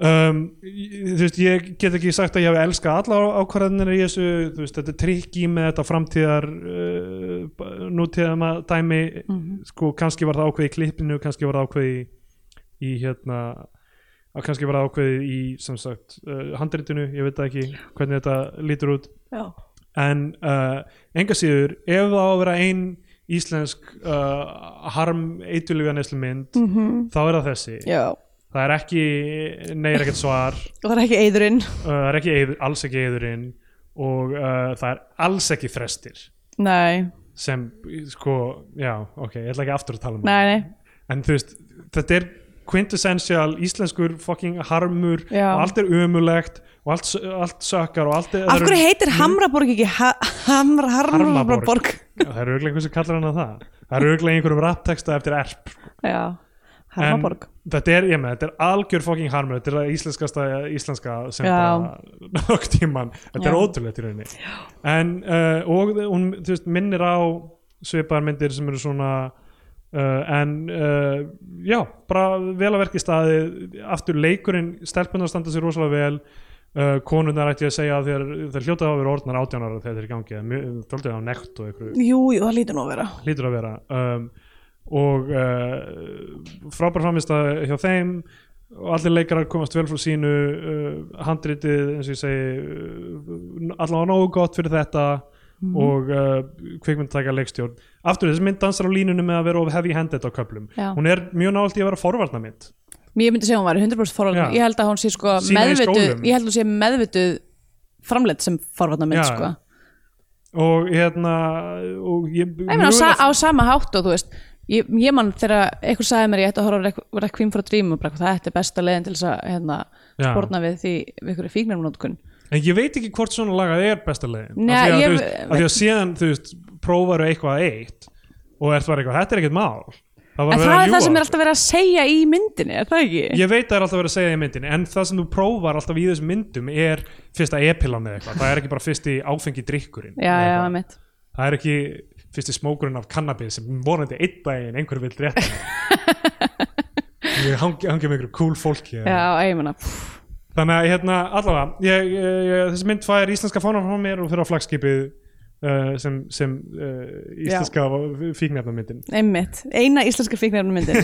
um, ég- þú veist, ég get ekki sagt að ég hafi elskað allar ákvarðanir í þessu þú veist, þetta er trikki með þetta framtíðar uh, b- nútíðama dæmi sko, kannski var það ákveði í klippinu kannski var það ákveði í, í hérna að kannski var það ákveði í sem sagt uh, handritinu, ég veit það ekki hvernig þetta lítur út já. en uh, enga síður ef það á að vera ein íslensk uh, harm eitulífja neslu mynd Mhm. þá er það þessi það er ekki, nei er ekkert svar uh, Og það er ekki eðurinn það er ekki eður, alls ekki eðurinn og uh, það er alls ekki frestir nei, sem sko, já, ok, ég ætla ekki aftur að tala um nei, nei það en þú veist, þetta er quintessential íslenskur fucking harmur Já. og allt er umulegt og allt, allt sökkar og allt er Af hverju heitir Hamraborg ekki ha Hamra, Harmaborg? Harmaborg. það er auðvitað einhver sem kallar hana það það er auðvitað einhverjum rappteksta eftir erp Já, en Harmaborg. þetta er, ég með, þetta er algjör fucking harmur þetta er það íslenskasta íslenska sem Já. bara nokk tíman þetta er Já. ótrúlegt í rauninni en, uh, og hún, þú veist, minnir á svipaðar myndir sem eru svona uh, en uh, já, bara vel að verki staði aftur leikurinn, stelpunar standa sér rosalega vel uh, konurnar ætti ég að segja að þeir, þeir hljótaði að vera orðnar átjánara þegar þeir gangi, þóldið á nekt og einhverju Jú, jú, það lítur nú að vera. hlýtur að vera um, og uh, frábær framist að hjá þeim og allir leikarar komast vel frá sínu uh, handritið eins og ég segi uh, allavega nógu gott fyrir þetta Mhm. og uh, kvikmynd taka leikstjórn aftur þessi mynd dansar á línunum með að vera of heavy handed á köplum Já. hún er mjög nált í að vera forvarnamynd Mér myndi segja að hún væri 100% Já. forvarnamynd. Ég held að hún sé sko Sýna í meðvituð, skólum. ég held að hún sé meðvituð framleitt sem forvarnamynd Já. sko. og hérna og ég, Ég meina á, sa mögulega- á sama hátt og þú veist, ég, ég mann þegar eitthvað sagði mér ég ætti að horfa á Requ- Requiem for a Dream og bara hvað þetta er besta leiðin til þess að hérna, Já. spórna við því við ykkur fíknarmnótkun. En ég veit ekki hvort svona lagað er besta leiðin Nei, af, því að, þú ég- veist, af því að síðan þú veist prófaru eitthvað eitt og ert bara eitthvað, þetta er ekkert mál það En það er það sem er alltaf verið að segja í myndinni, er það ekki? Ég veit það er alltaf verið að segja í myndinni en það sem þú prófar alltaf í þessum myndum er fyrsta epilan eða eitthvað, það er ekki bara fyrsti áfengi drikkurinn Já, já, Eða eitthvað. einmitt. það er ekki fyrsti smókurinn af kannabis sem vonandi einn daginn einhver vil rétt ég hangi, hangi með einhverju cool fólki eða- Já, ég meina, pff, Þannig að hérna, allavega, ég, ég, ég, þessi mynd fær íslenska fánan frá mér og fyrir á flagskipið uh, sem, sem uh, íslenska fíknefnamyndin. einmitt, eina íslenska fíknarmyndin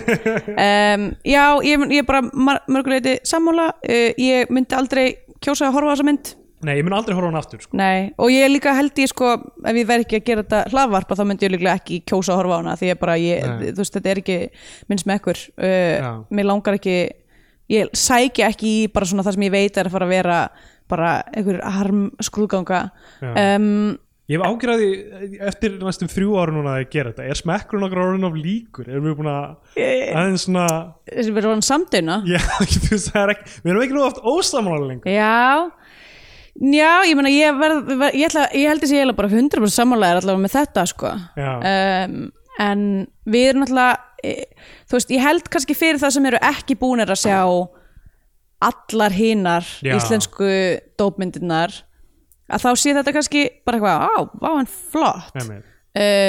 um, Já, ég, ég bara mar- mörguleiti sammála uh, ég myndi aldrei kjósa að horfa á þessa mynd Nei, ég mun aldrei horfa á hann aftur, sko. Nei, og ég líka held ég sko ef ég verð ekki að gera þetta hlaðvarpa þá myndi ég líklega ekki kjósa að horfa á hana því ég bara, ég, Nei. þú veist, þetta er ekki minnst með ekkur, uh, Já. mér langar ekki ég sækja ekki í bara svona það sem ég veit er að fara að vera bara einhver harm skrúðganga Já. um, Ég hef ágjörði eftir næstum þrjú ára núna að ég gera þetta. Er smekkurinn okkar orðin of líkur? Erum við búin að Ég- aðeins svona, sem verður hann samduna já, þú veist, það er ekki, við erum ekki nú oft ósamála lengur. Já Já, ég meina, ég, verð, verð, ég, ætla, ég held þess að ég er bara 100% sammálaðir allavega með þetta sko. Já. um, en við erum náttúrulega e, þú veist, ég held kannski fyrir það sem eru ekki búnir að sjá allar hinar Já. íslensku dópmyndirnar að þá sé þetta kannski bara eitthvað, á, á, en flott uh, Nei, nei.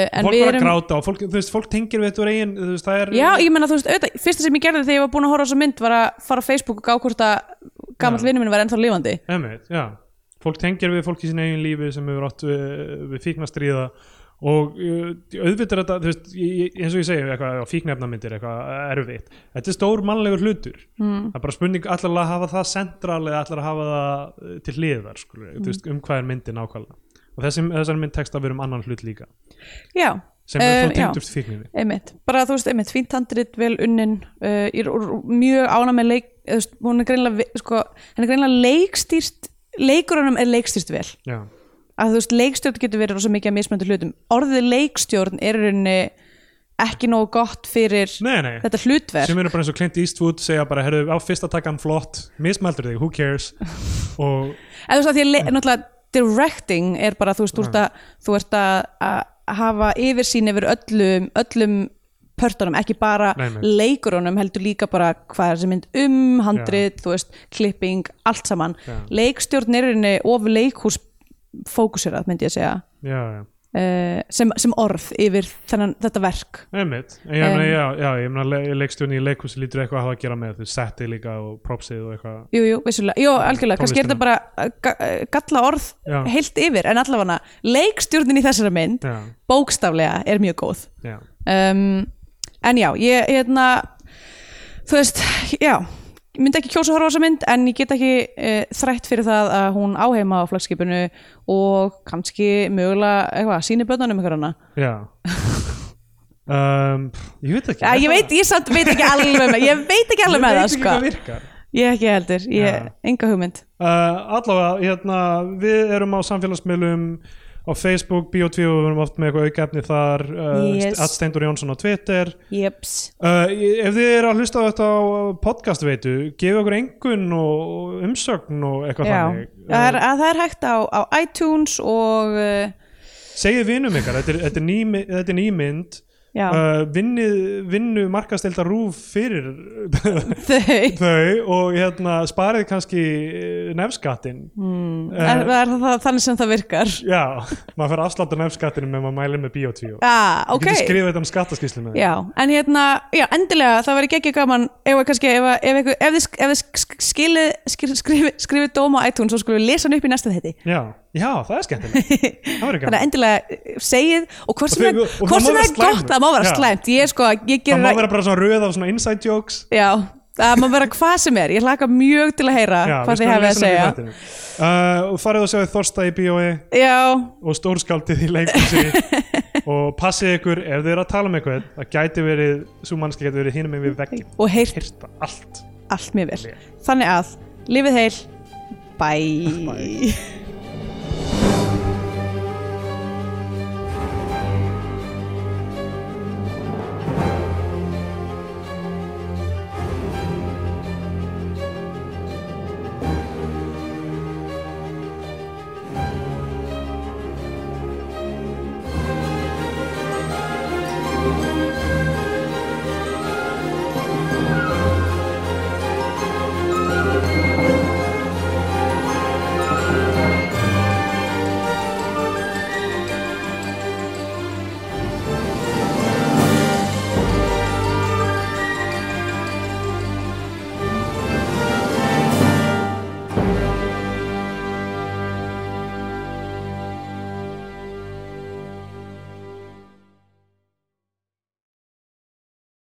en Fólk við bara erum gráta og fólk, þú veist, fólk tengir við þetta úr eigin, þú veist, það er... Já, ég meina, þú veist, auðvitað, fyrsta sem ég gerði þegar ég var búin að horfa á þessa mynd var að fara á Facebook og gá hvort að gamall Já. vinnu minn var ennþá lifandi Einmitt, já. Fólk tengir við fólk í sín eigin lífi sem hefur átt við, við fíknastríða og uh, auðvitað er þetta, þú veist, ég- ég- eins og ég segi eitthvað, fíknefnamyndir, eitthvað erfitt þetta er stór mannlegur hlutur Hmm. mm. það er bara spurning, allar að hafa það central eða allar að hafa það uh, til hliðar skur, Hmm. mm. veist, um hvað er myndin nákvæmlega og þessi, þessar mynd tekst að vera um annan hlut líka Já, sem er um, þá já. tengt upp fíkninni einmitt, bara þú veist, einmitt, fínt handrit vel unnin, uh, ég er úr- mjög ána með leik, þú veist, hún er greinlega vi- sko, henni er greinlega leikstýrt leikurunum er leikstýrt vel já, að þú veist, leikstjórn getur verið rosa mikið að mismöndu hlutum, orðið leikstjórn er í rauninni ekki nógu gott fyrir nei, nei þetta hlutverk sem eru bara eins og Clint Eastwood segja bara, herðu, á fyrsta takkan flott mismeldur þig, who cares og eða þú veist að því að Mm. le- náttúrulega directing er bara þú veist þú ert að, þú ert að, að hafa yfirsýn yfir öllum öllum pörtunum, ekki bara Nei, nei. leikurunum heldur líka bara hvað er þessi mynd um, handrið, þú veist, klipping allt saman, Já. leikstjórn er í rauninni of leikhús fókuserað myndi ég að segja já, já Uh, sem, sem orð yfir þennan, þetta verk Einmitt, En ég meina, já, já, ég meina le leikstjóni í leikhúsi lítur eitthvað að hafa að gera með þau setti líka og propsið og eitthvað Jú, jú, vissulega, jú, algjörlega, kannski er þetta bara uh, ga- uh, galla orð Já. heilt yfir en allavega leikstjórnin í þessari mynd Já, bókstaflega er mjög góð já, um, en já, ég hérna þú veist, já ég myndi ekki kjósa að horfa á þessa mynd en ég get ekki uh, þrætt fyrir það að hún áheima á flagskipinu og kannski mögulega eitthvað, síni börnunum ykkur hana já um, pff, Ég veit ekki ja, ég veit, ég samt veit ekki alveg með ég veit ekki alveg með það sko hvað virkar ég ekki heldur, ég, Já. enga hugmynd uh, Allavega, hérna, við erum á samfélagsmiðlum á Facebook, Bio2 og við erum oft með eitthvað aukefni þar uh, Yes. yes. Steindur Jónsson á Twitter Jeps Uh, ef þið eru að hlusta á þetta á podcastveitu, gefið okkur engun og og umsögn og eitthvað Já, þannig það er, að það er hægt á, á iTunes og uh, segið vinum ykkar, þetta er, þetta er, ný, þetta er ný mynd já, uh, vinnið, vinnu markastelda rúf fyrir þau þau og hérna, sparið kannski eh, nefnskattin mm, er, er það, það þannig sem það virkar Já, maður fyrir afslátt á nefnskattinu með maður mælið með biotvíu ah, Þú ok, getur skrifað þetta um skattaskýslu með já en hérna, já, endilega, það væri ekki gaman ef, að kannski, ef, að- ef, ef, ef, þið sk- ef þið sk- skilið skri- skrifið skrifi dóm á iTunes og skulum lesa hann upp í næsta þetti Já, já, það er skemmtilegt Það verður þannig að gaman endilega eh, segið og hvort sem Og það þau- og það hvort má sem vera slæmur. það er gott, það má vera Já. slæmt ég sko, ég Það gerir má vera bara svona röð af svona inside jokes já, það má vera hvað sem er ég hlaka mjög til að heyra hvað þið hefði að um segja uh, og farið og segja Þorsta í E. bíói já, og stórskaldið í leikhúsi og passið ykkur ef þið eru að tala um eitthvað það gæti verið, svo mannski gæti verið hinum við veggjum, og heyrt hýrta allt allt mjög vel Vel. þannig að, lifið heil bye, bye.